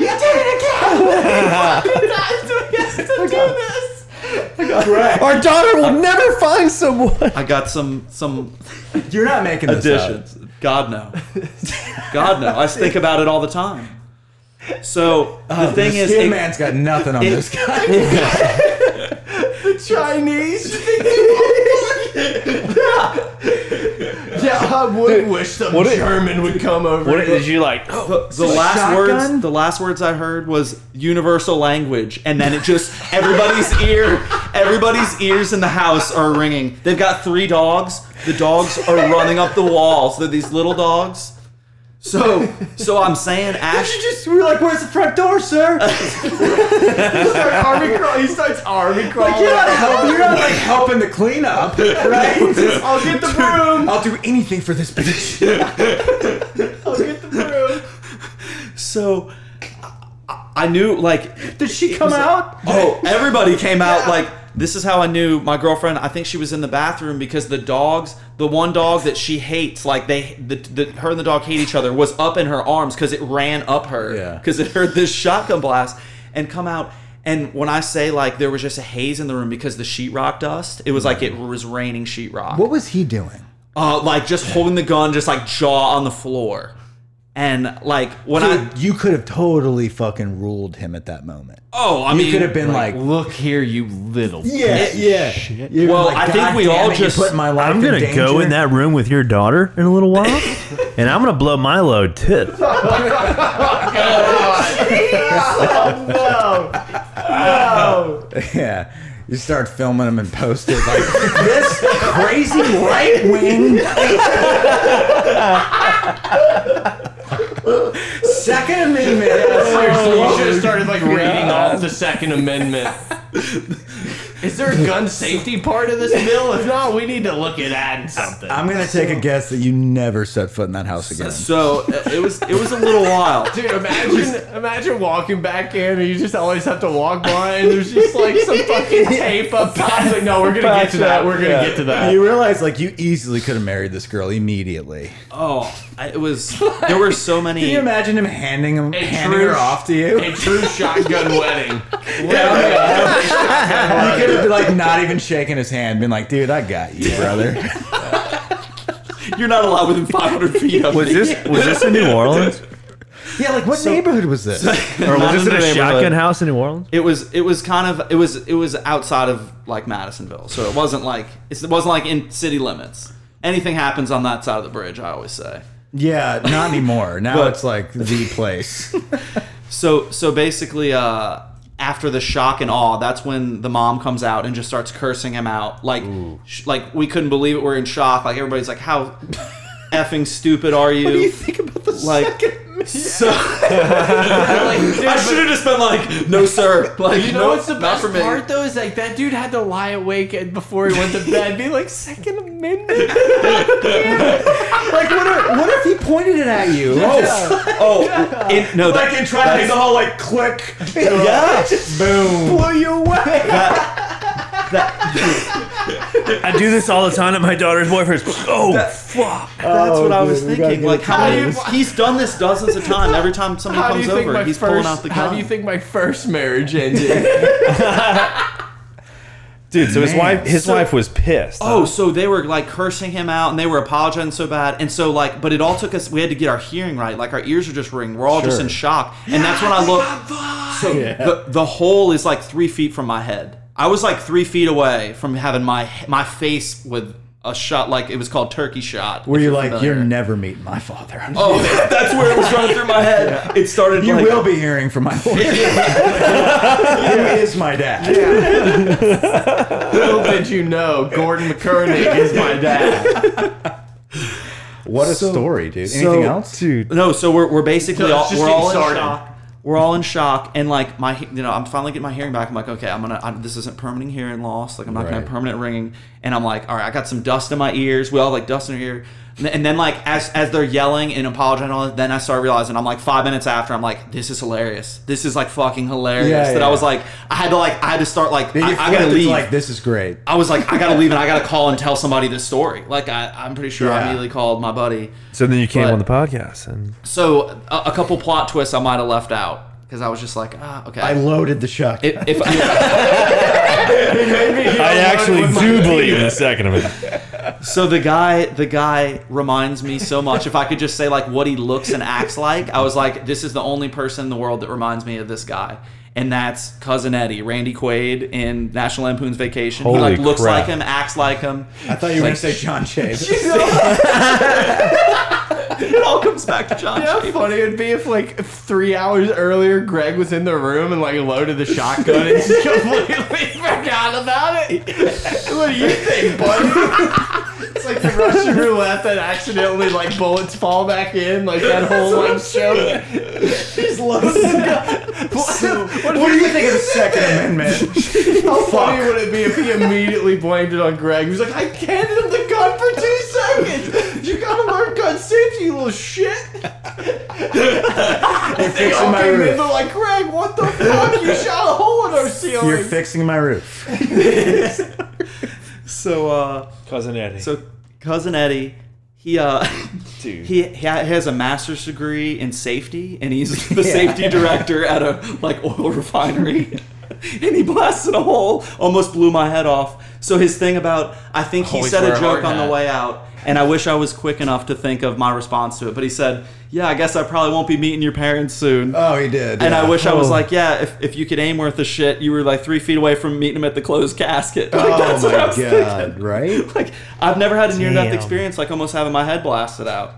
[SPEAKER 2] you did it again! to do
[SPEAKER 4] Our daughter will never find someone.
[SPEAKER 5] I got some some
[SPEAKER 1] You're not making this up.
[SPEAKER 5] additions. God no, God no. I think about it all the time. So the thing
[SPEAKER 1] Oh, This
[SPEAKER 5] is,
[SPEAKER 1] Skin
[SPEAKER 5] it-
[SPEAKER 1] man's got nothing on this guy.
[SPEAKER 2] this! Chinese? yeah. yeah, I would wish some
[SPEAKER 4] what it-
[SPEAKER 2] German would come over.
[SPEAKER 4] What did you like? Oh,
[SPEAKER 5] the, the last
[SPEAKER 1] shotgun?
[SPEAKER 5] words the last words I heard was universal language, and then it just everybody's ear everybody's ears in the house are ringing. They've got three dogs. The dogs are running up the walls. They're these little dogs. So so I'm saying Ash.
[SPEAKER 1] just we were like, where's the front door, sir?
[SPEAKER 2] he starts army crawl- He starts army crawling.
[SPEAKER 1] You're not helping. You're not like helping to clean up, right?
[SPEAKER 2] I'll get the broom.
[SPEAKER 1] I'll do anything for this bitch.
[SPEAKER 2] I'll get the broom.
[SPEAKER 5] So I- I knew like
[SPEAKER 1] Did she
[SPEAKER 5] it
[SPEAKER 1] come
[SPEAKER 5] was like-
[SPEAKER 1] out?
[SPEAKER 5] oh, everybody came out like this is how I knew my girlfriend. I think she was in the bathroom because the dogs, the one dog that she hates, like they, the, the her and the dog hate each other, was up in her arms because it ran up her
[SPEAKER 1] Yeah.
[SPEAKER 5] because it heard this shotgun blast and come out. And when I say like there was just a haze in the room because the sheetrock dust, it was like it was raining sheetrock
[SPEAKER 6] What was he doing?
[SPEAKER 5] uh, like just holding the gun, just like jaw on the floor, and like when I
[SPEAKER 6] Dude, you could have totally fucking ruled him at that moment.
[SPEAKER 5] oh, I
[SPEAKER 6] you
[SPEAKER 5] mean,
[SPEAKER 6] could have been like,
[SPEAKER 2] Look here, you little.
[SPEAKER 6] yeah, yeah. You're
[SPEAKER 5] Well,
[SPEAKER 6] like,
[SPEAKER 5] I think
[SPEAKER 6] "God
[SPEAKER 5] we
[SPEAKER 6] damn
[SPEAKER 5] all
[SPEAKER 6] it, you
[SPEAKER 5] just-
[SPEAKER 6] put my life.
[SPEAKER 4] I'm
[SPEAKER 6] going
[SPEAKER 4] gonna
[SPEAKER 6] to
[SPEAKER 4] go in that room with your daughter in a little while, and I'm gonna blow my load too.
[SPEAKER 6] Yeah. You start filming him and post it like this crazy right wing Second Amendment.
[SPEAKER 2] Seriously, you should have started like reading off the Second Amendment. Is there a gun safety part of this bill? If not, we need to look at adding something.
[SPEAKER 6] I'm gonna take a guess that you never set foot in that house again.
[SPEAKER 5] so uh, it was it was a little while.
[SPEAKER 2] Dude, imagine imagine walking back in and you just always have to walk by and there's just like some fucking tape up top. It's like, no, we're gonna get to that. We're gonna get to that.
[SPEAKER 6] You realize like you easily could have married this girl immediately.
[SPEAKER 5] Oh, I- it was there were so
[SPEAKER 6] Can
[SPEAKER 5] many.
[SPEAKER 6] you imagine him handing him
[SPEAKER 2] Hey,
[SPEAKER 6] handing
[SPEAKER 2] Drew.
[SPEAKER 6] her off to you?
[SPEAKER 2] A true shotgun wedding.
[SPEAKER 6] He could have like not even shaking his hand, been like, "Dude, I got you, brother."
[SPEAKER 5] You're not allowed within 500 feet of
[SPEAKER 4] Was
[SPEAKER 5] me.
[SPEAKER 4] this was this in New Orleans,
[SPEAKER 6] yeah, like what neighborhood was this?
[SPEAKER 4] or
[SPEAKER 5] Not
[SPEAKER 4] was this
[SPEAKER 5] in
[SPEAKER 4] in a
[SPEAKER 5] the
[SPEAKER 4] shotgun
[SPEAKER 5] neighborhood.
[SPEAKER 4] house in New Orleans?
[SPEAKER 5] It was it was kind of it was it was outside of like Madisonville, so it wasn't like it wasn't like in city limits. Anything happens on that side of the bridge, I always say.
[SPEAKER 6] yeah, not anymore. Now
[SPEAKER 5] But-
[SPEAKER 6] it's like the place.
[SPEAKER 5] So so basically, uh, after the shock and awe, that's when the mom comes out and just starts cursing him out. Like, sh- like we couldn't believe it. We're in shock. Like everybody's like, "How effing stupid are you?"
[SPEAKER 6] think about the
[SPEAKER 5] like, so
[SPEAKER 2] I'm like, dude,
[SPEAKER 5] I
[SPEAKER 2] but-
[SPEAKER 5] should have just been like, "No, sir." Like,
[SPEAKER 2] You know
[SPEAKER 5] no,
[SPEAKER 2] what's the
[SPEAKER 5] not
[SPEAKER 2] best
[SPEAKER 5] for me.
[SPEAKER 2] part though is like that dude had to lie awake and before he went to bed, be like Second Amendment.
[SPEAKER 6] Like what if, what if he pointed it at you? Oh,
[SPEAKER 5] Oh, it- no, that,
[SPEAKER 6] and tried to all like click.
[SPEAKER 5] yeah.
[SPEAKER 6] boom. Blew you away.
[SPEAKER 4] I do this all the time at my daughter's boyfriend's. Oh, fuck!
[SPEAKER 5] That's what I was
[SPEAKER 6] dude, we gotta
[SPEAKER 5] thinking.
[SPEAKER 6] get
[SPEAKER 5] Like,
[SPEAKER 6] it
[SPEAKER 5] how many?
[SPEAKER 2] together.
[SPEAKER 5] He's done this dozens of times. Every time somebody
[SPEAKER 2] How do
[SPEAKER 5] comes
[SPEAKER 2] you think
[SPEAKER 5] over,
[SPEAKER 2] my
[SPEAKER 5] he's
[SPEAKER 2] first?
[SPEAKER 5] pulling out the gun.
[SPEAKER 2] how do you think my first marriage ended?
[SPEAKER 4] Dude, so his
[SPEAKER 6] Man.
[SPEAKER 4] wife his
[SPEAKER 5] So-
[SPEAKER 4] wife was pissed.
[SPEAKER 5] Oh, so they were like cursing him out and they were apologizing so bad. And so, like, but it all took us, we had to get our hearing right. Like, our ears are just ringing. We're all just in shock. And that's when I look. So the, the hole is like three feet from my head. I was like three feet away from having my my face with a shot, like it was called turkey shot.
[SPEAKER 6] Were
[SPEAKER 5] if
[SPEAKER 6] you
[SPEAKER 5] you're
[SPEAKER 6] like,
[SPEAKER 5] familiar.
[SPEAKER 6] you're never meeting my father?
[SPEAKER 5] Oh, that's where it was running through my head. It started
[SPEAKER 6] you
[SPEAKER 5] like,
[SPEAKER 6] will be hearing from my lawyer. Who is my dad?
[SPEAKER 2] Little did you know, Gordon McCurdy is my dad.
[SPEAKER 1] What a story, dude. Anything else?
[SPEAKER 4] dude?
[SPEAKER 5] No, so we're, we're basically
[SPEAKER 2] No,
[SPEAKER 5] all,
[SPEAKER 2] it's just
[SPEAKER 5] we're
[SPEAKER 2] getting
[SPEAKER 5] all in
[SPEAKER 2] started.
[SPEAKER 5] shock. We're all in shock, and like my you know I'm finally getting my hearing back. I'm like, okay, I'm gonna i this isn't permanent hearing loss. Like I'm not gonna have
[SPEAKER 1] Right.
[SPEAKER 5] permanent ringing. And I'm like, all right, I got some dust in my ears. We all have, like dust in our ear. And then- And then like as as they're yelling and apologizing, and all that, then I start realizing I'm like five minutes after I'm like, this is hilarious. This is like fucking hilarious.
[SPEAKER 6] Yeah,
[SPEAKER 5] that
[SPEAKER 6] yeah.
[SPEAKER 5] I was like, I had to like I had to start like
[SPEAKER 6] Then you
[SPEAKER 5] I, I
[SPEAKER 6] flipped
[SPEAKER 5] gotta
[SPEAKER 6] it to,
[SPEAKER 5] leave.
[SPEAKER 6] Like this is great.
[SPEAKER 5] I was like, I gotta leave and I gotta call and tell somebody this story. Like I, I'm pretty sure I
[SPEAKER 6] Yeah.
[SPEAKER 5] immediately called my buddy.
[SPEAKER 4] So then you came
[SPEAKER 5] But-
[SPEAKER 4] on the podcast, and
[SPEAKER 5] So a, a couple plot twists I might have left out because I was just like, ah, okay.
[SPEAKER 6] I loaded the shotgun.
[SPEAKER 5] if, if I-
[SPEAKER 4] I actually do believe in the second of it.
[SPEAKER 5] so the guy, the guy reminds me so much. If I could just say like what he looks and acts like, I was like, this is the only person in the world that reminds me of this guy, and that's cousin Eddie, Randy Quaid in National Lampoon's Vacation. he
[SPEAKER 4] Holy
[SPEAKER 5] like looks
[SPEAKER 4] crap.
[SPEAKER 5] like him, acts like him.
[SPEAKER 6] I thought you were gonna say John Chase.
[SPEAKER 5] It all comes back to John.
[SPEAKER 2] How
[SPEAKER 5] Chapek.
[SPEAKER 2] funny it'd be if like three hours earlier, Greg was in the room and like loaded the shotgun and just completely forgot about it. What do you think, bud? It's like the Russian roulette that accidentally like bullets fall back in, like that whole like show.
[SPEAKER 6] He's loaded. what, do you think of the Second Amendment?
[SPEAKER 2] How funny would it be if he immediately blamed it on Greg? He was like, I handed him the gun for two seconds. You gotta learn gun safety.
[SPEAKER 5] you little shit.
[SPEAKER 1] You're fixing my
[SPEAKER 5] Okay, man,
[SPEAKER 1] roof.
[SPEAKER 5] they're like, Greg, what the fuck? You shot a hole in our ceiling.
[SPEAKER 1] You're fixing my roof.
[SPEAKER 5] so, uh,
[SPEAKER 4] Cousin Eddie.
[SPEAKER 5] so cousin Eddie, he uh,
[SPEAKER 4] Dude.
[SPEAKER 5] he he has a master's degree in safety, and he's the safety director at a like oil refinery. and he blasted a hole, almost blew my head off. So his thing about, I think he
[SPEAKER 2] Always
[SPEAKER 5] said
[SPEAKER 2] wear
[SPEAKER 5] a
[SPEAKER 2] a
[SPEAKER 5] joke
[SPEAKER 2] hard
[SPEAKER 5] on the
[SPEAKER 2] hat.
[SPEAKER 5] way out, and I wish I was quick enough to think of my response to it. But he said, "Yeah, I guess I probably won't be meeting your parents soon."
[SPEAKER 1] Uh,
[SPEAKER 6] Oh, he did.
[SPEAKER 5] And I
[SPEAKER 6] yeah.
[SPEAKER 5] wish I was
[SPEAKER 4] Oh.
[SPEAKER 5] like, yeah, if, if you could aim worth a shit, you were like three feet away from meeting him at the closed casket. Like,
[SPEAKER 6] Oh
[SPEAKER 5] that's what
[SPEAKER 6] my
[SPEAKER 5] I was
[SPEAKER 6] God,
[SPEAKER 5] thinking.
[SPEAKER 6] right?
[SPEAKER 5] Like, I've never had a near death
[SPEAKER 4] Damn.
[SPEAKER 5] experience like almost having my head blasted out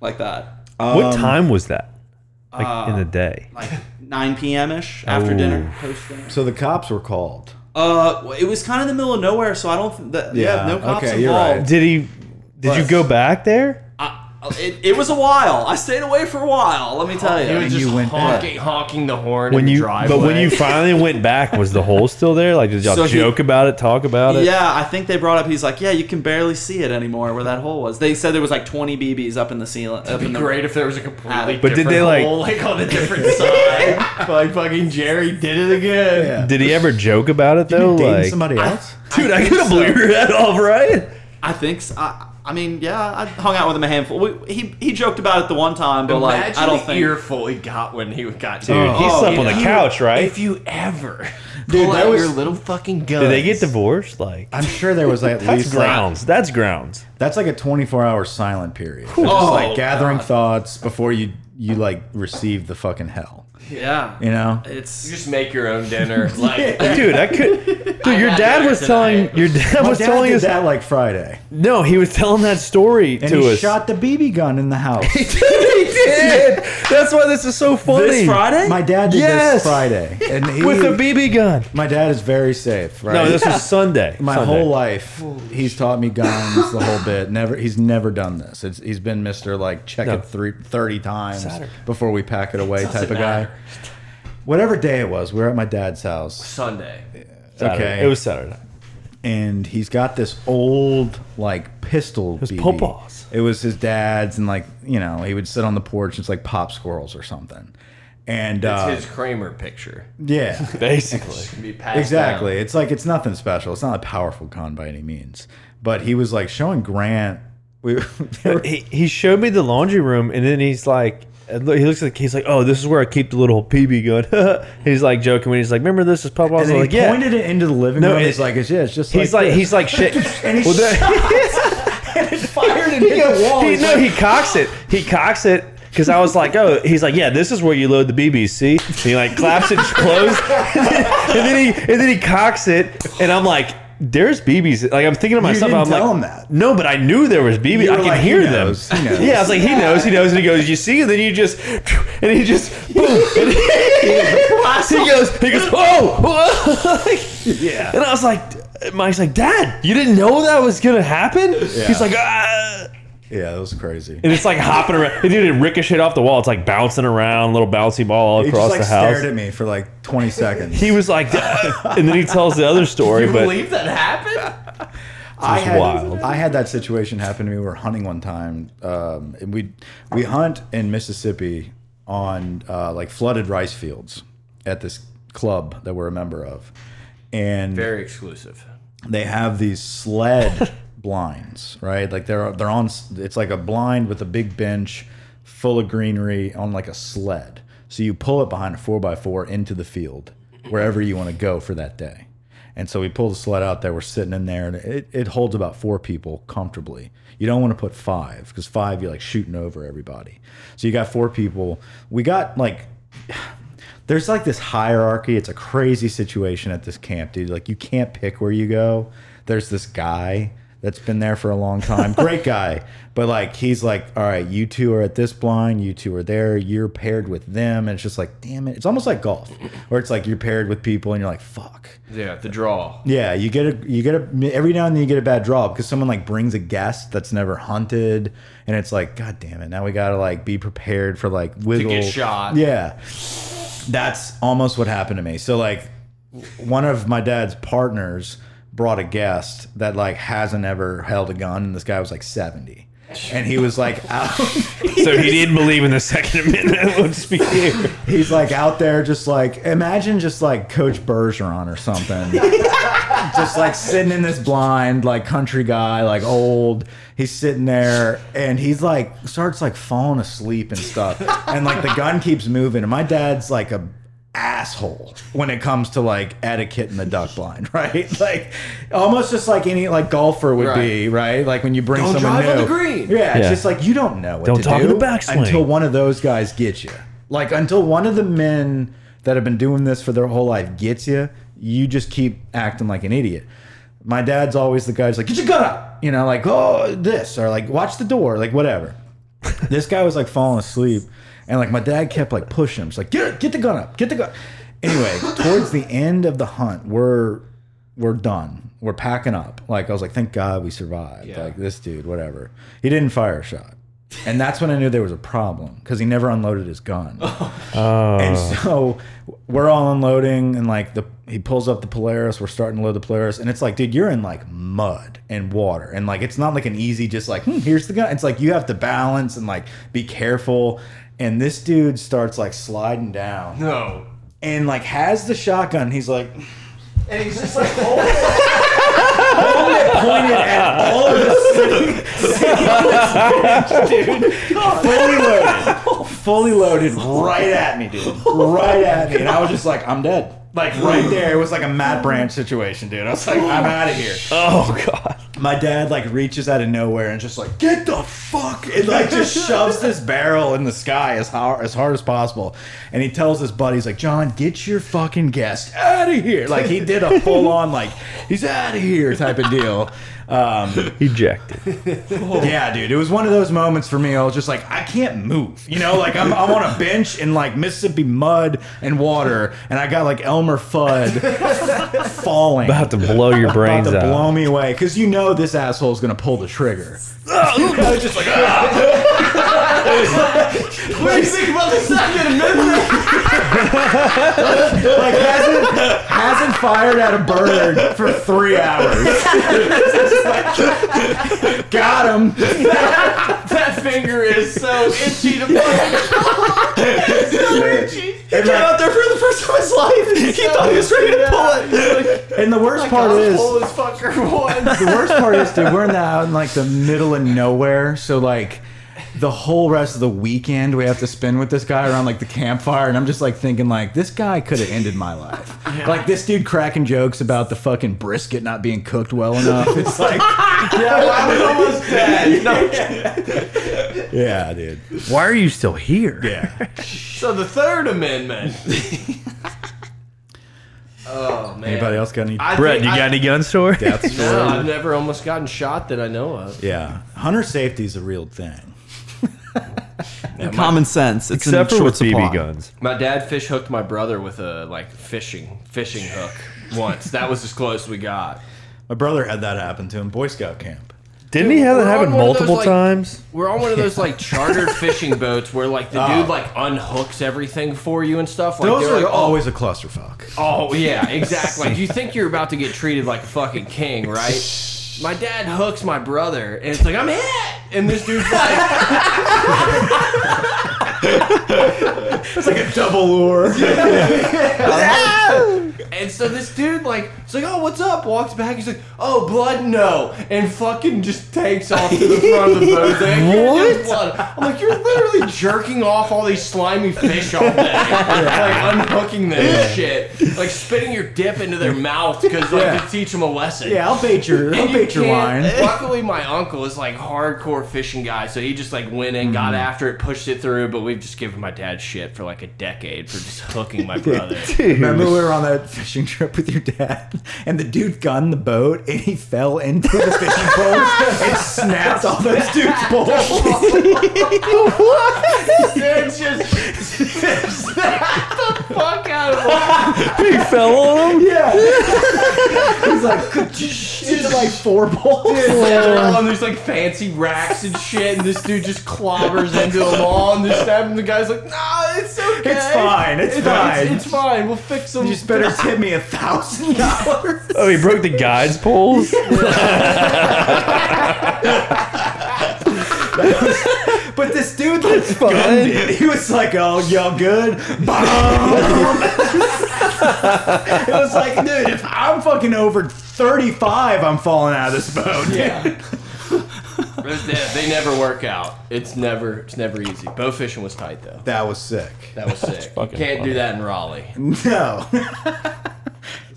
[SPEAKER 5] like that.
[SPEAKER 4] what time was that? Like in
[SPEAKER 5] uh,
[SPEAKER 4] the day.
[SPEAKER 5] Like 9 p.m. ish after
[SPEAKER 4] Oh.
[SPEAKER 5] dinner, post dinner.
[SPEAKER 6] So the cops were called.
[SPEAKER 5] Uh, it was kind of the middle of nowhere, so I don't. Th- the, yeah,
[SPEAKER 6] Yeah,
[SPEAKER 5] no cops
[SPEAKER 6] okay, you're
[SPEAKER 5] involved.
[SPEAKER 4] Did he? Did you
[SPEAKER 5] Plus-
[SPEAKER 4] go back there?
[SPEAKER 5] I- it, it was a while. I stayed away for a while. Let me tell
[SPEAKER 2] He was
[SPEAKER 5] you.
[SPEAKER 6] And
[SPEAKER 2] Oh, just
[SPEAKER 6] you went back.
[SPEAKER 2] honking, honking the horn
[SPEAKER 4] When
[SPEAKER 2] in
[SPEAKER 4] you,
[SPEAKER 2] the driveway.
[SPEAKER 4] but when you finally went back, was the hole still there? Like, did y'all
[SPEAKER 5] So he-
[SPEAKER 4] joke about it, talk about it?
[SPEAKER 5] Yeah, I think they brought up. He's like, yeah, you can barely see it anymore where that hole was. They said there was like 20 BBs up in the ceiling. Up
[SPEAKER 2] It'd
[SPEAKER 5] in
[SPEAKER 2] be
[SPEAKER 5] the
[SPEAKER 2] great if there was a completely
[SPEAKER 4] But did
[SPEAKER 2] different
[SPEAKER 4] they, like-
[SPEAKER 2] hole, like on a different side. like fucking Jerry did it again.
[SPEAKER 6] Yeah.
[SPEAKER 4] Did he ever joke about it though?
[SPEAKER 1] Dating
[SPEAKER 4] Like,
[SPEAKER 1] somebody else?
[SPEAKER 4] dude, I, could have blew your head off, right?
[SPEAKER 5] I think so. I, I mean, yeah, I hung out with him a handful. We, he he joked about it the one time, but like,
[SPEAKER 2] Imagine
[SPEAKER 5] I don't
[SPEAKER 2] the
[SPEAKER 5] think.
[SPEAKER 2] earful he got when he got
[SPEAKER 4] Dude, he
[SPEAKER 5] Oh,
[SPEAKER 4] slept on the couch, right?
[SPEAKER 2] If you ever
[SPEAKER 6] Dude,
[SPEAKER 2] pull
[SPEAKER 6] that
[SPEAKER 2] out
[SPEAKER 6] was-
[SPEAKER 2] your little fucking gun,
[SPEAKER 4] Did they get divorced? Like,
[SPEAKER 1] I'm sure there was like, at
[SPEAKER 4] that's
[SPEAKER 1] least like,
[SPEAKER 4] grounds. that's grounds.
[SPEAKER 1] that's like a 24 hour silent period. Just
[SPEAKER 5] Oh,
[SPEAKER 1] like gathering thoughts before you you like receive the fucking hell.
[SPEAKER 5] yeah,
[SPEAKER 1] You know?
[SPEAKER 5] it's
[SPEAKER 2] You just make your own dinner. Like
[SPEAKER 4] Dude, I could. Dude, your
[SPEAKER 2] got
[SPEAKER 4] dad
[SPEAKER 2] dinner
[SPEAKER 4] was telling
[SPEAKER 2] tonight.
[SPEAKER 4] your dad
[SPEAKER 1] My
[SPEAKER 4] was
[SPEAKER 1] dad
[SPEAKER 4] telling
[SPEAKER 1] did
[SPEAKER 4] us
[SPEAKER 1] that like Friday,
[SPEAKER 4] no. He was telling that story
[SPEAKER 1] and
[SPEAKER 4] to
[SPEAKER 1] he
[SPEAKER 4] us.
[SPEAKER 1] shot the BB gun in the house.
[SPEAKER 4] he did. That's why this is so funny.
[SPEAKER 5] this Friday.
[SPEAKER 1] My dad did
[SPEAKER 4] Yes.
[SPEAKER 1] this Friday, and he,
[SPEAKER 4] with a BB gun.
[SPEAKER 1] my dad is very safe. Right?
[SPEAKER 4] No, this was Sunday.
[SPEAKER 1] my
[SPEAKER 4] Sunday.
[SPEAKER 1] whole life he's taught me guns the whole bit never he's never done this it's, he's been mr like check
[SPEAKER 4] No.
[SPEAKER 1] it three, 30 times
[SPEAKER 4] Saturday.
[SPEAKER 1] before we pack it away type of guy
[SPEAKER 2] matter.
[SPEAKER 1] whatever day it was we were at my dad's house
[SPEAKER 2] Sunday.
[SPEAKER 4] Saturday.
[SPEAKER 1] okay
[SPEAKER 4] It was Saturday.
[SPEAKER 1] and he's got this old like pistol it
[SPEAKER 4] was Papa's.
[SPEAKER 1] it was his dad's and like you know he would sit on the porch it's like pop squirrels or something and
[SPEAKER 2] It's
[SPEAKER 1] uh,
[SPEAKER 2] his Kramer picture.
[SPEAKER 1] yeah
[SPEAKER 4] Basically.
[SPEAKER 2] Can be passed
[SPEAKER 1] Exactly.
[SPEAKER 2] down.
[SPEAKER 1] It's like it's nothing special. It's not a powerful gun by any means. But he was like showing Grant. We, they were-
[SPEAKER 4] he, he showed me the laundry room and then he's like and look- he looks like he's like oh this is where i keep the little pb gun he's like joking when he's like remember this is pop
[SPEAKER 1] and
[SPEAKER 4] was
[SPEAKER 1] then he
[SPEAKER 4] like yeah
[SPEAKER 1] pointed it into the living
[SPEAKER 4] No,
[SPEAKER 1] room.
[SPEAKER 4] it-
[SPEAKER 1] It's like it's yeah. It's just
[SPEAKER 4] he's like,
[SPEAKER 1] this.
[SPEAKER 4] he's like shit
[SPEAKER 1] and he
[SPEAKER 4] Well, that-
[SPEAKER 1] fired and hit the wall.
[SPEAKER 4] he,
[SPEAKER 1] He's
[SPEAKER 4] no,
[SPEAKER 1] like,
[SPEAKER 4] he cocks it. He cocks it because I was like, oh, he's like, yeah, this is where you load the BBC. And he like claps it closed, and then, and then he and then he cocks it, and I'm like. There's BBs. Like I'm thinking to myself,
[SPEAKER 1] didn't
[SPEAKER 4] I'm
[SPEAKER 1] tell
[SPEAKER 4] like,
[SPEAKER 1] him that.
[SPEAKER 4] no, but I knew there was BBs.
[SPEAKER 1] You
[SPEAKER 4] I
[SPEAKER 1] were
[SPEAKER 4] can
[SPEAKER 1] like, he
[SPEAKER 4] hear them.
[SPEAKER 1] knows, he knows.
[SPEAKER 4] Yeah, I was like, he knows, he knows, and he goes, you see, and then you just, and he just, boom, and he, he goes, he goes, oh, yeah. And I was like, Mike's like, Dad, you didn't know that was gonna happen. He's like, ah.
[SPEAKER 1] yeah, that was crazy.
[SPEAKER 4] And it's like hopping around. And dude, it ricocheted off the wall. It's like bouncing around, little bouncy ball all
[SPEAKER 1] He
[SPEAKER 4] across
[SPEAKER 1] just like
[SPEAKER 4] the house.
[SPEAKER 1] stared at me for like 20 seconds.
[SPEAKER 4] he was like, "Ah." and then he tells the other story,
[SPEAKER 2] You
[SPEAKER 4] but
[SPEAKER 2] believe that happened?
[SPEAKER 1] I had,
[SPEAKER 4] wild.
[SPEAKER 1] I had that situation happen to me. We were hunting one time. Um, and we we hunt in Mississippi on uh, like flooded rice fields at this club that we're a member of, and
[SPEAKER 2] Very exclusive.
[SPEAKER 1] they have these sled blinds, right? Like they're they're on. It's like a blind with a big bench full of greenery on like a sled. So you pull it behind a four by four into the field wherever you want to go for that day. And so we pull the sled out there. We're sitting in there, and it, it holds about four people comfortably. You don't want to put five because five you're like shooting over everybody. So you got four people. We got like there's like this hierarchy. It's a crazy situation at this camp, dude. Like you can't pick where you go. There's this guy that's been there for a long time. Great guy. But like he's like, all right, you two are at this blind, you two are there, you're paired with them. And it's just like, damn it. It's almost like golf. Where it's like you're paired with people and you're like, fuck.
[SPEAKER 2] Yeah, the draw.
[SPEAKER 1] Yeah, you get a you get a every now and then you get a bad draw because someone like brings a guest that's never hunted, and it's like, god damn it, now we gotta like be prepared for like wiggle
[SPEAKER 2] shot.
[SPEAKER 1] Yeah, that's almost what happened to me. So like, one of my dad's partners brought a guest that like hasn't ever held a gun, and this guy was like seventy. and he was like out.
[SPEAKER 4] So he didn't believe in the Second Amendment. Let's be clear.
[SPEAKER 1] He's like out there, just like imagine, just like Coach Bergeron or something, just like sitting in this blind, like country guy, like old. He's sitting there, and he's like starts like falling asleep and stuff, and like the gun keeps moving. And my dad's like a asshole when it comes to like etiquette in the duck blind, right? Like almost just like any like golfer would be, right? Like when you bring
[SPEAKER 2] Don't
[SPEAKER 1] someone
[SPEAKER 2] drive on
[SPEAKER 1] new,
[SPEAKER 2] the green.
[SPEAKER 1] Yeah, it's
[SPEAKER 4] Yeah.
[SPEAKER 1] just like you don't know what
[SPEAKER 4] Don't
[SPEAKER 1] to
[SPEAKER 4] talk
[SPEAKER 1] do
[SPEAKER 4] in the backswing.
[SPEAKER 1] until one of those guys gets you. Like until one of the men that have been doing this for their whole life gets you, you just keep acting like an idiot. My dad's always the guy who's like, "Get your gun up," you know, like "Oh, this," or like "Watch the door," like whatever. this guy was like falling asleep, and like my dad kept like pushing him. He's like, "Get get the gun up, get the gun." Anyway, towards the end of the hunt, we're we're done. We're packing up. Like I was like, thank God we survived. Like this dude, whatever. He didn't fire a shot. And that's when I knew there was a problem because he never unloaded his gun. And so we're all unloading, and like the he pulls up the Polaris. We're starting to load the Polaris, and it's like, dude, you're in like mud and water, and like it's not like an easy just like hmm, here's the gun. It's like you have to balance and like be careful. And this dude starts like sliding down,
[SPEAKER 2] No.
[SPEAKER 1] and like has the shotgun. He's like, and he's just like holding it, holding it pointed at all of the city, city lights, dude. Fully loaded, fully loaded, right at me, dude, right at me. And I was just like, I'm dead. Like right there, it was like a Matt Branch situation, dude. I was like, I'm out of here
[SPEAKER 4] Oh God.
[SPEAKER 1] my dad like reaches out of nowhere and just like get the fuck and like just shoves this barrel in the sky as hard as hard as possible and he tells his buddies like john get your fucking guest out of here like he did a full-on like he's out of here type of deal um,
[SPEAKER 4] Ejected.
[SPEAKER 1] yeah, dude. It was one of those moments for me. I was just like, I can't move. You know, like I'm, I'm on a bench in like Mississippi mud and water, and I got like Elmer Fudd falling.
[SPEAKER 4] About to blow your brains
[SPEAKER 1] about to
[SPEAKER 5] uh,
[SPEAKER 4] out.
[SPEAKER 1] blow me away because you know this asshole's gonna pull the trigger.
[SPEAKER 5] What do ah! you think about the Second Amendment?
[SPEAKER 1] Like hasn't hasn't fired at a bird for three hours. got him.
[SPEAKER 5] that finger is so itchy to fucking. so itchy. He came out there for the first time in his life. He thought he was ready to pull it.
[SPEAKER 1] And the worst part is
[SPEAKER 5] this fucker once.
[SPEAKER 1] the worst part is dude, we're in the, out in like the middle of nowhere, so like the whole rest of the weekend we have to spend with this guy around like the campfire, and I'm just like thinking like this guy could have ended my life. Like this dude cracking jokes about the fucking brisket not being cooked well enough. It's like
[SPEAKER 5] I was almost dead. No.
[SPEAKER 1] yeah, dude.
[SPEAKER 4] Why are you still here?
[SPEAKER 1] Yeah,
[SPEAKER 2] So the Third Amendment. oh man.
[SPEAKER 1] Anybody else got any?
[SPEAKER 2] I
[SPEAKER 4] Brett,
[SPEAKER 2] think
[SPEAKER 4] you
[SPEAKER 2] I-
[SPEAKER 4] got any gun store?
[SPEAKER 1] That's
[SPEAKER 2] No, I've never almost gotten shot that I know of.
[SPEAKER 1] yeah. Hunter safety is a real thing.
[SPEAKER 5] Common sense. It's
[SPEAKER 4] Except
[SPEAKER 5] in
[SPEAKER 4] for with
[SPEAKER 5] short supply.
[SPEAKER 4] BB guns.
[SPEAKER 2] My dad fish hooked my brother with a like fishing fishing hook once. That was as close we got.
[SPEAKER 1] My brother had that happen to him, Boy Scout camp.
[SPEAKER 4] Didn't he have that
[SPEAKER 2] we're on
[SPEAKER 4] happen
[SPEAKER 2] one of those,
[SPEAKER 4] multiple
[SPEAKER 2] like-
[SPEAKER 4] times?
[SPEAKER 2] We're on one of those like chartered fishing boats where like the dude like unhooks everything for you and stuff. Like
[SPEAKER 1] Oh. Those
[SPEAKER 2] they're
[SPEAKER 1] are
[SPEAKER 2] like, oh,
[SPEAKER 1] always a clusterfuck.
[SPEAKER 2] Oh yeah, exactly. Like, you think you're about to get treated like a fucking king, right? My dad hooks my brother, and it's like I'm hit, and this dude's like,
[SPEAKER 1] It's like a double lure.
[SPEAKER 2] and so this dude like, it's like, oh, what's up? Walks back, he's like, oh, blood, no, and fucking just takes off to the front of the boat. He's Like, what? Blood. I'm like, you're literally jerking off all these slimy fish all day, like unhooking them and shit, like spitting your dip into their mouth because like
[SPEAKER 1] Yeah.
[SPEAKER 2] to teach them a lesson.
[SPEAKER 1] Yeah, I'll bait your, I'll
[SPEAKER 2] And you
[SPEAKER 1] bait your line.
[SPEAKER 2] can't- Luckily, my uncle is like hardcore fishing guy, so he just like went in,
[SPEAKER 1] Mm-hmm.
[SPEAKER 2] got after it, pushed it through. But we've just given my dad shit for like a decade for just hooking my brother.
[SPEAKER 1] Remember we were on that fishing trip with your dad, and the dude gunned the boat, and he fell into the fishing pole and snapped all those dudes' poles.
[SPEAKER 2] It's just, just that the fuck out of him.
[SPEAKER 4] He fell on him.
[SPEAKER 1] yeah, he's like, into like four poles.
[SPEAKER 2] They're all on these like fancy racks and shit, and this dude just clobbers into them all, and just stab him. The guy's like, "Nah, it's okay.
[SPEAKER 1] It's fine. It's fine.
[SPEAKER 2] It's, it's fine. We'll fix them."
[SPEAKER 1] You just better tip me a thousand dollars.
[SPEAKER 4] Oh, he broke the guide's poles.
[SPEAKER 6] But this dude looks fun. He was like, "Oh, y'all good?" Boom. it was like, dude, if I'm fucking over 35, I'm falling out of this boat. Yeah.
[SPEAKER 2] they, they never work out. It's never it's never easy. Bow fishing was tight though.
[SPEAKER 6] That was sick.
[SPEAKER 2] That was sick. You
[SPEAKER 4] fucking
[SPEAKER 2] can't
[SPEAKER 4] fun.
[SPEAKER 2] do that in Raleigh.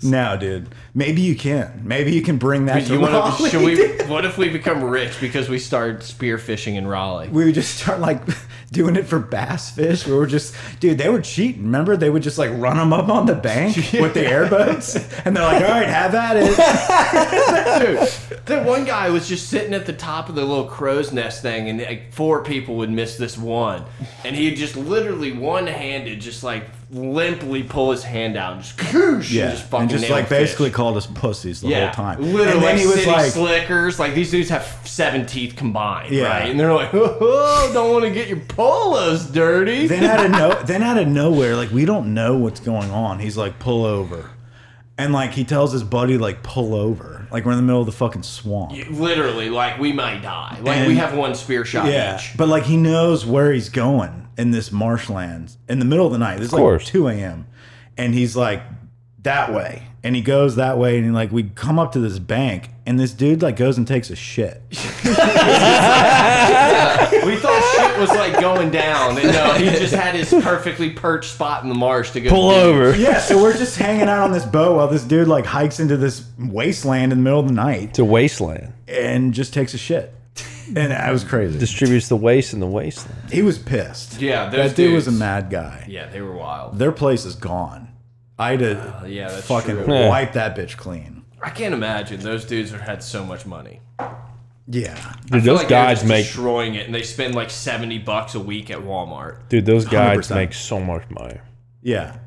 [SPEAKER 6] No. no, dude. Maybe you can. Maybe you can bring that to
[SPEAKER 2] You wanna,
[SPEAKER 6] Raleigh.
[SPEAKER 2] should we? What if we become rich because we started spear fishing in Raleigh?
[SPEAKER 6] we would just start like doing it for bass fish. We were just, dude, they were cheating. Remember, they would just like run them up on the bank with the airboats, and they're like, "All right, have at it."
[SPEAKER 2] Dude, that one guy was just sitting at the top of the little crow's nest thing, and like four people would miss this one, and he'd just literally one-handed, just like limply pull his hand out, and just koosh,
[SPEAKER 1] Yeah,
[SPEAKER 2] and just fucking
[SPEAKER 1] and just
[SPEAKER 2] nail
[SPEAKER 1] like
[SPEAKER 2] a fish.
[SPEAKER 1] basically called us pussies the whole time.
[SPEAKER 2] Literally,
[SPEAKER 6] And then he was
[SPEAKER 2] city
[SPEAKER 6] like-
[SPEAKER 2] slickers. Like these dudes have seven teeth combined,
[SPEAKER 6] Yeah.
[SPEAKER 2] right? And they're like, oh, don't want to get your polos dirty.
[SPEAKER 1] then out of no, then out of nowhere, like we don't know what's going on. He's like, pull over, and like he tells his buddy, like pull over, like we're in the middle of the fucking swamp. Yeah,
[SPEAKER 2] Literally, like we might die. Like we
[SPEAKER 1] And-
[SPEAKER 2] have one spear shot each.
[SPEAKER 1] but like he knows where he's going in this marshlands in the middle of the night. This is like
[SPEAKER 4] course.
[SPEAKER 1] two a.m., and he's like that way, and he goes that way, and he, like we come up to this bank, and this dude like goes and takes a shit.
[SPEAKER 2] We thought shit was like going down, and no, he just had his perfectly perched spot in the marsh to go
[SPEAKER 4] Pull
[SPEAKER 2] do.
[SPEAKER 4] over.
[SPEAKER 1] Yeah, so we're just hanging out on this boat while this dude like hikes into this wasteland in the middle of the night.
[SPEAKER 4] It's a wasteland.
[SPEAKER 1] and just takes a shit. And I was crazy.
[SPEAKER 4] Distributes the waste in the wasteland.
[SPEAKER 1] he was pissed.
[SPEAKER 2] Yeah, those
[SPEAKER 1] that dude was a
[SPEAKER 2] dudes.
[SPEAKER 1] mad guy.
[SPEAKER 2] Yeah, they were wild.
[SPEAKER 1] Their place is gone. I'd have
[SPEAKER 2] Uh, yeah, that's
[SPEAKER 1] fucking
[SPEAKER 2] true.
[SPEAKER 4] Yeah.
[SPEAKER 1] wipe that bitch clean.
[SPEAKER 2] I can't imagine those dudes had so much money.
[SPEAKER 1] Yeah,
[SPEAKER 4] Dude,
[SPEAKER 2] I feel
[SPEAKER 4] those
[SPEAKER 2] like they're
[SPEAKER 4] guys
[SPEAKER 2] just
[SPEAKER 4] make.
[SPEAKER 2] destroying it, and they spend like seventy bucks a week at Walmart.
[SPEAKER 4] Dude, those guys
[SPEAKER 1] 100%.
[SPEAKER 4] make so much money.
[SPEAKER 1] yeah.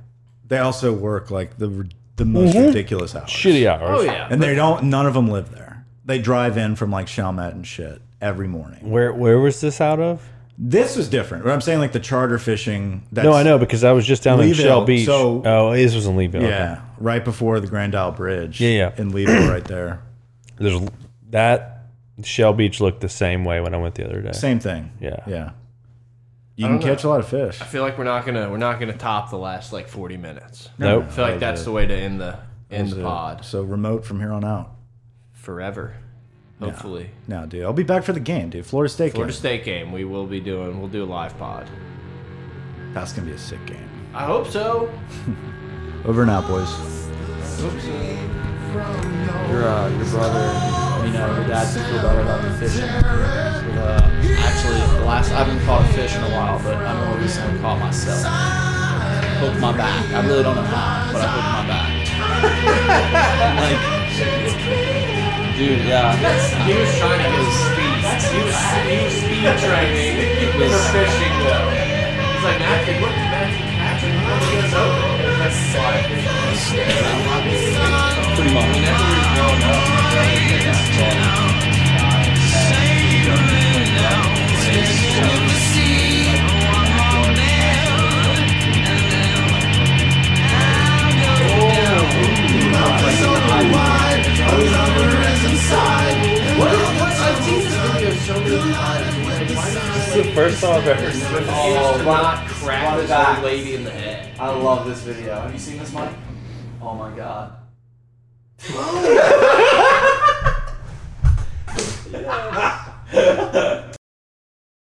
[SPEAKER 1] They also work like the the most ridiculous hours.
[SPEAKER 4] Mm-hmm. Shitty hours.
[SPEAKER 2] Oh yeah,
[SPEAKER 1] And they don't. None of them live there. They drive in from like Chalmette and shit every morning.
[SPEAKER 4] Where where was this out of?
[SPEAKER 1] This was different. But I'm saying like the charter fishing. That's,
[SPEAKER 4] No, I know because I was just down in
[SPEAKER 1] Leeville,
[SPEAKER 4] Shell Beach.
[SPEAKER 1] so-
[SPEAKER 4] oh, this was in Leeville. okay.
[SPEAKER 1] Yeah, right before the Grand Isle Bridge.
[SPEAKER 4] Yeah, yeah.
[SPEAKER 1] In Leadville, right there.
[SPEAKER 4] There's that Shell Beach looked the same way when I went the other day.
[SPEAKER 1] Same thing.
[SPEAKER 4] Yeah.
[SPEAKER 1] Yeah. You can catch a lot of fish.
[SPEAKER 2] I feel like we're not gonna we're not gonna top the last like forty minutes.
[SPEAKER 4] Nope.
[SPEAKER 2] I feel like that's the way to end the end the
[SPEAKER 1] So-
[SPEAKER 2] pod
[SPEAKER 1] So remote from here on out.
[SPEAKER 2] forever. Hopefully,
[SPEAKER 1] Now, dude, I'll be back for the game, dude. Florida State
[SPEAKER 2] Florida
[SPEAKER 1] game.
[SPEAKER 2] State game we will be doing. We'll do a live pod.
[SPEAKER 1] That's gonna be a sick game.
[SPEAKER 2] I hope so.
[SPEAKER 1] Over and out, boys.
[SPEAKER 5] Your, uh, your brother, you know, your dad feel better about the fishing. Uh, actually, the last I haven't caught a fish in a while, but I'm more recently caught myself. Hooked my back. I really don't know how, but I hooked my back. like, dude, yeah.
[SPEAKER 2] He was trying to get speed. He was, he was speed training for fishing though. He's like Matthew, look, Matthew catching. Look, he was open. And That's why.
[SPEAKER 5] pretty much.
[SPEAKER 2] Oh, not crack this old lady in the head.
[SPEAKER 5] I love this video. Have you seen this, Mike? Oh my god.